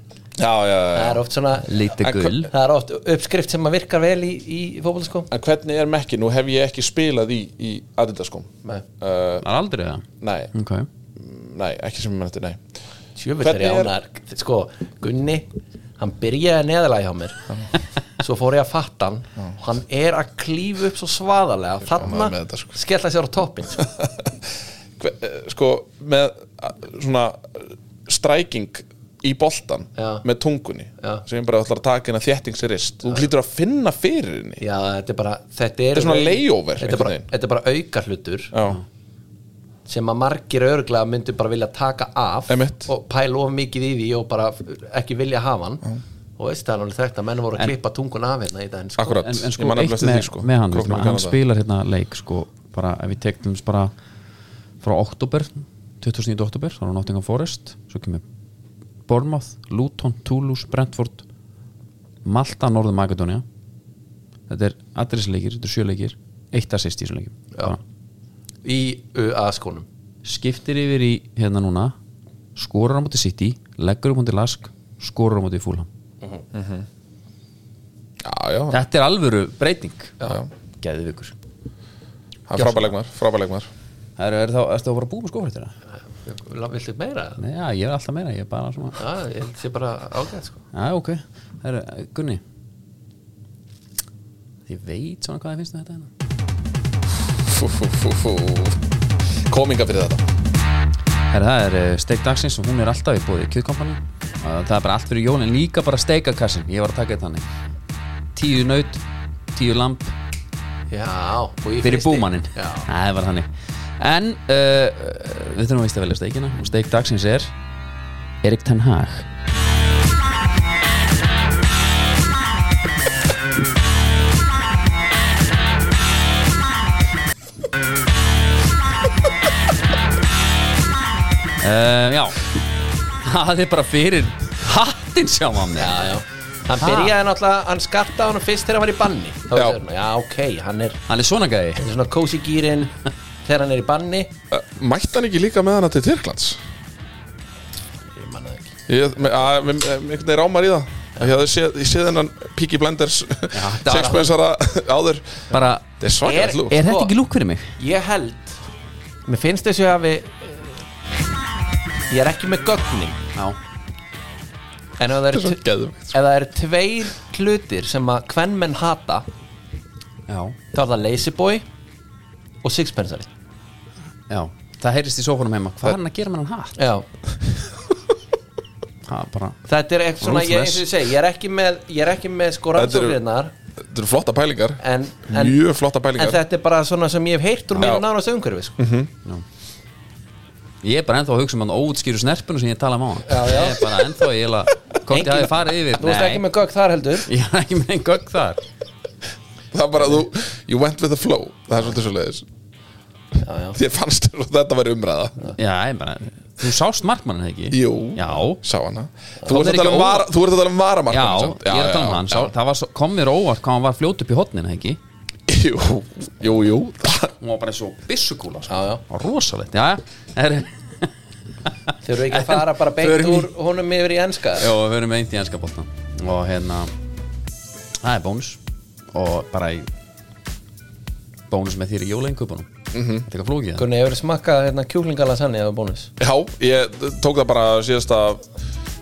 Speaker 2: Já, já, já,
Speaker 3: það
Speaker 2: já
Speaker 3: er oft svona
Speaker 1: lítið
Speaker 2: En hva-
Speaker 1: gull
Speaker 3: það er oft uppskrift sem að virkar vel í, í fótbolta sko
Speaker 2: En hvernig er mekki? Nú hef ég ekki spilað í, í Adidaskom
Speaker 3: Nei.
Speaker 2: uh,
Speaker 1: hann er aldrei það
Speaker 2: Nei,
Speaker 1: okay.
Speaker 2: nei, ekki sem ég mennti, nei
Speaker 3: Tjöfull er
Speaker 2: Hvernig
Speaker 3: ég
Speaker 2: er-
Speaker 3: ánar Sko, Gunni, hann byrjaði neðalega hjá mér Svo fór ég að fatta hann og Hann er að klífa upp svo svaðalega Þarna
Speaker 2: ánægður með þetta, sko.
Speaker 3: skella sér á toppin sko.
Speaker 2: Hver, eh, Sko, með a- svona stræking í boltan
Speaker 3: Já.
Speaker 2: með tungunni
Speaker 3: Já.
Speaker 2: sem ég bara ætlar að taka hérna þéttingsrist Þú hlýtur að finna fyrir henni
Speaker 3: Já, þetta er bara Þetta er,
Speaker 2: Þetta er svona layover,
Speaker 3: Þetta er bara,
Speaker 2: einhvern veginn.
Speaker 3: þetta er bara auka hlutur
Speaker 2: Já,
Speaker 3: sem að margir örglega myndu bara vilja taka af
Speaker 2: Einmitt.
Speaker 3: og pæla of mikið í því og bara ekki vilja hafa hann og veist það er alveg þekkt að menn voru að klippa tungun af hérna í daginn sko.
Speaker 2: akkurat,
Speaker 1: en, en
Speaker 2: ég
Speaker 1: sko,
Speaker 2: man alveg
Speaker 1: eitt
Speaker 2: eftir
Speaker 1: með,
Speaker 2: því sko
Speaker 1: með hann,
Speaker 2: Króknum
Speaker 1: veist,
Speaker 2: í
Speaker 1: hann
Speaker 2: Kanada.
Speaker 1: spilar hérna leik sko, bara, ef við tektum þess bara frá oktober 2009. oktober, þá er hann Nottingham Forest svo kemur Bournemouth Luton, Toulouse, Brentford Malta, Norður Magadónia þetta er adressleikir, þetta er sjöleikir eitt assist í þessum leikum Bara
Speaker 3: í UA skónum
Speaker 1: skiptir yfir í hérna núna skorar á móti City, leggur á móti Lask skorar á móti Fúlham
Speaker 2: Já, já,
Speaker 1: þetta er alvöru breyting
Speaker 2: já.
Speaker 1: geðið vikur
Speaker 2: hann frábælegmar, frábælegmar
Speaker 1: Það eru þá, ertu þá bara búið með skófréttina?
Speaker 3: Viltu meira?
Speaker 1: Nei, já, ég er alltaf meira, ég er bara svona
Speaker 3: Já, ég held sé bara ágæð sko.
Speaker 1: Já, ok, það eru, Gunni Ég veit svona hvað það finnst um þetta hérna
Speaker 2: fú, fú, fú, fú. Kominga fyrir þetta
Speaker 1: Herra, það er uh, steik dagsins og hún er alltaf í bóði kjöðkompani Það er bara allt fyrir jólin, líka bara steikakassin Ég var að taka þetta hannig Tíu naut, tíu lamp
Speaker 3: Já, og ég
Speaker 1: fyrir
Speaker 3: fyrsti-
Speaker 1: búmannin
Speaker 3: Já,
Speaker 1: Það var hannig En uh, við þurfum að veist að velja steikina og steik dagsins er Erik Ten Hag Uh, já Það er bara fyrir hattinn sjá mamma
Speaker 3: já, já Hann byrjaði náttúrulega, hann skatta hann fyrst þegar hann var í banni Þá
Speaker 2: Já.
Speaker 3: var það, Já, ok, hann er,
Speaker 1: Hann er svona gæði
Speaker 3: hann er svona cozy gýrin þegar hann er í banni
Speaker 2: Mætti hann ekki líka með hana til Tyrklands?
Speaker 3: Ég manna það ekki
Speaker 2: Ég, me, að, me, me, einhvern veginn rámar í það Ég hafði séð, ég séð hennan Piki Blenders
Speaker 3: var-
Speaker 2: Sexpensara áður
Speaker 1: Bara,
Speaker 2: Þetta er svakar lúk
Speaker 1: er þetta ekki lúk fyrir mig?
Speaker 3: Ég held, mér finnst þessu að við eh, Ég er ekki með gögnin
Speaker 1: Já
Speaker 3: En ef það eru, tv-
Speaker 2: Geðveikt. sko.
Speaker 3: ef það eru tveir hlutir sem að hvern menn hata
Speaker 1: Já,
Speaker 3: Þá er það Lazy Boy og Sixpensari
Speaker 1: já Það heyrist í sófanum heima Hvað er hann að gera með hann hatt?
Speaker 3: Já,
Speaker 1: Það er bara
Speaker 3: Þetta er eitthvað svona, ég, eins og ég segi, ég er ekki með, ég er ekki með sko
Speaker 2: Þetta eru-
Speaker 3: rannsóknirnar
Speaker 2: Þetta eru flotta pælingar
Speaker 3: en, en,
Speaker 2: Mjög flotta
Speaker 3: en
Speaker 2: pælingar
Speaker 3: þetta er bara svona sem ég hef heyrt úr
Speaker 2: Já. Mhm.
Speaker 3: mínu nánast umhverfi sko.
Speaker 1: Ég er bara ennþá að hugsa um hann óutskýru snerpunu sem ég tala um á hann
Speaker 3: Já, já.
Speaker 1: Ég er bara ennþá að ég er að Hvort ég
Speaker 3: Engin-
Speaker 1: hafi farið yfir
Speaker 3: Þú veist ekki með gögg þar heldur
Speaker 1: Ég er ekki með einn gögg þar
Speaker 2: það er bara að þú, you went with the flow það er svolítið svo leiðis
Speaker 3: já, já.
Speaker 2: þér fannst þér að þetta væri umræða
Speaker 1: Já, ég bara, þú sást markmannin ekki
Speaker 2: jú,
Speaker 1: Já,
Speaker 2: sá hana
Speaker 1: Kom
Speaker 2: þú ert
Speaker 1: þér
Speaker 2: að tala
Speaker 1: ekki
Speaker 2: um
Speaker 1: á-
Speaker 2: vara- þú ert að tala um
Speaker 1: já,
Speaker 2: varamarkmann samt.
Speaker 1: ég er að tala um hann sá, Það var, svo- kom mér óvart hvað hann var fljót upp í hotninu ekki
Speaker 2: jú, jú, jú
Speaker 1: Hún var bara eins og byssukúla sko.
Speaker 3: Já, já.
Speaker 1: Var Rosalegt, já, er,
Speaker 3: Þau eru ekki að fara bara beint
Speaker 1: Förum í-
Speaker 3: úr honum yfir í enska
Speaker 1: já, við höfum einn í enska bóttan Og hérna, það er bónus Og bara í Bónus með þér í jólainköpunum
Speaker 3: Mhm.
Speaker 1: mm -hmm. Þetta er eitthvað flókið
Speaker 3: Hvernig hefur smakkað hérna, kjúklingalasanni eða bónus?
Speaker 2: Já, ég tók það bara síðasta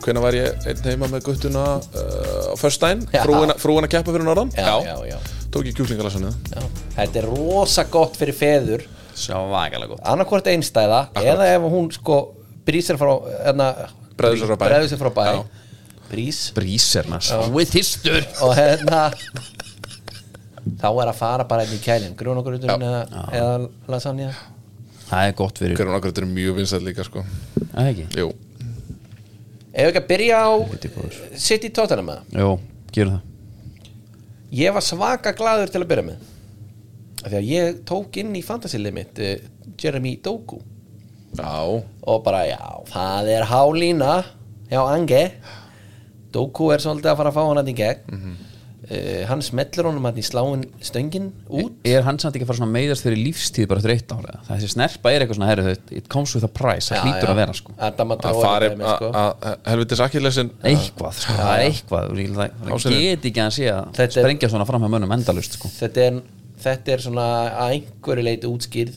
Speaker 2: hvenær var ég einn heima með guttuna uh, á förstæn,
Speaker 3: Já.
Speaker 2: frúin, frúin að keppa fyrir norðan
Speaker 3: Já, já, já.
Speaker 2: tók ég kjúklingalasannu
Speaker 3: Já. Þetta er rosa gott fyrir feður
Speaker 1: Svákalega gott
Speaker 3: annarkvort einstæða eða ef hún sko brýsir frá hérna,
Speaker 2: Bregður sér frá bæ.
Speaker 3: bregður sér frá bæ
Speaker 2: Já.
Speaker 3: brís
Speaker 1: Bríser, maður, sáið þýstur
Speaker 3: og hérna þá er að fara bara inn í kælin grunogruturinn
Speaker 2: Já.
Speaker 3: um eða, eða lasagna
Speaker 1: Það er gott fyrir,
Speaker 2: hverjum okkur þetta er mjög vinsætt líka sko
Speaker 1: er það ekki?
Speaker 2: Jú,
Speaker 3: Ef ekki að byrja á
Speaker 1: Helviti góður.
Speaker 3: City Tottenham eða?
Speaker 1: Jó, gerum það
Speaker 3: Ég var svaka glaður til að byrja með af því að ég tók inn í fantasy-lið mitt uh, Jeremy Doku
Speaker 2: já,
Speaker 3: og bara já, það er hálína hjá Ange Doku er svolítið að fara að fá hann hann í gegn mm
Speaker 2: Mhm.
Speaker 3: hann smetlir honum hann í sláin stöngin út
Speaker 1: er hann samt ekki að fara svona meiðast fyrir lífstíð bara eftir eitt ára eða? þessi snerpa er eitthvað svona herri, it comes with a price, það hlýtur að vera sko.
Speaker 3: Adam að
Speaker 2: að fari
Speaker 3: sko.
Speaker 2: að að- helvitis akkillesin
Speaker 1: eitthvað, sko. það er eitthvað Ég- það það
Speaker 2: Ástæður.
Speaker 1: get ekki að sé að
Speaker 3: Þetta er-
Speaker 1: sprengja svona fram með mönnum endalust sko.
Speaker 3: þetta, er, þetta er svona að einhverju leiti útskýrð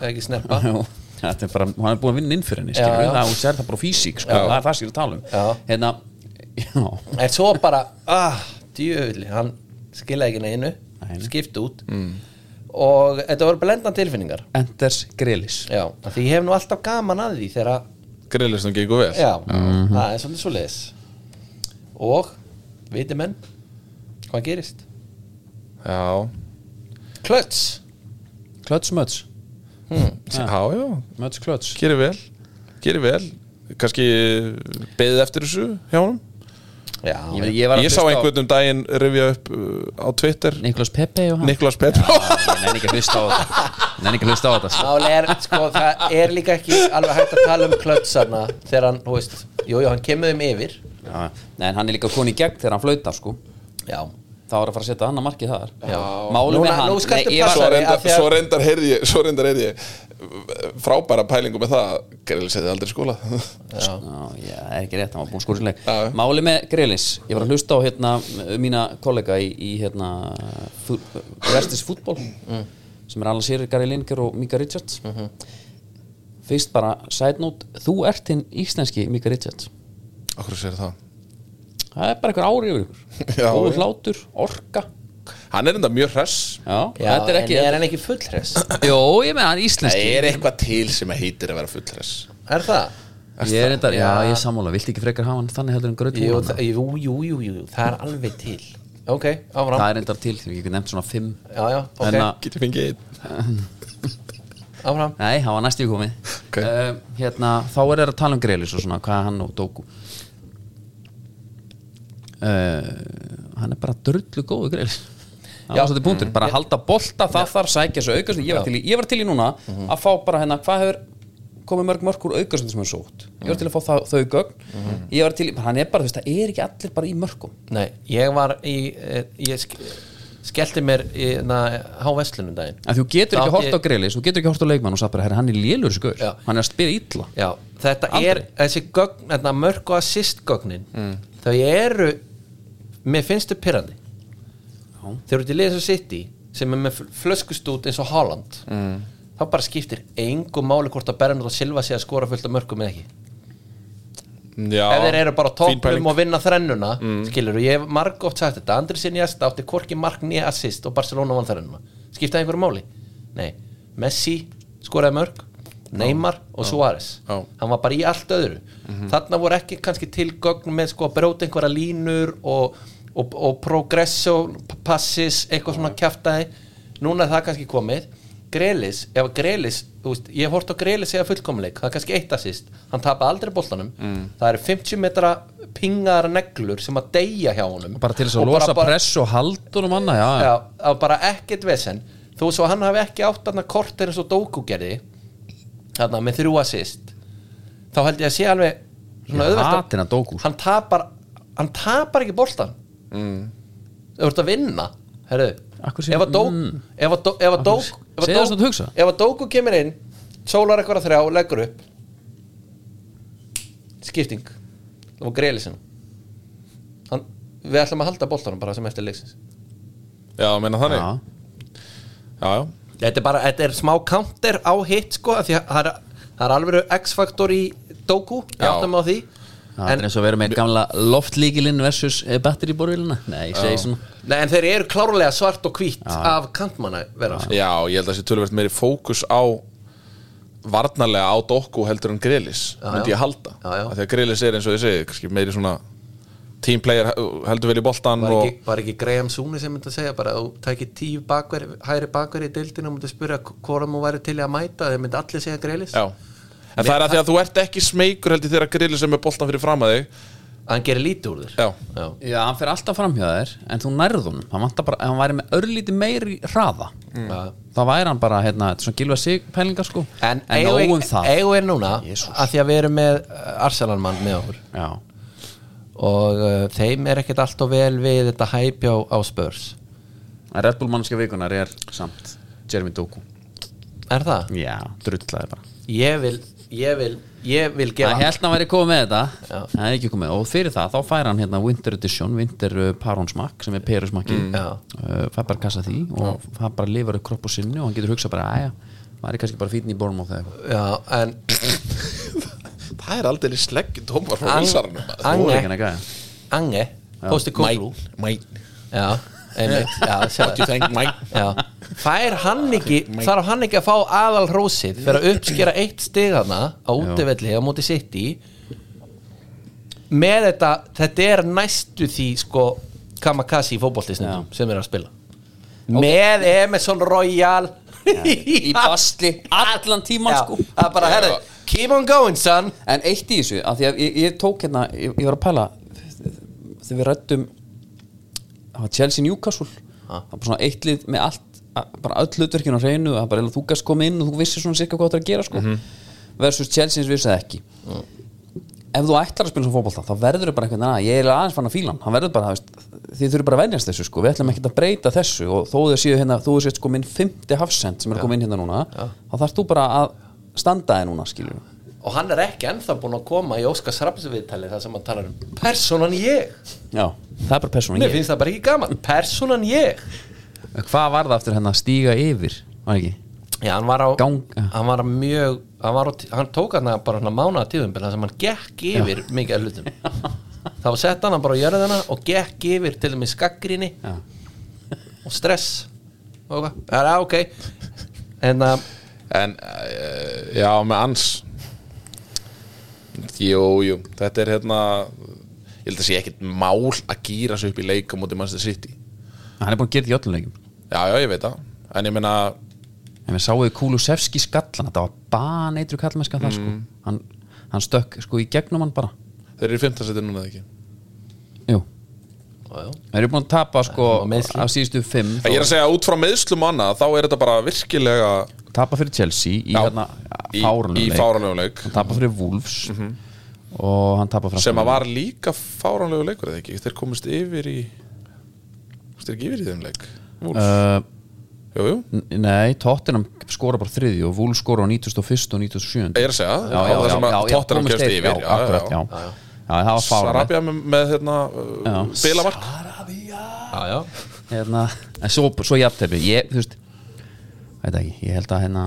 Speaker 3: eða ekki sneppa
Speaker 1: Jú, þetta er bara, hann er búin að vinna inn fyrir henni
Speaker 3: Já,
Speaker 1: skilur,
Speaker 3: já.
Speaker 1: það, hún sér það bara á físík sko.
Speaker 3: Já.
Speaker 1: það er það sem ég er að tala um
Speaker 3: Já.
Speaker 1: hérna, já,
Speaker 3: en svo bara ah, djöfulli, hann skilaði ekki neinu
Speaker 1: Nei.
Speaker 3: skipt út
Speaker 1: Mm.
Speaker 3: og þetta voru blendan tilfinningar
Speaker 1: Enders Grelis
Speaker 3: já, af því ég hef nú alltaf gaman að því þegar að,
Speaker 2: grillisnum gengur vel
Speaker 3: já,
Speaker 1: Mhm.
Speaker 3: það er svolítið svo leis og viti menn, hvað gerist
Speaker 2: já,
Speaker 3: klöts
Speaker 1: Klöts Möts,
Speaker 2: já, já,
Speaker 1: Möts Klöts
Speaker 2: gerir vel gerir vel, kannski beðið eftir þessu hjá honum
Speaker 3: já,
Speaker 1: ég, ég var að
Speaker 2: Ég sá
Speaker 1: hlusta á
Speaker 2: einhvern um daginn rifja upp uh, á Twitter
Speaker 1: Niklas Pepe og hann
Speaker 2: Niklas Petro
Speaker 1: ég nenni ekki að hlusta á þetta ég nenni ekki að hlusta á þetta sko.
Speaker 3: Mál er, sko, það er líka ekki alveg hægt að tala um klötsarna þegar hann, þú veist, jú, jú, hann kemur þeim yfir
Speaker 1: Já, Nei, en hann er líka koni í gegn þegar hann flautar sko
Speaker 3: Já,
Speaker 1: þá er að fara að setja annað markið þar
Speaker 3: Já.
Speaker 1: Málum
Speaker 3: Núna-
Speaker 1: er hann
Speaker 3: nú skaltu
Speaker 1: Nei, ég var-
Speaker 2: svo
Speaker 3: Sorry,
Speaker 2: reyndar,
Speaker 3: af því að-
Speaker 2: svo reyndar heyrði ég, svo reyndar heyrði ég eh, frábæra pælingu með það Grelis hefði aldrei skóla
Speaker 3: já,
Speaker 1: Sko, Já, já, það er ekki rétt, hann var búinn að skora sér leik
Speaker 2: Já.
Speaker 1: Máli með Grelis, ég var að hlusta á hérna, m- mína kollega í, í hérna, fú- Vestis fútból sem er alveg sérir Gary Lineker og Mika Richards Fyrst bara, side note þú ert hinn íslenski Mika Richards
Speaker 2: Okkur sér það
Speaker 1: Það er bara einhver ári yfir ykkur
Speaker 2: Já,
Speaker 1: Góður
Speaker 2: já.
Speaker 1: hlátur, orka
Speaker 2: Hann er enda mjög hress
Speaker 1: Já,
Speaker 3: já
Speaker 1: þetta er ekki
Speaker 3: en er hann ekki fullhress?
Speaker 1: Jó, ég með hann er íslenski
Speaker 2: eitthvað til sem að heitir að vera full hress
Speaker 3: Er það?
Speaker 1: Ég er reyndar, já,
Speaker 3: Já.
Speaker 1: ég er sammála, viltu ekki frekar hafa hann þannig heldur en
Speaker 3: Jú,
Speaker 1: gröðtúran
Speaker 3: það- jú, jú, jú, jú, það er alveg til Ok, áfram
Speaker 1: Það er reyndar til, ég hef nefnt svona fimm
Speaker 3: Já, já, ok,
Speaker 1: En að,
Speaker 2: Getur fengið einn
Speaker 3: áfram
Speaker 1: nei, það var næstu komið
Speaker 2: Ok.
Speaker 1: uh, Hérna, þá er það að tala um Grelis og svona, hvað hann og Dóku uh, Eh, Hann er bara drullu góðu Grelis Það
Speaker 3: Já.
Speaker 1: var svolítið punktur, bara að halda bolta, það þarf sækja þessu aukast Ég var til í, ég var til í núna að fá bara hérna, hvað hefur komið mörg mörg úr aukastum sem er sótt Ég var til að fá það, þau gögn Ég var til, í- hann er bara, þú veist, það er ekki allir bara í mörgum
Speaker 3: Nei, ég var í, eh, ég sk skellti mér í háveslunum daginn
Speaker 1: að þú getur
Speaker 3: Þá
Speaker 1: ekki
Speaker 3: átti
Speaker 1: hort á greilis, þú getur ekki hort á leikmann og sagt bara, herra, hann er lélur skur,
Speaker 3: Já.
Speaker 1: hann er að spila illa
Speaker 3: Já, þetta
Speaker 1: Aldrei.
Speaker 3: er, þessi gögn, þetta mörg og assist gögnin þau eru mér finnst þau pyrrandi þau eru til liðið svo City sem er með fl- flöskustút eins og Haaland mm. þá bara skiptir engu máli hvort að Bernardo Silva sé að skora fullt af mörgum eða ekki
Speaker 2: Já,
Speaker 3: ef þeir eru bara á
Speaker 2: fín pæling.
Speaker 3: toppum og vinna þrennuna mm. skilur, og ég hef marg oft sagt þetta Andri Sinjasta átti Korki Mark nýja assist og Barcelona vann þrennuna, skiptaði einhverju máli nei, Messi skoraði mörg Neymar og Suárez
Speaker 2: Já.
Speaker 3: hann var bara í allt öðru
Speaker 1: Mhm.
Speaker 3: þarna voru ekki kannski tilgögn með sko að bróta einhverja línur og, og, og progresso passis, eitthvað svona kjaftaði núna er það kannski komið Grelis, ef Grelis þú veist, ég hef hort á Grelis eða fullkomleik það er kannski eitt assist, hann tapa aldrei boltanum
Speaker 1: Mm.
Speaker 3: það eru 50 metra pingar neglur sem að deyja hjá honum
Speaker 1: bara til þess að
Speaker 3: Og
Speaker 1: losa
Speaker 3: bara-
Speaker 1: press og haldun og manna já, já.
Speaker 3: já, það var bara ekkert vesen þó svo hann hafi ekki átt þarna kortir eins og Doku gerði þarna með þrjú assist þá held ég að sé alveg svona
Speaker 1: Ég
Speaker 3: auðvelt
Speaker 1: hati hann Doku, sko.
Speaker 3: hann tapar, hann tapar ekki boltan mm. þau voru að vinna herru,
Speaker 1: Af hverju
Speaker 3: ef að
Speaker 1: segir-
Speaker 3: Doku ef að Dó-
Speaker 1: Af
Speaker 3: ef að
Speaker 1: hverju
Speaker 3: Doku ef að
Speaker 1: segir það sem þú hugsa?
Speaker 3: Doku- ef að Doku kemur inn sólar eitthvað að þrjá, leggur upp skipting það var greiðlisinn hann, við ætlum að halda boltanum bara sem eftir leiksins
Speaker 2: Já, meina þannig Já,
Speaker 1: Já.
Speaker 2: já,
Speaker 3: Þetta er bara, þetta er smá counter á hitt sko, af því að það er, það er alveg X-faktor í Doku, ég
Speaker 2: Já.
Speaker 3: áttum á því
Speaker 1: Það er
Speaker 3: en,
Speaker 1: eins og að vera með gamla loftlíkilinn versus batteriborvílina Nei, ég segi svona
Speaker 3: nei, en þeir eru klárlega svart og hvít
Speaker 1: Já.
Speaker 3: af kantmanna vera sko.
Speaker 2: já, ég held að það sé tölvöld meiri fókus á varnarlega á dokku heldur en grillis
Speaker 3: Já,
Speaker 2: myndi
Speaker 3: já.
Speaker 2: ég halda
Speaker 3: Já, já.
Speaker 2: Af því að grillis er eins og ég segi kannski meiri svona teamplayer heldur vel í boltan
Speaker 3: var,
Speaker 2: og
Speaker 3: ekki, var ekki Graham Sune sem myndi að segja bara að þú tækir tíu bakver, hæri bakverði í deildinu og myndi að spura hvorum þú væri til í að mæta þeir myndi allir segja Greilis
Speaker 2: Já En það er að því að þú ert ekki smeykur heldur þegar grillis er með boltan fyrir fram að þig
Speaker 3: að hann gerir lítið úr þér
Speaker 2: Já,
Speaker 3: Já.
Speaker 1: Já, hann fer alltaf framhjá þér En þú nærð honum Hann vantar bara, ef hann væri með örlíti meiri hraða
Speaker 2: Mm.
Speaker 3: Já.
Speaker 1: Þá væri hann bara, hérna, þetta er svona gilva sig pælingar sko
Speaker 3: En,
Speaker 1: en
Speaker 3: eigum
Speaker 2: um
Speaker 1: nógum
Speaker 3: við-
Speaker 1: það
Speaker 3: eigum við núna
Speaker 1: Jesús.
Speaker 3: að því að við erum með Arsalanmann með okkur
Speaker 1: Já,
Speaker 3: og uh, þeim er ekkert allt og vel við þetta hæpjá á spörs
Speaker 1: en Red Bull mannskja vikunar er samt Jeremy Doku
Speaker 3: er það?
Speaker 1: Já, drullaði bara
Speaker 3: ég vil ég vil, ég vil gefa
Speaker 1: Hann held hann væri komið með þetta
Speaker 3: Já.
Speaker 1: Það er ekki komið Og fyrir það, þá fær hann hérna Winter Edition Winter uh, Paronsmakk sem er perusmakki mm.
Speaker 3: Já.
Speaker 1: uh, fær bara kassa því og hann bara lifar upp kropp og sinni og hann getur hugsað bara, aðja, maður er kannski bara fítin í borðum á það
Speaker 3: já, en
Speaker 2: það er aldrei slegg tómar frá
Speaker 3: Ang-
Speaker 2: vilsarinu
Speaker 3: Ange,
Speaker 1: gæja
Speaker 3: Ange Pósti Kóklú já, einmitt, já, sjáðu. já, fær hann ekki þarf hann ekki að fá aðal hrósið fyrir að uppskera eitt stig hana á útivelli á móti sitt í með þetta þetta er næstu því sko kamakazi í fótboltisnum sem er að spila með Emerson Royal í
Speaker 1: basli allan tíman
Speaker 3: Já,
Speaker 1: sko
Speaker 3: það er bara, herri, keep on going son
Speaker 1: en eitt í þessu, af því að ég, ég tók hérna ég, ég var að pæla þegar við rættum Chelsea Newcastle
Speaker 3: Ha.
Speaker 1: það var bara svona eitt lið með allt að- bara öll hlutverkinu á hreinu það bara, eiginlega þú gæst komið inn og þú vissir svona cirka hvað það er að gera sko. versus Chelsea eins vissið ekki ef þú ætlar að spila svona fótbolta þá verður þau bara einhvern veginn að ég er aðeins fann að fíla hann hann verður bara, þú veist, þið þurfum bara að venjast þessu sko. við ætlum ekkert að breyta þessu og þó þau séu hérna, þú séu sko minn fymti hafsend sem er að koma inn hérna núna þá þarfst þú bara að standa þig núna skilur
Speaker 3: og hann er ekki ennþá búinn að koma í Óskars Rapsviðtali þar sem hann talar um personan ég
Speaker 1: já, það er bara persónan
Speaker 3: mér finnst það bara ekki gaman, personan ég
Speaker 1: Hvað var það aftur hérna að stíga yfir? Var ekki?
Speaker 3: já, hann var á
Speaker 1: Gang-
Speaker 3: hann var mjög, hann, var á, tí- hann tók hann bara hann mánaða tíðumbil þar sem hann gekk yfir mikið af hlutum þá sett hann hann bara á jörðina og gekk yfir til þeim í skaggrinni
Speaker 1: Já.
Speaker 3: og stress og hvað, það er ok Hérna, en að,
Speaker 2: En uh, já, með ans Jú, jú Þetta er hérna Ég held að sé ekkert mál að gýra sig upp í leik á móti Manchester City
Speaker 1: Hann er búin að gera þetta í öllum leikum
Speaker 2: Já, já, ég veit það En ég meina,
Speaker 1: En við sáuði Kulusevski skallan Þetta var baneitru kallmennska það sko hann, hann stökk sko í gegnum hann bara
Speaker 2: þeir eru í 15 setur núna eða ekki
Speaker 1: Jú
Speaker 3: og já,
Speaker 1: Þeir eru búin að tapa sko
Speaker 3: Og meiðsli.
Speaker 1: af síðustu fimm
Speaker 2: Ég er að segja, út frá meðslum og annað þá er þetta bara virkilega
Speaker 1: Tapa fyrir Chelsea í
Speaker 2: Já.
Speaker 1: hérna
Speaker 2: í,
Speaker 1: fárunum
Speaker 2: í fáranlegu leik
Speaker 1: Hann tapa fyrir Wolves Og hann tapa fyrir
Speaker 2: sem að var líka fáranlegu leikur eða ekki, þeir komist yfir í komist þeir ekki yfir í þeim leik Wolves.
Speaker 1: uh,
Speaker 2: Jú, jú,
Speaker 1: n- Nei, Tottenham skora bara þriði Og Wolves skora á 91. og 97.
Speaker 2: ég er að segja
Speaker 1: Já, já,
Speaker 2: á það
Speaker 1: já,
Speaker 2: sem að
Speaker 1: já, já,
Speaker 2: Tottenham
Speaker 1: komust
Speaker 2: kemst
Speaker 1: þeir-
Speaker 2: yfir
Speaker 1: Já, akkurat, já Já, það var fárunum
Speaker 2: Sarabia með, með hérna, uh, bilamark
Speaker 3: já, já.
Speaker 1: hérna, en svo, svo jafntefni ég, þú veist veit ekki, ég held að hérna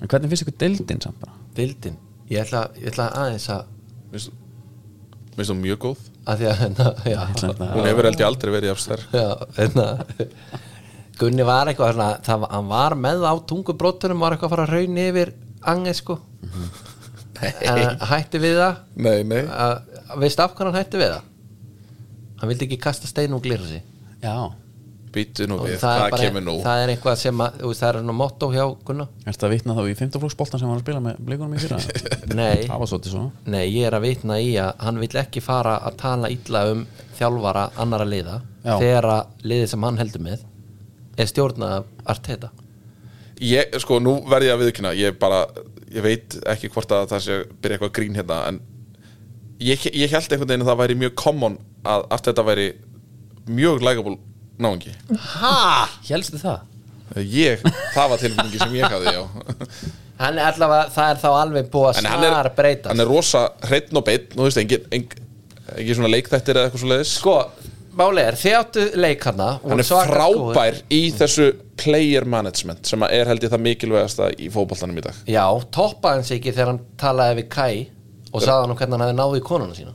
Speaker 1: en hvernig finnst ykkur deildin samt bara
Speaker 3: dildin ég ætla, ég ætla aðeins að
Speaker 2: minnst minnst hún mjög góð
Speaker 3: að því að hérna, já,
Speaker 1: hérna,
Speaker 2: hún hefur held ég aldrei verið af stær
Speaker 3: já, hérna Gunni var eitthvað hérna, það, var- hann var með á tungubrotunum var eitthvað að fara að raun yfir Ange sko en hann hætti við það
Speaker 2: Nei, Mhm. nei
Speaker 3: að, veistu af hvernig hann hætti við það hann vildi ekki kasta stein og glirra sig
Speaker 1: já,
Speaker 2: býttu nú
Speaker 3: Og
Speaker 2: við,
Speaker 3: það,
Speaker 2: hvað
Speaker 3: er bara,
Speaker 2: kemur nú
Speaker 3: það er eitthvað sem að, þú veist, það er nú motto hjá Gunna
Speaker 1: Ertu að vitna þá í 15 flóksboltan sem var að spila með blikunum í fyrra?
Speaker 3: Nei,
Speaker 1: Það var svolítið svona
Speaker 3: nei, ég er að vitna í að hann vill ekki fara að tala illa um þjálfara annara liða
Speaker 1: Já.
Speaker 3: þegar að liðið sem hann heldur með er stjórnað af Arteta
Speaker 2: Ég, sko, nú verð ég að viðkynna Ég bara, ég veit ekki hvort að það sé byrja eitthvað grín hérna En ég, ég held einhvern veginn að það væri mjög common Að allt þetta væri mjög lægabúl náungi
Speaker 3: Ha? Hélstu það?
Speaker 2: Ég, það var tilfengi sem ég hafði, já
Speaker 3: Hann er allavega, það er þá alveg búið að
Speaker 2: En hann er,
Speaker 3: snar breyta
Speaker 2: hann er rosa hreittn og beitt Nú veist, engin, engin, engin svona leikþættir eða eitthvað svo leiðis
Speaker 3: Sko, máli er, þið áttu leik hérna, hann
Speaker 2: Hann er frábær í
Speaker 3: Mm.
Speaker 2: þessu player management Sem að er held ég það mikilvægasta í fótboltanum í dag
Speaker 3: Já, toppaði hans ekki þegar hann talaði við Kai og sagði hann um hvernig hann hefði náði í konuna sína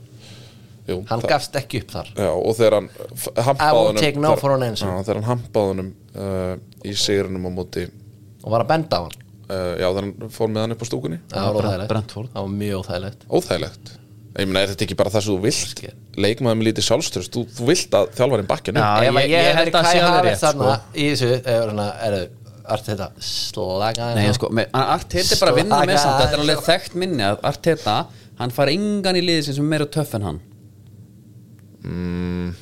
Speaker 2: Jú,
Speaker 3: Hann
Speaker 2: það-
Speaker 3: gafst ekki upp þar
Speaker 2: Já, og þegar hann f- hampaði
Speaker 3: I won't
Speaker 2: honum-
Speaker 3: take no
Speaker 2: þegar-
Speaker 3: for an answer.
Speaker 2: Já, þegar hann hampaði honum uh, í sigrunum á móti uh,
Speaker 3: og var að benda á hann
Speaker 2: já, þegar hann fór með hann upp á stúkunni
Speaker 3: Það var
Speaker 1: Brent-
Speaker 3: óþægilegt
Speaker 1: Brentford.
Speaker 3: Það var mjög óþægilegt
Speaker 2: óþægilegt ég meina, er þetta ekki bara það sem þú
Speaker 3: Skil.
Speaker 2: vilt leikmaður með lítið sjálfströst, þú, þú vilt að þjálfarinn bakja
Speaker 1: Já,
Speaker 3: Ef
Speaker 1: ég-
Speaker 3: að ég
Speaker 1: ég
Speaker 3: hefði
Speaker 1: held að
Speaker 3: Kai
Speaker 1: sé alveg
Speaker 3: Havertz
Speaker 1: rétt, sko.
Speaker 3: þarna í þessu eh, er svona, er Art þetta slagaði
Speaker 1: Nei,
Speaker 3: hann.
Speaker 1: sko, með, hann- Arteta er bara að vinna með samt Þetta er alveg þekkt minni að Arteta Hann fari engan í liðið sem er meira töff en hann
Speaker 2: Mm.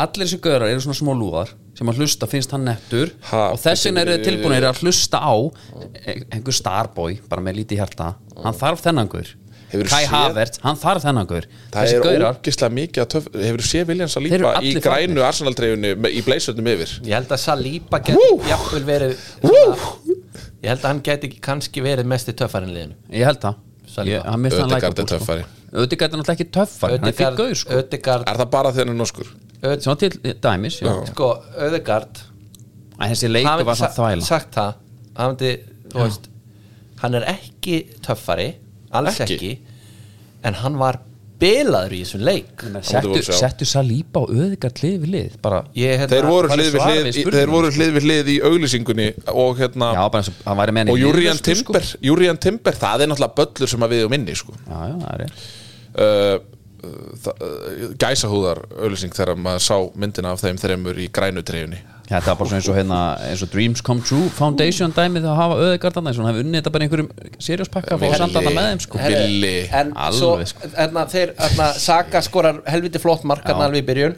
Speaker 1: Allir þessi göðrar eru svona smá lúðar sem að hlusta finnst hann nettur
Speaker 2: Ha, eh, Ah.
Speaker 1: og þess vegna eru þeir
Speaker 2: þessi-
Speaker 1: tilbúinir að hlusta á e- einhver starboy, bara með lítið hjarta hann þarf þennangur
Speaker 2: Ah. Hefurðu
Speaker 1: Kai
Speaker 2: séð-
Speaker 1: Havertz, hann þarf þennangur
Speaker 2: það
Speaker 1: þessi
Speaker 2: er
Speaker 1: gaurar,
Speaker 2: ógislega mikið að töf hefur þú séð Viljans að
Speaker 1: Þeir eru
Speaker 2: lípa í
Speaker 1: allir
Speaker 2: grænu arsenaltreyjunni me- í bleysöndum yfir
Speaker 3: Ég held að Saliba geti
Speaker 2: Wú!
Speaker 3: jafnvel verið
Speaker 2: Wú!
Speaker 3: Ég held að hann geti kannski verið mest í töffarinn liðinu
Speaker 1: ég held það
Speaker 3: Saliba.
Speaker 1: Ég- hann misti hann
Speaker 2: Ødegaard er
Speaker 1: lækabúl, sko.
Speaker 2: töffari.
Speaker 1: Ödegard er náttúrulega ekki töffari hann er fyrir gauð sko.
Speaker 3: Ödegard
Speaker 2: er það bara þegar hann er norskur?
Speaker 3: Öd-
Speaker 1: Svo til dæmis já.
Speaker 3: Sko, Ödegard
Speaker 1: Æ, Þessi
Speaker 3: Hann
Speaker 1: leikur var
Speaker 3: myndi
Speaker 1: svona
Speaker 3: sa-
Speaker 1: þvæla
Speaker 3: sagt það Hann myndi, þú veist Hann er ekki töffari Alls
Speaker 2: Ekki?
Speaker 3: ekki En hann var bilaður í þessum leik
Speaker 1: settu,
Speaker 2: voru sjá.
Speaker 1: settu Saliba og Öðegard hlið við lið bara,
Speaker 3: Ég, hérna,
Speaker 2: þeir voru
Speaker 1: bara
Speaker 2: hlið við
Speaker 1: svara
Speaker 2: hlið
Speaker 1: við
Speaker 2: í-
Speaker 1: spurningunni, sko.
Speaker 2: þeir voru hlið við hlið í auglýsingunni og hérna
Speaker 1: já, bara eins og hann væri með henni
Speaker 2: og
Speaker 1: í
Speaker 2: Júrian
Speaker 1: liðveislu, sko.
Speaker 2: Timber, Júrian Timber það er náttúrulega böllur sem að við um inni sko.
Speaker 1: já, já, það er rétt.
Speaker 2: uh, eh, gæsahúðar auðlýsing þegar maður sá myndina af þeim þreymur í grænu treyjunni
Speaker 1: þetta var bara svona eins og, hérna, eins og Dreams Come True Foundation dæmið að hafa Öðegard þannig eins og hann hefði unnið þetta bara í einhverjum serióspakka og
Speaker 2: Villi.
Speaker 1: samt að það með þeim sko
Speaker 2: Herri. Billy.
Speaker 3: En
Speaker 1: Alveg,
Speaker 3: svo,
Speaker 1: sko.
Speaker 3: hérna, þeir, hérna, Saka skorar helviti flott markarna alveg í byrjun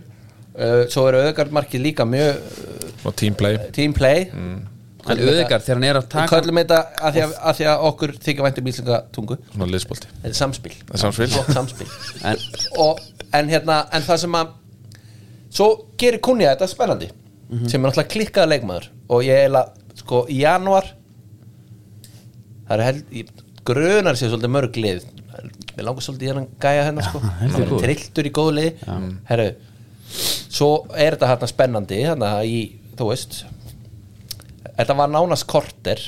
Speaker 3: uh, Svo eru Ödegard markið líka mjög uh,
Speaker 1: eh,
Speaker 2: og teamplay
Speaker 3: team play
Speaker 1: Mm. en Öðegard þegar hann er að
Speaker 3: Við
Speaker 1: taka
Speaker 3: köllum þetta að því að, að, því að okkur þykja væntum íslengatungu
Speaker 2: svona liðsbólti
Speaker 3: Þetta er samspil
Speaker 2: er samspil.
Speaker 3: Flott samspil
Speaker 1: en,
Speaker 3: og, en hérna, en það sem að svo gerir Kunja þetta spennandi sem er náttúrulega klikkaða leikmaður og ég eiginlega, sko, í januar það er held ég, grunar sér svolítið mörg lið við langar svolítið í hennan gæja hennar sko
Speaker 1: heldur
Speaker 3: hann er
Speaker 1: góður.
Speaker 3: trilltur í góðu lið herru, svo er þetta hérna spennandi hérna í, þú veist þetta var nánast korter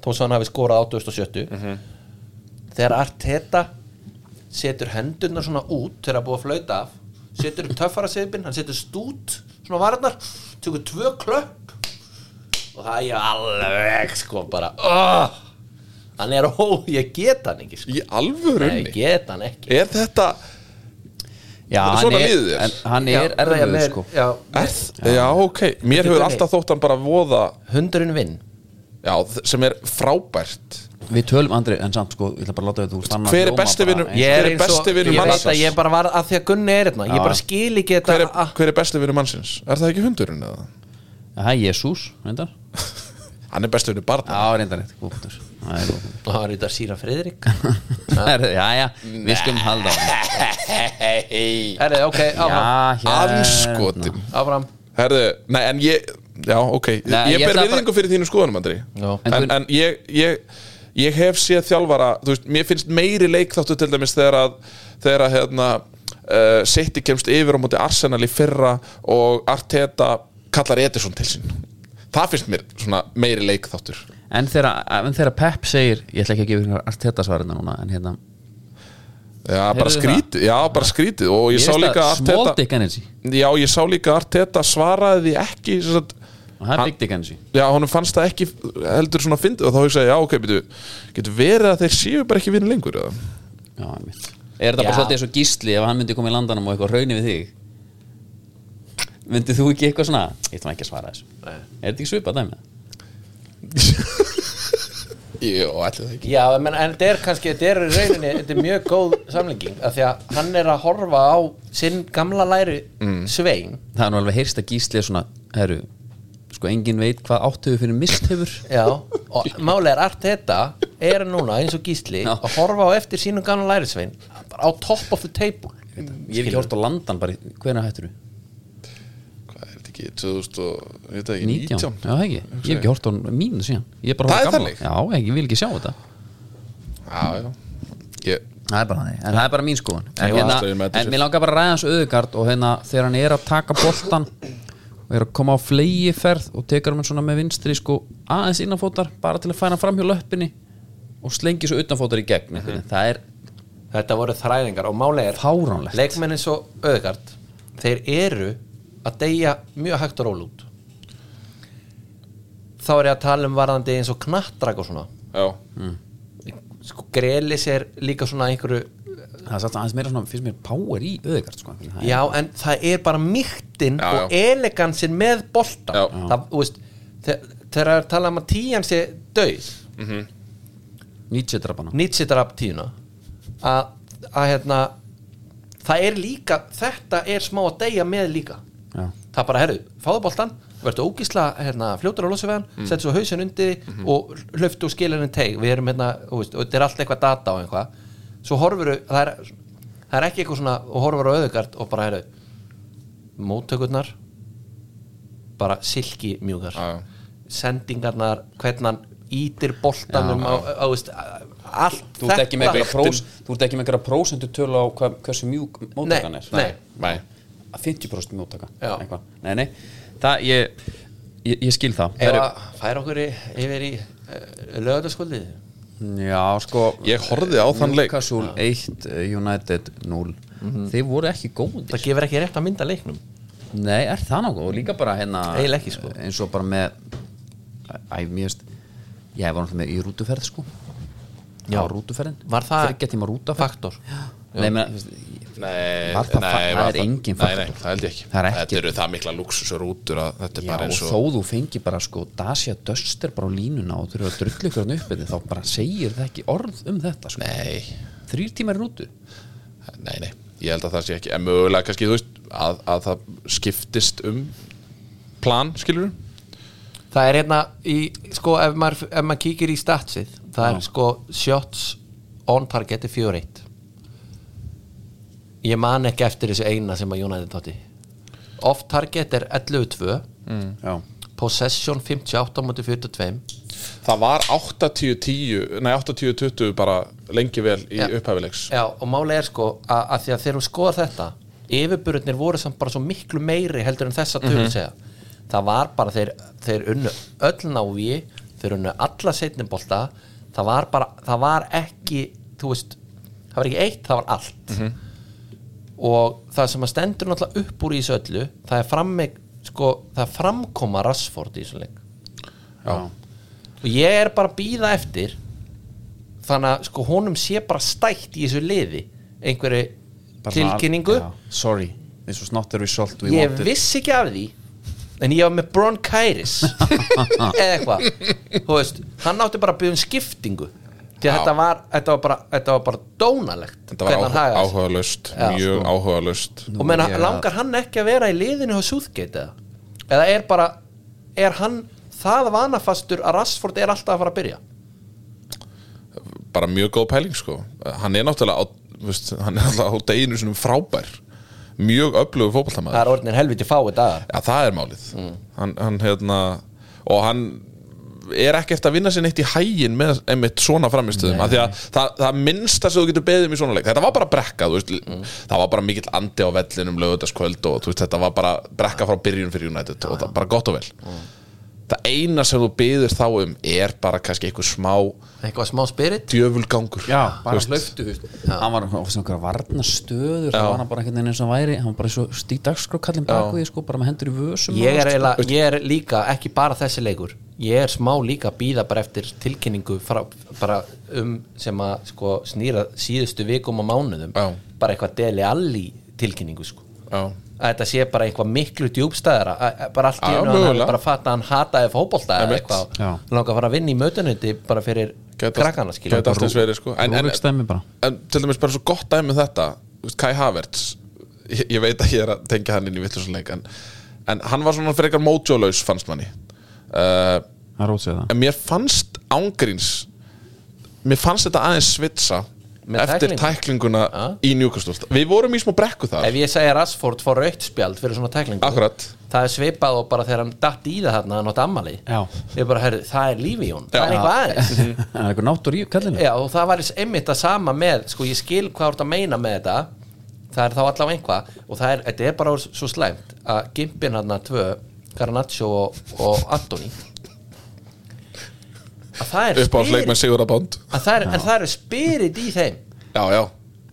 Speaker 3: þó svo hann hafi skorað 870 þegar Arteta setur hendurnar svona út þegar að búa að flauta af setur upp töffara seipin, hann setur stút svona varnar, tökur tvö klöpp og það er ég alveg sko bara oh, hann er ó, ég get hann ekki sko.
Speaker 2: í alvörunni
Speaker 3: ég get hann ekki
Speaker 2: er þetta
Speaker 1: já,
Speaker 2: Þetta er
Speaker 1: hann
Speaker 2: svona
Speaker 1: er,
Speaker 2: liðið er.
Speaker 1: en, hann er
Speaker 3: Já, já,
Speaker 1: erfiður
Speaker 3: með-
Speaker 1: sko
Speaker 3: já,
Speaker 2: er, já. ok, mér hefur alltaf þótt hann bara voða
Speaker 3: hundurinn vinn
Speaker 2: já, þ- sem er frábært
Speaker 1: við tölum Andri en samt sko ég ætla bara að láta þetta úr stanna
Speaker 2: Hver er
Speaker 1: hljóma
Speaker 2: besti
Speaker 1: bara
Speaker 2: vinur-
Speaker 1: eins-
Speaker 3: ég
Speaker 2: Hver
Speaker 3: er
Speaker 2: er
Speaker 3: eins og,
Speaker 2: besti
Speaker 3: ég
Speaker 2: vinur
Speaker 3: veit
Speaker 2: mannsins?
Speaker 3: að ég bara var að því að Gunni er hérna ég
Speaker 1: Já.
Speaker 3: bara skil ekki þetta
Speaker 2: hver er,
Speaker 3: að-
Speaker 2: hver er besti vinur mannsins? er það ekki hundurinn eða?
Speaker 1: það er Jésús reyndar
Speaker 2: hann er besti vinur barna
Speaker 1: já, reyndar rétt góð punktur. það er góð punktur.
Speaker 3: það er þetta síra Friðrik
Speaker 1: Það er- já, já, við skulum halda á hann.
Speaker 3: er þið, ok, áfram
Speaker 1: Já, hérna.
Speaker 2: anskotin
Speaker 3: áfram
Speaker 2: herðu, nei en ég já, ok,
Speaker 1: Nei,
Speaker 2: ég
Speaker 1: ég
Speaker 2: ber
Speaker 1: ætla
Speaker 2: virðingu fyrir þínu skoðanum Andri
Speaker 3: Já.
Speaker 2: en, en, ég, ég, ég hef séð þjálfara þú veist, mér finnst meiri leikþáttu til dæmis þegar að, þegar að hérna, uh, City kemst yfir á móti Arsenal í fyrra og Arteta kallar Edison til sín það finnst mér svona meiri leikþáttur
Speaker 1: En þegar, en þegar Pep segir Ég ætla ekki að gefa ykkur allt þetta svarina núna En hérna
Speaker 2: já, bara
Speaker 1: það?
Speaker 2: skrítið, já, bara skrítið og ég,
Speaker 1: Mér
Speaker 2: sá
Speaker 1: finnst
Speaker 2: líka
Speaker 1: það Small
Speaker 2: Arteta
Speaker 1: dick energy
Speaker 2: já, ég sá líka að Arteta svaraði því ekki sem sagt,
Speaker 1: Og það er
Speaker 2: Hann-
Speaker 1: big dick energy
Speaker 2: já, honum fannst það ekki heldur svona fyndið og þá hugsaði, ég, já, ok, betur getur verið að þeir séu bara ekki vinni lengur eða?
Speaker 1: Já, mitt Er þetta bara
Speaker 3: Já.
Speaker 1: svolítið eins og gísli Ef hann myndi koma í landanum og eitthvað rauni við þig Vindið þú ekki eitthvað svona Ég ætlum ekki að svara þessu Er þetta ekki svipað dæmi?
Speaker 2: Jó, ætli það ekki
Speaker 3: Já, en, en þetta er kannski, þetta er í rauninni þetta er mjög góð samlinging af því að hann er að horfa á sinn gamla læri mm. svein
Speaker 1: Það er nú alveg heyrst að gísli er svona Herru, sko engin veit hvað áttuðu fyrir mist hefur
Speaker 3: Já, og málega er allt þetta er núna eins og gísli
Speaker 1: Já.
Speaker 3: að horfa á eftir sínum gamla læri svein bara á top of the table
Speaker 1: Ég hef ekki hort á landan bara Hvernig hættur þú?
Speaker 2: Hvað er þetta ekki, 2000 og, ég veit það ekki,
Speaker 1: 19?
Speaker 2: 19
Speaker 1: Já, það ekki Ég hef ekki hort á mínu síðan Ég er bara
Speaker 2: Það
Speaker 1: horft á
Speaker 2: er
Speaker 1: gamla
Speaker 2: þannig?
Speaker 1: Já, ekki, ég vil ekki sjá þetta
Speaker 2: Já, já Ég,
Speaker 1: Það er bara þannig, en það er bara mín skoðun En,
Speaker 2: Ég var
Speaker 1: hérna,
Speaker 2: aldrei með þetta
Speaker 1: en
Speaker 2: sér.
Speaker 1: mér langar bara að ræða hans auðgard og hérna, þegar hann er að taka boltan og er að koma á flegiferð og tekar hann svona með vinstri sko aðeins innanfótar, bara til að fæna fram hjá löppinni og slengi svo utanfótar í gegn mm það er
Speaker 3: Þetta voru þræðingar og málega er
Speaker 1: fáránlegt
Speaker 3: leikmenn eins og auðgard þeir eru að deyja mjög hægt og ról út þá er ég að tala um varðandi eins og knattrak og svona
Speaker 2: já,
Speaker 3: sko, Grelis er líka svona einhverju
Speaker 1: Það er satt aðeins meira svona, finnst mér power í auðgard sko, Það er-
Speaker 3: já, en það er bara mýttin
Speaker 2: Já,
Speaker 3: og
Speaker 2: já.
Speaker 3: elegansin með bolta
Speaker 2: Já.
Speaker 3: það, þú veist þe- þegar það er talað um að tíjan sé döið
Speaker 1: Nietzsche drapana
Speaker 3: Nietzsche draf tíuna að, að hérna það er líka, þetta er smá að deyja með líka
Speaker 1: Já.
Speaker 3: það er bara, herru, fáðu boltan verður ógísla, hérna, fljótur á losuvegin mm. settu svo hausin undir mm -hmm. og hlöftu og skilur henni teig, við erum hérna þú veist, og þetta er allt eitthvað data og eitthvað svo horfur, það er, það er ekki eitthvað svona og horfur á auðugard og bara, herru móttökurnar bara silki mjúkar
Speaker 2: Já, já.
Speaker 3: sendingarnar, hvernig hann ítir boltanum á, á, á, veist, á- allt
Speaker 1: Þú ert ekki með einhverja
Speaker 2: Vigtin.
Speaker 1: prós- þú ert ekki með einhverja prósentu tölu á hvað, hversu mjúk móttakan er
Speaker 3: Nei.
Speaker 2: nei,
Speaker 1: Að 50% móttaka
Speaker 3: Já.
Speaker 1: eitthvað. Nei, nei, það ég Ég, ég skil það
Speaker 3: Ef
Speaker 1: Herru,
Speaker 3: að færa okkur í, yfir í uh, lögataskvöldið
Speaker 1: Já, sko
Speaker 2: Ég horfði á þann leik.
Speaker 1: Newcastle 1, eh, United 0 Þeir voru ekki góðir
Speaker 3: það gefur ekki rétt að mynda leiknum
Speaker 1: Nei, er það nokkuð? Og líka bara hérna
Speaker 3: Eiginlega ekki, sko.
Speaker 1: Eins og bara með Æ, mér veist Ég var náttúrulega með í rútuferð, sko
Speaker 3: Já.
Speaker 1: Á rútuferðin
Speaker 3: Var það-
Speaker 1: Þryggja tíma rútaferð
Speaker 3: faktor
Speaker 1: Nei, menn, veist, ég-
Speaker 2: nei,
Speaker 1: Var það fa-
Speaker 2: nei,
Speaker 1: það
Speaker 2: var
Speaker 1: er engin
Speaker 2: nei,
Speaker 1: faktor.
Speaker 2: nei, það held ég ekki
Speaker 1: Það er ekki.
Speaker 2: Þetta eru það mikla luxusur útur að þetta er
Speaker 1: Já,
Speaker 2: bara
Speaker 1: og
Speaker 2: eins og
Speaker 1: þó þú fengi bara sko Dacia Duster bara á línuna og þurfa að drullu ykkur hann uppið þá bara segir það ekki orð um þetta sko.
Speaker 2: Nei,
Speaker 1: Þrýr tímar í rútu
Speaker 2: nei, nei, ég held að það sé ekki En mögulega kannski, þú veist, að, að það skiptist um plan, skilur
Speaker 3: það er hérna í, sko ef maður, ef maður kíkir í statsið það er sko shots on target er 4-1 ég man ekki eftir þessu eina sem að United tótti off target er 11-2
Speaker 1: Já,
Speaker 3: possession 58 mútið 42
Speaker 2: Það var 80-10, nei 80-20 bara lengi vel í
Speaker 3: Já.
Speaker 2: upphafilegs
Speaker 3: já og máli er sko að, að því að þegar hún skoða þetta yfirburðnir voru samt bara svo miklu meiri heldur en þessa tölum segja það var bara þeir, þeir unnu öll návi þeir unnu alla setnibolta það var bara, það var ekki þú veist, það var ekki eitt, það var allt og það sem að stendur náttúrulega upp úr í þessu öllu það er framme, sko, það er framkoma Rassford í þessu leik
Speaker 1: já.
Speaker 3: og ég er bara að býða eftir þannig að sko honum sé bara stætt í þessu liði einhverju
Speaker 1: Bara svona-
Speaker 3: tilkynningu
Speaker 1: já, Sorry, this was not the result we
Speaker 3: ég
Speaker 1: wanted
Speaker 3: vissi ekki af því en ég var með bronchitis eða eitthvað þú veist, hann átti bara að byggja um skiptingu því að
Speaker 2: Já.
Speaker 3: þetta var, þetta var bara, þetta var bara dónalegt
Speaker 2: Þetta var
Speaker 3: hvernig hann
Speaker 2: áhuga,
Speaker 3: hagaði sér.
Speaker 2: áhugaðlaust,
Speaker 3: Já, sko. Mm.
Speaker 2: mjög áhugaðlaust
Speaker 3: og menna,
Speaker 1: Nú, ég-
Speaker 3: langar hann ekki að vera í liðinu á Southgate eða, eða er bara er hann það vanafastur að Rashford er alltaf að fara að byrja
Speaker 2: bara mjög góð pæling sko hann er náttúrulega á, veist, hann er náttúrulega á deginu svona frábær mjög öflugur
Speaker 3: það
Speaker 2: fótballtamaður
Speaker 3: er orðinir helviti fáið dagar
Speaker 2: ja, það er málið hann, hann hérna og hann er ekki eftir að vinna sér neitt í hægin með einmitt svona framistöðum af því að það, það minnsta sem þú getur beðið um í svona leik þetta var bara brekka, þú veist það var bara mikill andi á vellinum lögutaskvöld og þú veist, þetta var bara brekka frá byrjun fyrir United og það bara gott og vel það eina sem þú beðir þá um er bara kannski einhver smá
Speaker 3: eitthvað smá spirit
Speaker 2: djöfulgangur
Speaker 1: Já,
Speaker 2: Þú
Speaker 1: bara
Speaker 2: veist.
Speaker 1: hlöftu Hann var á svona okkur varnastöður Það
Speaker 2: Já.
Speaker 1: var hann bara einhvern veginn eins og hann væri Hann var bara svo stíðdagskrokallin baku því sko, Bara með hendur í vösum og
Speaker 3: ég er,
Speaker 1: allt, sko.
Speaker 3: eila, ég er líka ekki bara þessi leikur ég er smá líka að býða bara eftir tilkynningu frá, bara um sem að sko, snýra síðustu vikum og mánuðum
Speaker 2: Já.
Speaker 3: bara eitthvað deli alli tilkynningu sko.
Speaker 2: Já.
Speaker 3: að þetta sé bara eitthvað miklu djúbstæðara að- að bara allt í
Speaker 2: Já,
Speaker 3: einu að hann hafi
Speaker 2: mögulega.
Speaker 3: bara fatta að hann hataði fótbolta eða
Speaker 2: Einmitt.
Speaker 3: eitthvað
Speaker 1: Já.
Speaker 3: langa að fara að vinna í mötunundi bara fyrir
Speaker 2: Gæti-
Speaker 3: krakkana skilja
Speaker 2: gæti allt eins verið sko en, en,
Speaker 1: Rúrikstæmi bara
Speaker 2: en til dæmis bara svo gott dæmi um þetta þú veist, Kai Havertz ég, ég veit að ég er að tengja hann inn í vitlusanleik en, en hann var svona frekar mótjólaus fannst manni uh,
Speaker 1: Það rótsið það
Speaker 2: en mér fannst ángríns mér fannst þetta aðeins svitsa
Speaker 3: Með
Speaker 2: eftir
Speaker 3: tæklingu?
Speaker 2: tæklinguna
Speaker 3: Ah.
Speaker 2: í njúkastúlt við vorum í smá brekku þar
Speaker 3: ef ég segja Rassford fór raukt spjald fyrir svona tæklingu
Speaker 2: Akkurat.
Speaker 3: það er svipað og bara þegar hann datt í það þarna hann átt ammali
Speaker 1: Já.
Speaker 3: ég bara herri það er lífi í hún það er
Speaker 2: Já.
Speaker 3: eitthvað aðeins
Speaker 1: Það er eitthvað náttur í kallinu
Speaker 3: Já, og það var einmitt að sama með sko, ég skil hvað þú ert að meina með þetta það er þá allavega einhvað og það er, þetta er bara orðið svo slæmt að gimpin hann að tvö, Garnaccio og, og Antoni að það er
Speaker 2: uppáhaldsleik með
Speaker 3: spirit
Speaker 2: Sigurða Bond
Speaker 3: að það er, en það er spirit í þeim
Speaker 2: já, já,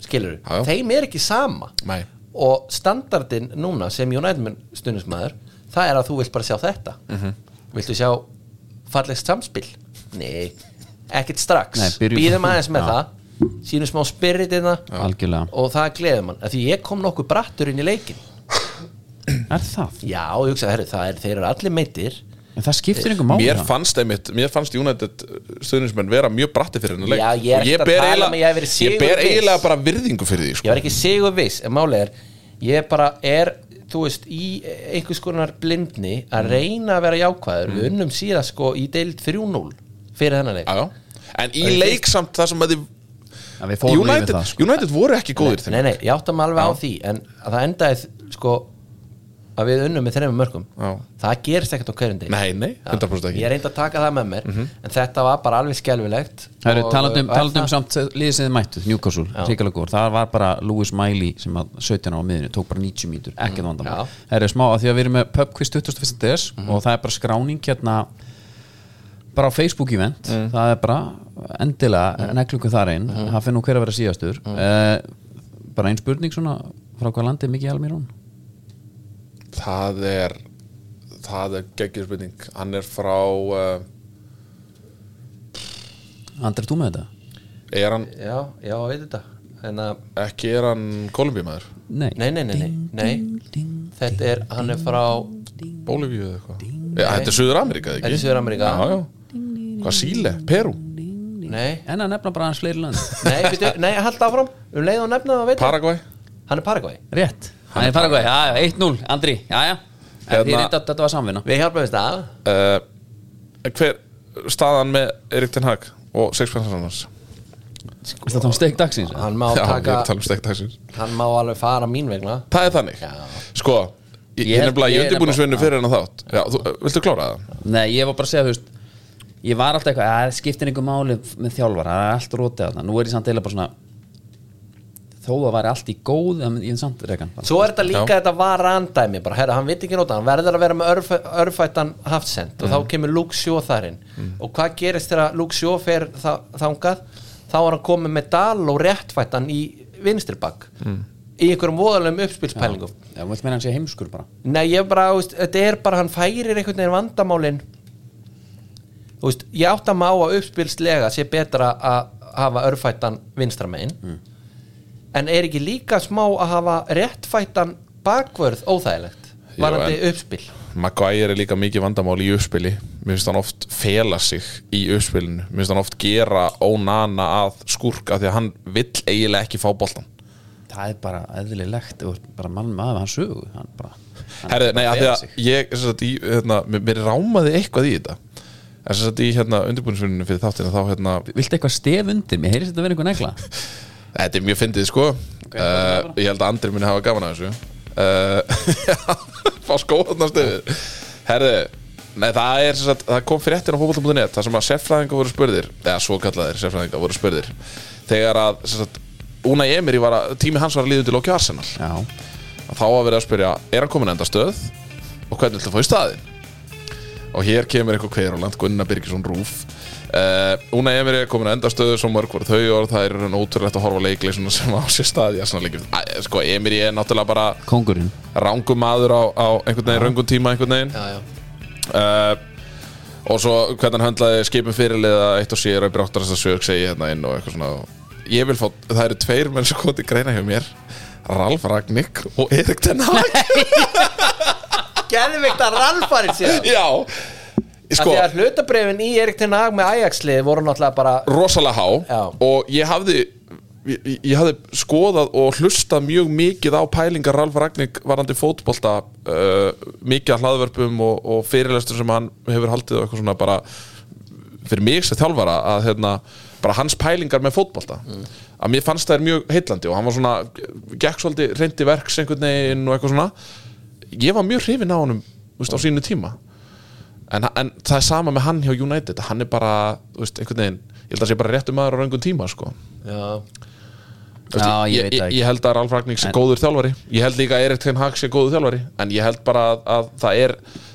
Speaker 3: skilur,
Speaker 2: Já, já.
Speaker 3: þeim er ekki sama
Speaker 2: Nei.
Speaker 3: og standardin núna sem United stundismæður það er að þú vilt bara sjá þetta
Speaker 1: Mhm.
Speaker 3: viltu sjá fallegst samspil nei, ekkert strax
Speaker 1: Nei, byrjum-
Speaker 3: býðum aðeins með
Speaker 1: Já.
Speaker 3: það sínum smá spiritina
Speaker 1: Algjörlega
Speaker 3: og það gleður mann, af því ég kom nokkuð brattur inn í leikin
Speaker 1: Er það?
Speaker 3: já, ég hugsaði, herru, það er, þeir eru allir meitir
Speaker 1: En það skiptir einhver máli
Speaker 2: mér
Speaker 1: það.
Speaker 2: fannst einmitt mér fannst United stuðnismenn vera mjög bratti fyrir hennar leik
Speaker 3: Já, ég er
Speaker 2: Og
Speaker 3: ekkert að
Speaker 2: ber
Speaker 3: tala
Speaker 2: eiginlega-
Speaker 3: um að ég hafi verið
Speaker 2: ég ber
Speaker 3: sigurviss.
Speaker 2: eiginlega bara virðingu fyrir því sko.
Speaker 3: ég var ekki sigur viss en máli er, ég bara er þú veist, í einhvers konar blindni
Speaker 1: Mhm.
Speaker 3: að reyna að vera jákvæður við unnum síðan sko í deild 3-0 fyrir þennan leik
Speaker 2: já, já. en í leik samt það sem að þið
Speaker 1: Já, Við fórum
Speaker 2: United,
Speaker 1: yfir það sko.
Speaker 2: United voru ekki góðir þeim
Speaker 3: nei, nei, ég átta mig alveg á því en að það endaði þ- sko að við unnum með þreymum mörgum
Speaker 2: Já.
Speaker 3: það gerist ekkert á hverjum degi
Speaker 2: Nei, nei, 100% ekki Mhm.
Speaker 3: ég reyndi að taka það með mér en þetta var bara alveg skelfilegt
Speaker 1: Það eru
Speaker 2: um-
Speaker 3: Og-
Speaker 1: talandum,
Speaker 3: og er
Speaker 1: talandum
Speaker 3: það-
Speaker 1: samt liðið sem þið mættu, Newcastle, ríkala góður það var bara Lewis Miley sem að 17 á miðinu, tók bara 90 mínútur, ekkert vandamál
Speaker 3: já.
Speaker 1: það eru smá að því að við erum með pub quiz 21. des og það er bara skráning hérna bara á Facebook event það er bara endilega mm. neklungu þar einn, það finn nú hver að vera síðastur eh, bara einn spurning svona frá hvað landið mikið almírón
Speaker 2: Það er það er geggjur spurning hann er frá uh,
Speaker 1: Andrið þú með þetta?
Speaker 2: er hann,
Speaker 3: já, já, ég veit þetta en að,
Speaker 2: ekki er hann Kolumbímaður,
Speaker 1: Nei,
Speaker 3: nei, nei, nei, nei, nei. þetta er, hann er frá
Speaker 2: Bólivíu eða eitthvað Já, þetta er Suður Ameríka,
Speaker 3: er
Speaker 2: ekki?
Speaker 3: í Suður Ameríka
Speaker 2: Já, já, hvað Síle, Peru
Speaker 3: nei,
Speaker 1: en að nefna bara hans fleiri land
Speaker 3: nei, byrju, nei, hald áfram um leið og nefna það veit ég.
Speaker 2: Paraguay
Speaker 3: hann er Paraguay
Speaker 1: Rétt, hann er Paraguay, já, já, 1-0, Andri, já, já En þið
Speaker 2: Hérna-
Speaker 1: reynda að þetta var samvinna
Speaker 3: við hjálpum við það
Speaker 2: uh, Hver staðan með Erik Ten Hag og Sexpensamans
Speaker 1: Sko, það var steik dagsins eða?
Speaker 3: hann má
Speaker 2: Já, ég er
Speaker 3: taka
Speaker 2: að tala um stektaksins
Speaker 3: hann má alveg fara mín vegna
Speaker 2: Það er þannig, sko Ég,
Speaker 1: Ég
Speaker 2: ég
Speaker 1: held-
Speaker 2: nefnilega,
Speaker 1: ég
Speaker 2: ég
Speaker 1: er
Speaker 2: undirbúinisvinnu fyrir hennar þátt Já, þú, viltu klára það?
Speaker 1: Nei, ég var bara að segja, þú veist Ég var alltaf eitthvað, að skiptir einhver máli með þjálfara, það er allt rótið þarna Nú er ég samt eila bara svona Þó það væri allt í góð, en ég er samt reikan bara.
Speaker 3: svo er þetta líka þetta var randæmi bara, herra, hann veit ekki nota, hann verður að vera með örf, örfættan hafsend og þá kemur Luke Sjó þarinn og hvað gerist þegar Luke Sjó fer þa þangað þá er hann komið með dal og réttfættan í vinstribakk í einhverjum voðalum uppspilspælingum
Speaker 1: Já, þú vilt meina hann sé heimskur bara
Speaker 3: Nei, ég bara, þú veist, þetta er bara hann færir einhvern veginn vandamálin Þú veist, ég átt að má að uppspilslega sé betra að hafa örfættan vinstramegin
Speaker 2: Mm.
Speaker 3: en er ekki líka smá að hafa réttfættan bakvörð óþægilegt
Speaker 2: Jú,
Speaker 3: varandi
Speaker 2: en-
Speaker 3: uppspil
Speaker 2: Maguire er líka mikið vandamál í uppspili Mér finnst hann oft fela sig í uppspilinu Mér finnst hann oft gera ónana að skúrka Því að hann vill eiginlega ekki fá boltan
Speaker 1: Það er bara eðlilegt, þú veist, bara mann maður hann sögu hann bara, hann
Speaker 2: Herri, nei, að því
Speaker 1: fela sig.
Speaker 2: að ég, sem sagt, í, hérna, mér, mér rámaði eitthvað í þetta En sem sagt í hérna, undirbúinisvinninu fyrir þáttina Þá hérna,
Speaker 1: Viltu eitthvað stef undir, mér heyrist þetta verið einhver negla
Speaker 2: þetta er mjög fyndið sko uh, Ég held að Andri muni hafa gaman að þessu uh, Fá skóðnarstöðu Herri, nei það er sem sagt, það kom fréttir á fótbolta.net Það sem að sérfræðingar voru spurðir Eða svo kallaðir sérfræðingar voru spurðir Þegar að sem sagt, Unai Emery var að, tími hans var að líða til Loki Arsenal
Speaker 1: Já,
Speaker 2: að þá var verið að spyrja er hann komin enda stöð og hvernig ætla að fá í staðin og hér kemur eitthvað kveðurland Gunnar Birgisson Rúf uh, Úna Emir er komin enda stöð svo mörg voru þau og það er raun ótrúlegt að horfa leikleysuna sem á sér staði sko Emir er náttúrulega bara
Speaker 1: kóngurinn
Speaker 2: rángum maður á, á einhvern veginn raungum tíma einhvern veginn
Speaker 3: Já, já
Speaker 2: uh, og svo hvernig hann höndlaði skipum fyrirliða eitt og sér og bráttar þess að sög segi hérna inn og eitthvað svona ég vil fá, það eru tveir menn sem kom til greina hjá mér Ralf Ragnik og Erik Ten Hag
Speaker 3: Geðvikt að ralfarið síðan
Speaker 2: Já,
Speaker 3: Sko
Speaker 2: sko
Speaker 3: Því að hlutabrefin í Erik Ten Hag með Ajax-lið voru náttúrulega bara
Speaker 2: rosalega há
Speaker 3: Já.
Speaker 2: og ég hafði ég, ég hafði skoðað og hlustað mjög mikið á pælingar Ralf Ragnik varandi fótbolta uh, mikið að hlaðverpum og, og fyrirlestur sem hann hefur haldið og eitthvað svona bara fyrir mig sem þjálfara að hérna, bara hans pælingar með fótbolta að mér fannst það er mjög heillandi og hann var svona, gekk svolítið reyndi verks einhvern veginn og eitthvað svona ég var mjög hrifinn á honum þú veist, á sínu tíma en, en það er sama með hann hjá United hann er bara, þú veist, einhvern veginn ég held að það sé bara réttu maður á raungum tíma sko.
Speaker 3: Já
Speaker 2: Þú veist,
Speaker 1: Já, ég veit það
Speaker 2: ég, ég,
Speaker 1: ekki.
Speaker 2: ég held að Ralf Ragník sé góður þjálfari ég held líka að Erik Ten Hag sé góður þjálfari en ég held bara að, að það er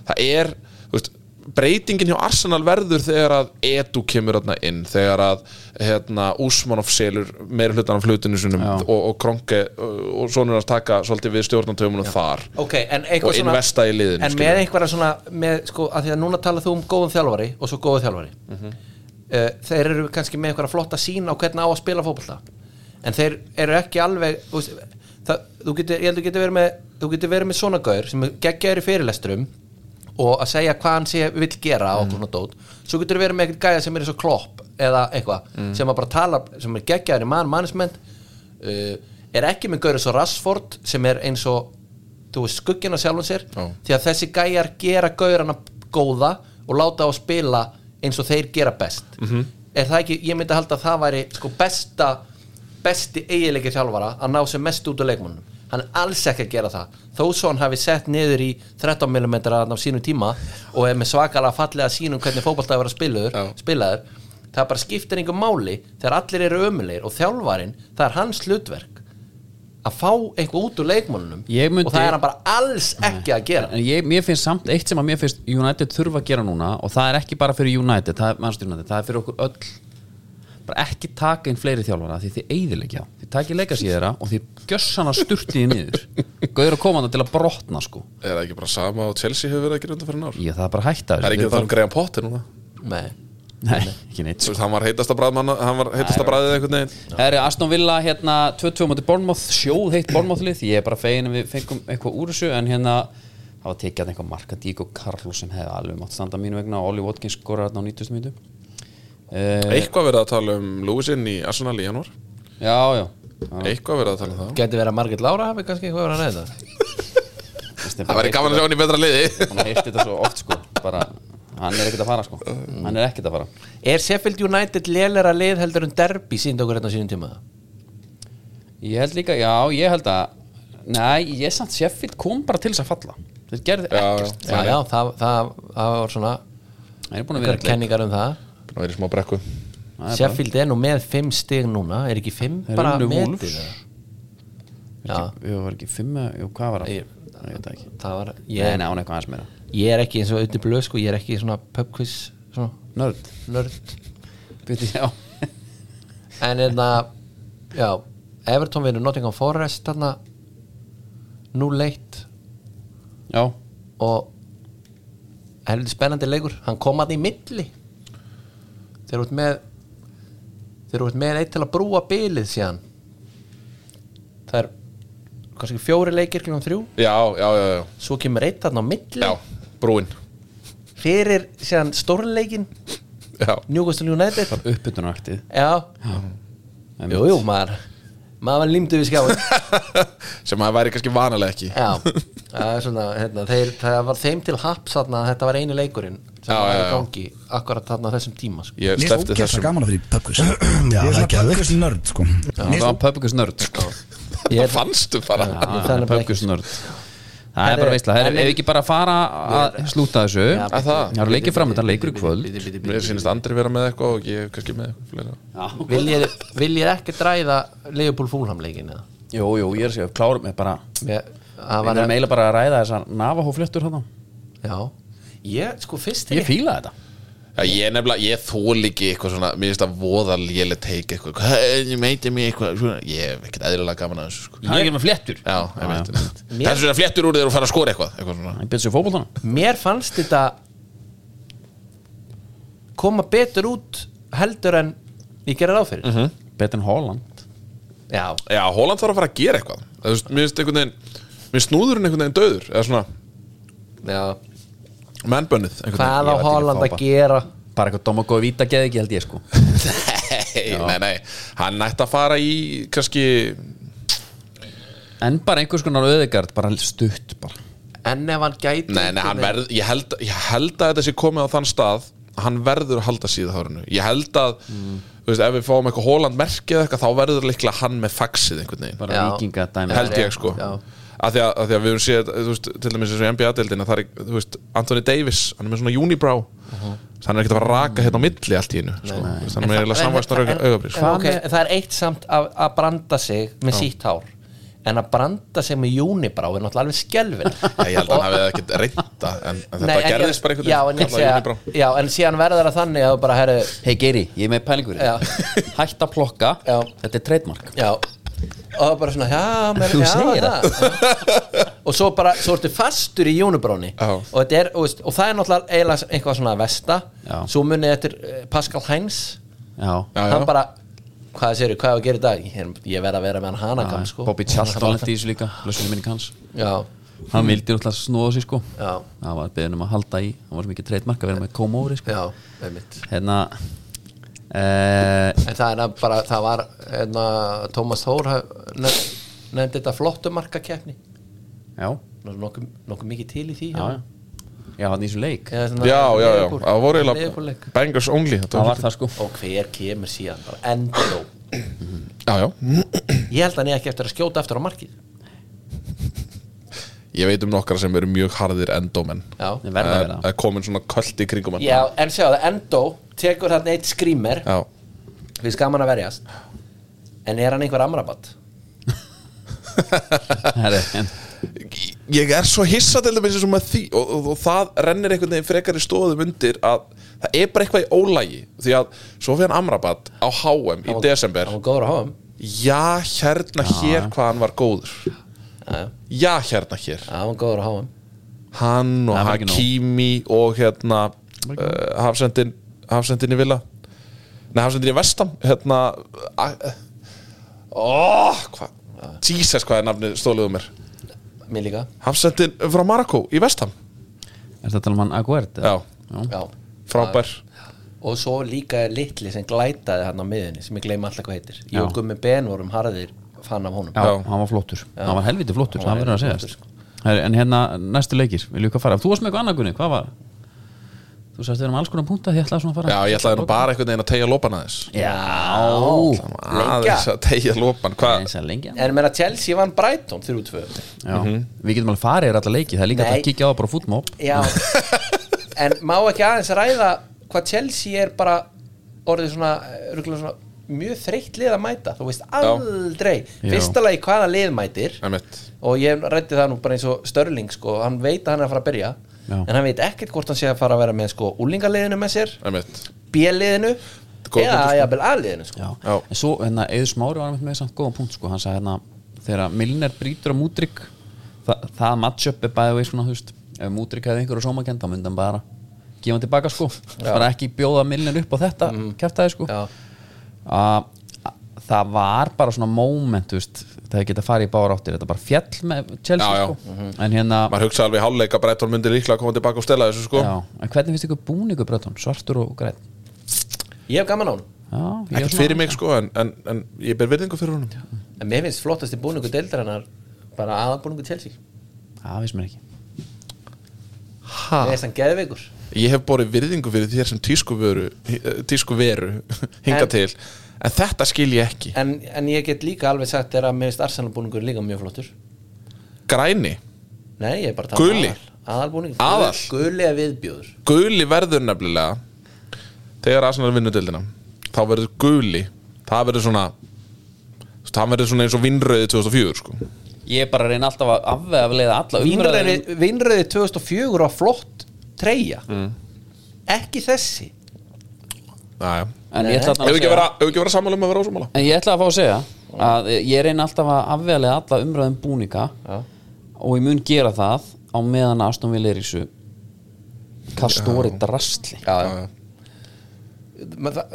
Speaker 2: það er, þú veist, breytingin hjá Arsenal verður þegar að Edu kemur þarna inn, þegar að hérna, Úsmanov selur meira hlutan af hlutinu sinum
Speaker 1: Já.
Speaker 2: og, og Kronke og, og sonur hans taka svolítið við stjórnantöfumunum þar
Speaker 3: Ok, en einhver
Speaker 2: og
Speaker 3: svona
Speaker 2: investa í liðinu
Speaker 3: En
Speaker 2: skilurðu.
Speaker 3: með einhverja svona með, sko, að Því að núna talað þú um góðum þjálfari og svo góðu þjálfari
Speaker 2: Mhm.
Speaker 3: uh, Þeir eru kannski með einhverja flotta sín á hvernig á að spila fótbolta En þeir eru ekki alveg Þú, veist, það, þú getur, ég held þú getur verið með Þú getur verið með svona gaur sem geggjaður í fyrirlesturum og að segja hvað hann sé vill gera
Speaker 2: Mhm.
Speaker 3: og svona dót Svo getur verið með eitthvað gæja sem er eins og klopp eða eitthvað
Speaker 2: Mhm.
Speaker 3: sem að bara tala sem er geggjaður í mann, mannismend uh, er ekki með gaur eins og Rashford sem er eins og þú veist skugginn á sjálfum sér
Speaker 2: Já.
Speaker 3: því að þessi gæjar gera gaurana góða og láta á að spila eins og þeir gera best
Speaker 2: Mhm.
Speaker 3: -hmm. er það ekki, ég myndi halda að það væri sko besta besti eiginleiki þjálfara að ná sem mest út á leikmannum hann er alls ekki að gera það þó svo hann hafi sett niður í 13mm á sínu tíma og er með svakalega fallega sínum hvernig fótbolta að vera spilaður,
Speaker 2: Já.
Speaker 3: spilaður það bara skiptir einhver máli þegar allir eru ömulegir og þjálfarin, það er hans hlutverk að fá eitthvað út úr leikmálunum
Speaker 1: Ég myndi-
Speaker 3: og það er hann bara alls ekki að gera
Speaker 1: en ég, mér finnst samt eitt sem að mér finnst United þurfa að gera núna og það er ekki bara fyrir United það er, Manchester United, það er fyrir okkur öll bara ekki taka inn fleiri þjálfara því þið eigðilegja, þið takið leikasíð þeirra og þið gjössana sturtiði niður gauður að koma það til að brotna sko
Speaker 2: er það ekki bara sama og Chelsea hefur verið að gera undanferðin ár
Speaker 1: ég það er bara að hætta
Speaker 2: það er ekki að það um greiðan potti núna
Speaker 3: Nei.
Speaker 1: Nei, ekki neitt
Speaker 2: Þú
Speaker 1: sko.
Speaker 2: veist, hann var heitasta bræð hann var heitasta bræðið einhvern veginn
Speaker 1: Það eru Aston Villa hérna 22 mútið Bornmoth, sjóð heitt Bornmothlið ég er bara fegin að við fengum eitthvað úr þessu en hérna það var tekið að einhver marka Díko Carlos sem hefði alveg mátt standa mínu vegna og Ollie Watkins skorar hérna á 90. mínu uh,
Speaker 2: eitthvað verið að tala um Lewisinn í Arsenal í janúar
Speaker 1: Já, já
Speaker 2: eitthvað verið að tala um það
Speaker 3: Gæti verið að Margit Lára hafi kannski eitthvað verið að reyða
Speaker 2: það væri gaman að sjá hann í betra liði
Speaker 1: Hann heilt þetta svo oft sko bara, Hann er ekkert að fara sko Hann er ekkert að fara
Speaker 3: Er Sheffield United lélera lið heldur en derbi sínd okkur hérna á sínum tíma
Speaker 1: Ég held líka, já, ég held að Nei, ég samt Sheffield kom bara til þess að falla Þeir gerði
Speaker 2: Já,
Speaker 1: ekkert
Speaker 3: Já, já, það, það, það var svona
Speaker 1: Það er búin að vera
Speaker 3: einhverjar
Speaker 1: eitt leik.
Speaker 3: kenningar um það
Speaker 2: það væri smá brekku
Speaker 1: Það er bara-
Speaker 3: Sheffield er nú með 5 stig núna er ekki 5
Speaker 1: Þeir
Speaker 3: bara
Speaker 1: unnu
Speaker 3: metið
Speaker 1: Wolves.
Speaker 3: eða?
Speaker 1: Var ekki- Jú, var ekki fimm eða- Jú, hvað var það?
Speaker 3: Ég-
Speaker 1: Nei, Ég veit það ekki
Speaker 3: það var,
Speaker 1: Nei,
Speaker 3: ég,
Speaker 1: nei, hún er eitthvað aðeins meira
Speaker 3: ég er ekki eins og auðvitað blöð sko, ég er ekki svona pubquiz svona
Speaker 1: Nörd
Speaker 3: nörd
Speaker 1: Býtti, já
Speaker 3: En hérna Já, Everton vinnur Nottingham Forest þarna 0-1
Speaker 1: Já
Speaker 3: og heldur spennandi leikur hann kom að í milli þeir eru út með þeir eru út með eitt til að brúa bilið síðan það er kannski fjóri leikir kljóðan þrjú
Speaker 2: já, já, já, já,
Speaker 3: svo kemur eitt þarna á milli
Speaker 2: já brúinn
Speaker 3: fyrir síðan stórleikin
Speaker 2: já,
Speaker 3: Newcastle United
Speaker 1: Uppbytunaktið
Speaker 3: já, jú, jú, maður maður var límdu við skjáin
Speaker 2: sem að væri kannski vanalega ekki
Speaker 3: Já, það er svona, hérna, þeir, það var þeim til haps þarna, að þetta var eini leikurinn sem
Speaker 2: Já, já,
Speaker 3: var í
Speaker 2: já.
Speaker 3: gangi akkurat þarna á þessum tíma sko.
Speaker 2: ég
Speaker 5: Mér er
Speaker 2: slefti
Speaker 5: ógæst að
Speaker 2: þessum
Speaker 5: gaman að fyrir pubquiz
Speaker 6: Já,
Speaker 5: Ég er
Speaker 6: það er
Speaker 5: svona
Speaker 6: geðveikt.
Speaker 5: pubquiz nörd sko
Speaker 1: Það var pöpingus nörd
Speaker 3: Ég
Speaker 2: það
Speaker 3: er
Speaker 2: fannstu bara
Speaker 3: það er bara
Speaker 1: Pöpingus nörd Það er
Speaker 3: Herri,
Speaker 1: bara veistla Það
Speaker 3: en-
Speaker 1: er ef ekki bara að fara að slúta þessu
Speaker 2: að það?
Speaker 1: Það eru leikið fram Þetta leikur í kvöld
Speaker 3: Bíddu, bíddu, bíddu,
Speaker 2: mér sínist Andri vera með eitthvað og ég kannski með eitthvað fleira
Speaker 3: bíddu. Viljið vilji ekki dræða Leopold Fúlham leikin eða?
Speaker 1: Jú, jú, ég er að segja Klárum við bara
Speaker 3: Ég- Það
Speaker 1: Við
Speaker 3: var
Speaker 1: erum eiginlega bara að ræða þessar Navahóflöttur þarna
Speaker 3: Já, ég, sko, fyrst
Speaker 1: Ég
Speaker 3: þegar
Speaker 1: fíla þetta
Speaker 2: Já, ég nefnilega, ég þól ekki eitthvað svona, mér finnst að voða léle teik eitthvað, hvað, eh, ég meiti mig eitthvað, svona, ég hef ekkert eðlilega gaman að þessu, sko.
Speaker 1: Það er ekki með fléttur
Speaker 2: Já, ég veit, það er svona fléttur úr þér og fara að skora eitthvað, eitthvað svona.
Speaker 1: Það er betur sér fótboltana
Speaker 3: Mér fannst þetta koma betur út heldur en ég gerði ráð fyrir
Speaker 2: Mhm.
Speaker 1: Betur en Holland
Speaker 3: já,
Speaker 2: Já, Holland þarf að fara að gera eitthvað Það, þú veist, Mér finnst einhvern veginn Mér snúðurinn einhvern veginn döður Eða svona
Speaker 3: já
Speaker 2: mennbönnið
Speaker 3: Hvað á
Speaker 1: veit ekki,
Speaker 3: Holland
Speaker 1: fápa.
Speaker 3: að gera?
Speaker 1: bara eitthvað doma góð víta geði ekki held ég sko
Speaker 2: Nei, nei, nei Hann nætti að fara í kannski
Speaker 1: en bara einhvers konar öðegard bara stutt bara
Speaker 3: En ef hann gæti
Speaker 2: Nei, nei, hann verð ég held, ég held að þetta sé komið á þann stað að Hann verður að halda síða hárinu Ég held að
Speaker 3: Mm.
Speaker 2: Þú veist, ef við fáum eitthvað Holland merkið eða eitthvað Þá verður líklega hann með faxið einhvern veginn
Speaker 1: bara
Speaker 3: Já.
Speaker 1: vikingadæmi
Speaker 2: held ég sko
Speaker 3: Já.
Speaker 2: að því að, að því að við höfum séð þú veist, til dæmis eins og í NBA-deildina þar er, þú veist, Anthony Davis, hann er með svona unibrow hann er ekkert að fara að raka hérna á milli allt í hennu, sko, Þú veist, hann er eiginlega samvæsnar augabrís
Speaker 3: Já, ok, Það er eitt samt að, að branda sig með sítt hár En að branda sig með júnibrá er náttúrulega alveg skelfin
Speaker 2: ég held að hann hefði ekkert reynda en, en
Speaker 3: Nei,
Speaker 2: þetta
Speaker 3: en-
Speaker 2: gerðist bara
Speaker 3: já, en,
Speaker 2: einhvern
Speaker 3: ég segja,
Speaker 2: unibrow
Speaker 3: já, en síðan verður það þannig að þú bara herri,
Speaker 1: hei Geiri, ég er með pælingur í
Speaker 3: Já.
Speaker 1: þér. hætt að plokka,
Speaker 3: Já.
Speaker 1: þetta er trademark
Speaker 3: já, og það er bara svona já, mér,
Speaker 1: Þú
Speaker 3: já,
Speaker 1: segir
Speaker 3: það. og svo bara, svo ertu fastur í júnubráni
Speaker 2: Já.
Speaker 3: og, þetta er, og, veist, og það er náttúrulega eiginlega eitthvað svona vesta
Speaker 1: Já.
Speaker 3: svo munið eftir eh, Pascal Heinz
Speaker 1: já,
Speaker 2: Já, já.
Speaker 3: hann bara, hvað séru, hvað á að gera í dag ég, ég verð að vera með hann hana kam, sko.
Speaker 1: Bobby Charlton lendi í þessu líka blössunum minni kanns,
Speaker 3: já,
Speaker 1: hann vildi náttúrulega snóða sig sko
Speaker 3: já,
Speaker 1: það var beðin um að halda í, hann var svo mikið trademark að vera með komóri sko
Speaker 3: já, einmitt
Speaker 1: hérna eh,
Speaker 3: en það er að bara, það var hérna, Thomas Þór haf- nef- nefndi þetta flottumarkakeppni
Speaker 1: já,
Speaker 3: nokkuð nokku mikið til í því
Speaker 1: já, já
Speaker 3: hérna.
Speaker 1: já, hann í þessu leik,
Speaker 3: Eða svona-
Speaker 2: já, já, já,
Speaker 3: Liverpool.
Speaker 2: það voru
Speaker 3: Liverpool-leik.
Speaker 2: eiginlega bangers only
Speaker 1: það
Speaker 2: þetta
Speaker 1: var það sko
Speaker 3: og hver kemur síðan bara endó
Speaker 2: já, já,
Speaker 3: ég held að hann er ekki eftir að skjóta aftur á markið
Speaker 2: ég veit um nokkra sem eru mjög harðir endómen
Speaker 1: Nei,
Speaker 3: já,
Speaker 1: verða að vera
Speaker 2: að komin svona köld í kringum hann.
Speaker 3: já en sjáðu endó tekur hann eitt skrýmer
Speaker 2: já,
Speaker 3: við skaman að verjast en er hann einhver amrabat
Speaker 1: Herri, en,
Speaker 2: ég er svo hissa til dæmis eins og með því og, og, og það rennir einhvern veginn frekar í stóðum undir að það er bara eitthvað í ólægi því að svo fyrir hann Amrabat á HM í desember
Speaker 3: hann var góður á háum
Speaker 2: já hérna hér hvað hann var góður
Speaker 3: já,
Speaker 2: já hérna hér
Speaker 3: já, hann var góður á háum
Speaker 2: hann og
Speaker 1: Það var ekki nóg.
Speaker 2: Hakimi og hérna uh, hafsendin hafsendin í Villa nei hafsendin í Vestam hérna uh, oh, hvað Jesus hvað er nafnið stóluðum mér
Speaker 3: mér líka
Speaker 2: hafsendin frá Marokko í Vestam
Speaker 1: er þetta tala um hann Aguert? eða?
Speaker 2: já
Speaker 1: já.
Speaker 3: já.
Speaker 2: frábær
Speaker 3: og svo líka litli sem glætaði hann á miðinni sem ég gleyma alltaf hvað heitir ég
Speaker 1: Já.
Speaker 3: og Gummi Ben vorum harðir fann af honum
Speaker 1: Já,
Speaker 2: Já.
Speaker 1: hann var flottur, hann var helviti flottur
Speaker 3: Hann var
Speaker 1: hann verður að
Speaker 3: helviti
Speaker 1: segja Herri, en hérna næstu leikir, viljum við hvað fara þú varst með eitthvað annað Gunni, hvað var þú sagðist þér um alls konar punta, ég ætlaði svona að fara
Speaker 2: Já, ég ætlaði nú bara einhvern veginn að tegja lópan aðeins
Speaker 1: já,
Speaker 2: Aðeins að tegja lópan Hvað?
Speaker 1: eins að lengja
Speaker 3: en meira Chelsea vann Brighton 3-2
Speaker 1: já. við getum alveg farið yfir alla leiki, það er líka
Speaker 3: Nei.
Speaker 1: hægt að kíkja á það bara fútmó
Speaker 3: Já En má ekki aðeins ræða hvað Chelsea er bara orðið svona, örugglega svona mjög þreytt lið að mæta, þú veist aldrei
Speaker 1: Já.
Speaker 3: fyrsta lagi hvaða lið mætir
Speaker 2: Einmitt.
Speaker 3: og ég rætti það nú bara eins og Störling sko, hann veit að hann er að fara að byrja
Speaker 1: Já.
Speaker 3: en hann veit ekkert hvort hann sé að fara að vera með sko úlingaliðinu með sér,
Speaker 2: Einmitt.
Speaker 3: B-liðinu
Speaker 2: Góð
Speaker 3: eða
Speaker 2: punktur, sko.
Speaker 3: jafnvel A-liðinu sko
Speaker 1: Já.
Speaker 2: Já.
Speaker 1: en svo hérna Eður Smári var einmitt með samt góðan punkt sko. hann sagði hérna þegar Milner brýtur á Múdrygg það, það matchup er bæði veið svona þú veist ef Múdrygg hefði einhverju sómakend þá myndi hann bara gefa hann tilbaka sko bara ekki bjóða Milner upp á þetta mm. kæftæði sko
Speaker 3: Já.
Speaker 1: að að það var bara svona moment þú veist það hefði getað farið í bára áttir þetta bara fjall með Chelsea
Speaker 2: Já, Mhm. já.
Speaker 1: sko en hérna
Speaker 2: Maður hugsaði alveg í hálfleik að Breitón myndi líklega að koma tilbaka og stela þessu sko
Speaker 1: já, en hvernig finnst ykkur búningu brötun svartur og græn
Speaker 3: Ég hef gaman á hann,
Speaker 1: já, ég er
Speaker 2: Ekkert
Speaker 1: svona-
Speaker 2: fyrir mig sko En, en, en ég ber virðingu fyrir honum
Speaker 3: en mér finnst flottasti búningu deildar hennar bara aðabúningu Chelsea
Speaker 1: já, finnst mér ekki
Speaker 2: ha.
Speaker 3: Mér finnst hann geðveikur
Speaker 2: Ég hef borið virðingu fyrir þér sem tísku veru Tísku veru Hinga
Speaker 3: En-
Speaker 2: til En þetta skil ég ekki
Speaker 3: en, en ég get líka alveg sagt er að mér finnst Arsenalbúningur líka mjög flottur
Speaker 2: Græni
Speaker 3: Nei, ég er bara að um
Speaker 2: Guli?
Speaker 3: Aðalbúningur
Speaker 2: Aðal?
Speaker 3: Guli er viðbjóður
Speaker 2: Guli verður nefnilega Þegar Arsenal vinnur dildina Þá verður guli Það verður svona Það verður svona eins og vinnröði 2004 sko
Speaker 1: ég er bara að reyna alltaf að afvega alla umræður
Speaker 3: Vinröði, vinröði 2004 var flott treyja Ekki þessi
Speaker 2: Næja
Speaker 1: En ég ætla
Speaker 2: Ef
Speaker 1: að
Speaker 2: ekki
Speaker 1: segja
Speaker 2: vera, ef ekki vera sammála um að Mm. vera ósamála
Speaker 1: En ég ætla að fá að segja að ég reyna alltaf að afvegalega alla umræðum búninga og ég mun gera það á meðan Aston Villa er í þessu kastóri drastli
Speaker 3: Já, já. Ma- þa-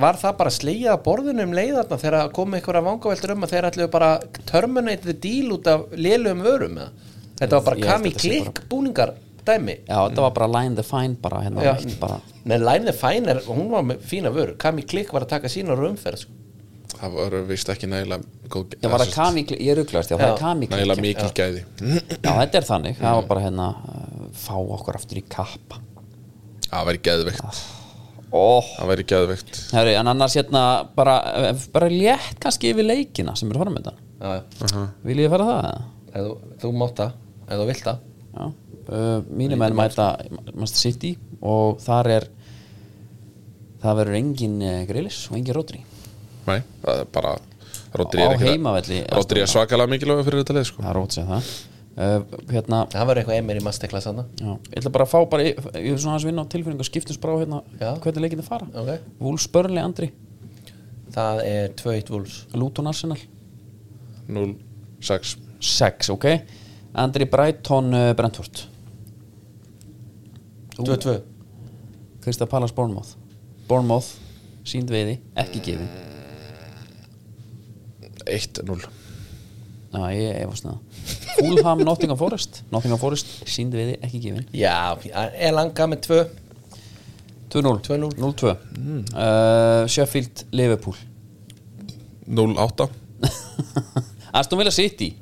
Speaker 3: var það bara slegið að borðunum leiðarna þegar kom einhverja vangaveltur um að þeir ætluðu bara terminate the deal út af lélugum vörum eða? þetta var
Speaker 1: Ég
Speaker 3: bara
Speaker 1: held
Speaker 3: kami
Speaker 1: þetta sé
Speaker 3: klikk búningar dæmi
Speaker 1: Já, þetta var bara line the fine bara hérna
Speaker 3: Já.
Speaker 1: allt bara,
Speaker 3: Nei, Line the Finer, hún var með fína vörur Kami Klikk var að taka sína rumferð sko.
Speaker 2: það var vist ekki nægilega góð,
Speaker 1: Það var að kami, ég ruglaðist, já, það
Speaker 3: Já.
Speaker 1: er kami
Speaker 2: nægilega Mm. mikil gæði Hm?
Speaker 1: Já, þetta er þannig, það var bara hérna uh, fá okkur aftur í kappa
Speaker 2: það væri
Speaker 1: Ah.
Speaker 2: geðveikt
Speaker 1: Óh
Speaker 2: það væri geðveikt
Speaker 1: Herri, en annars hérna bara, bara létt kannski yfir leikina sem eru framöndan
Speaker 3: Já, já.
Speaker 2: Mhm.
Speaker 1: Viljið þið fara það? eða?
Speaker 3: Ef þú, þú mátt það, ef þú vilt það
Speaker 1: Já, uh, mínu menn mæta Master City og þar er það verður engin uh, grillis og engin rótri
Speaker 2: Nei, það er bara Rodri
Speaker 1: Á
Speaker 2: er ekki
Speaker 1: heimavelli,
Speaker 2: Rodri er
Speaker 1: Aston
Speaker 2: svakalega mikilvæg fyrir þetta lið sko.
Speaker 1: það er rótri sem það uh, hérna,
Speaker 3: Það var eitthvað emir í masterclass hann
Speaker 1: já, ég ætla bara að fá bara, ég ég vil svona hans vinna á tilfinningu skiptum sprá hérna,
Speaker 3: Já.
Speaker 1: hvernig leikin þið fara
Speaker 3: Ok.
Speaker 1: Wolves Burnley Andri,
Speaker 3: Það er 2-1 Wolves
Speaker 1: Luton Arsenal
Speaker 2: 0-6
Speaker 1: 6, ok Andri Brighton uh, Brentford
Speaker 3: 2-2
Speaker 1: Krista Pallas Bournemouth Bournemouth, sínd veiði, ekki gefin
Speaker 2: 1-0
Speaker 1: Já, ég efast neða Fulham, Nottingham Forest Nottingham Forest, sínd veiði, ekki gefin
Speaker 3: Já, Elanga með 2
Speaker 1: 2-0
Speaker 3: 2-0.
Speaker 1: 0-2
Speaker 3: Mm.
Speaker 1: uh, Sheffield, Liverpool
Speaker 2: 0-8
Speaker 1: Aston Villa City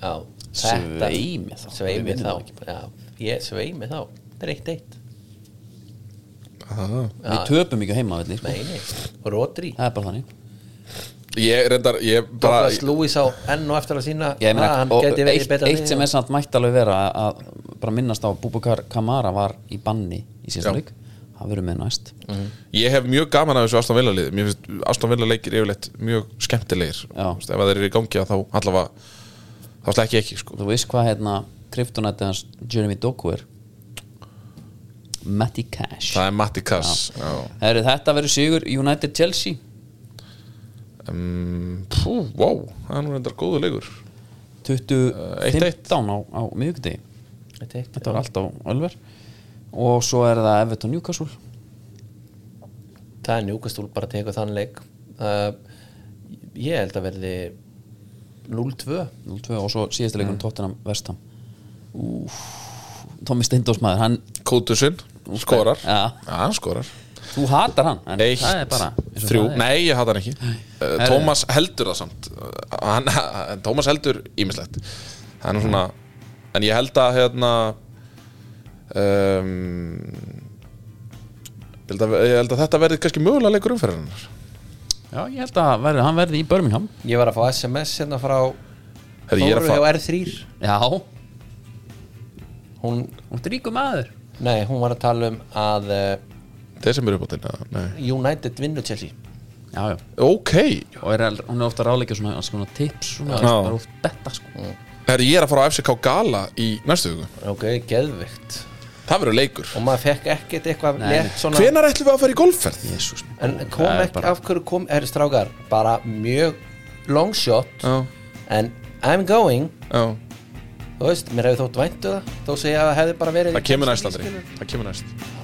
Speaker 3: Já, þetta
Speaker 1: Sveimi þá Við
Speaker 3: Sveimi
Speaker 1: vinnum
Speaker 3: þá
Speaker 1: það ekki.
Speaker 3: Já, ég sveimi þá Það er eitt eitt
Speaker 2: Ah.
Speaker 1: Við töpum ekki á heimavelli sko.
Speaker 3: Nei, nei, Rodri
Speaker 1: Það er bara þannig
Speaker 2: Ég reyndar Ég bara
Speaker 3: Douglas Lewis á enn og eftir að sína
Speaker 1: Ég meina,
Speaker 3: að Ah, hann
Speaker 1: og
Speaker 3: geti verið
Speaker 1: eitt,
Speaker 3: betra
Speaker 1: eitt sem er samt mætt alveg vera að bara minnast á að Bubakar Kamara var í banni í síðasta
Speaker 2: Já.
Speaker 1: leik Það verður með næst
Speaker 3: Mm.
Speaker 2: Ég hef mjög gaman af þessu Aston Villa liði Mér finnst Aston Villa leikir yfirleitt mjög skemmtilegir
Speaker 1: Já.
Speaker 2: Þú veist, Ef þeir eru í gangi að þá allavega þá slekki ekki sko.
Speaker 1: Þú veist hvað hérna kryptonætti hans Jeremy Doku er Matty Cash
Speaker 2: Það er Matti Kass Já.
Speaker 1: Herri, þetta verður sigur United Chelsea
Speaker 3: Eh,
Speaker 2: Um, Pú, wow, það er nú reyndar góðu leikur
Speaker 1: 2015 á, á miðvikudegi
Speaker 3: Eitt eitt
Speaker 1: þetta var allt á Ölver og svo er það Everton Newcastle
Speaker 3: Það er njúkastúl bara að teka þann leik uh, Ég held að verði 0-2
Speaker 1: 0-2 og svo síðasta leikunum Tottenham Vestham Úf, Tommy Steindós maður hann,
Speaker 2: Kótusinn, skorar
Speaker 1: Já.
Speaker 2: hann skorar
Speaker 1: þú hatar hann en
Speaker 2: Eitt,
Speaker 1: það er bara eins og
Speaker 2: þrjú,
Speaker 1: það er.
Speaker 2: nei ég hata hann ekki uh, Tómas heldur það samt Uh, hann, hann- Tómas heldur ímislegt hann er svona en ég held að hérna um, ég, held að, ég held að þetta verði kannski mögulega leikur umferðarinnar
Speaker 1: já, ég held að verði, hann verði í Birmingham
Speaker 3: Ég var að fá SMS hérna frá
Speaker 2: Herri, ég er að
Speaker 3: Þóru
Speaker 2: fara
Speaker 3: hjá R3
Speaker 1: já,
Speaker 3: hún,
Speaker 1: hún er ríku maður
Speaker 3: Nei, hún var að tala um að uh,
Speaker 2: desember uppáttinn eða? Nei.
Speaker 3: United vinnur Chelsea
Speaker 1: já, já.
Speaker 2: ok,
Speaker 1: og er, hún er ofta ráleika svona, svona tips svona,
Speaker 2: Já.
Speaker 1: það er oft betta sko.
Speaker 2: Herri, ég er að fara á FCK Gala í næstu hugu
Speaker 3: Ok, geðvikt
Speaker 2: það verður leikur
Speaker 3: Og maður fekk ekkert eitthvað létt svona
Speaker 2: hvenar ætlum við að fara í golfferð?
Speaker 1: Jesus, minn.
Speaker 3: En kom
Speaker 1: Það er
Speaker 3: ekki, af hverju kom, er strákar Bara mjög long shot
Speaker 2: Já,
Speaker 3: En I'm going
Speaker 2: já,
Speaker 3: Þú veist, mér hefði þótt væntu það um Þó segja að það hefði bara verið
Speaker 2: é það kemur næst aldrei það kemur næst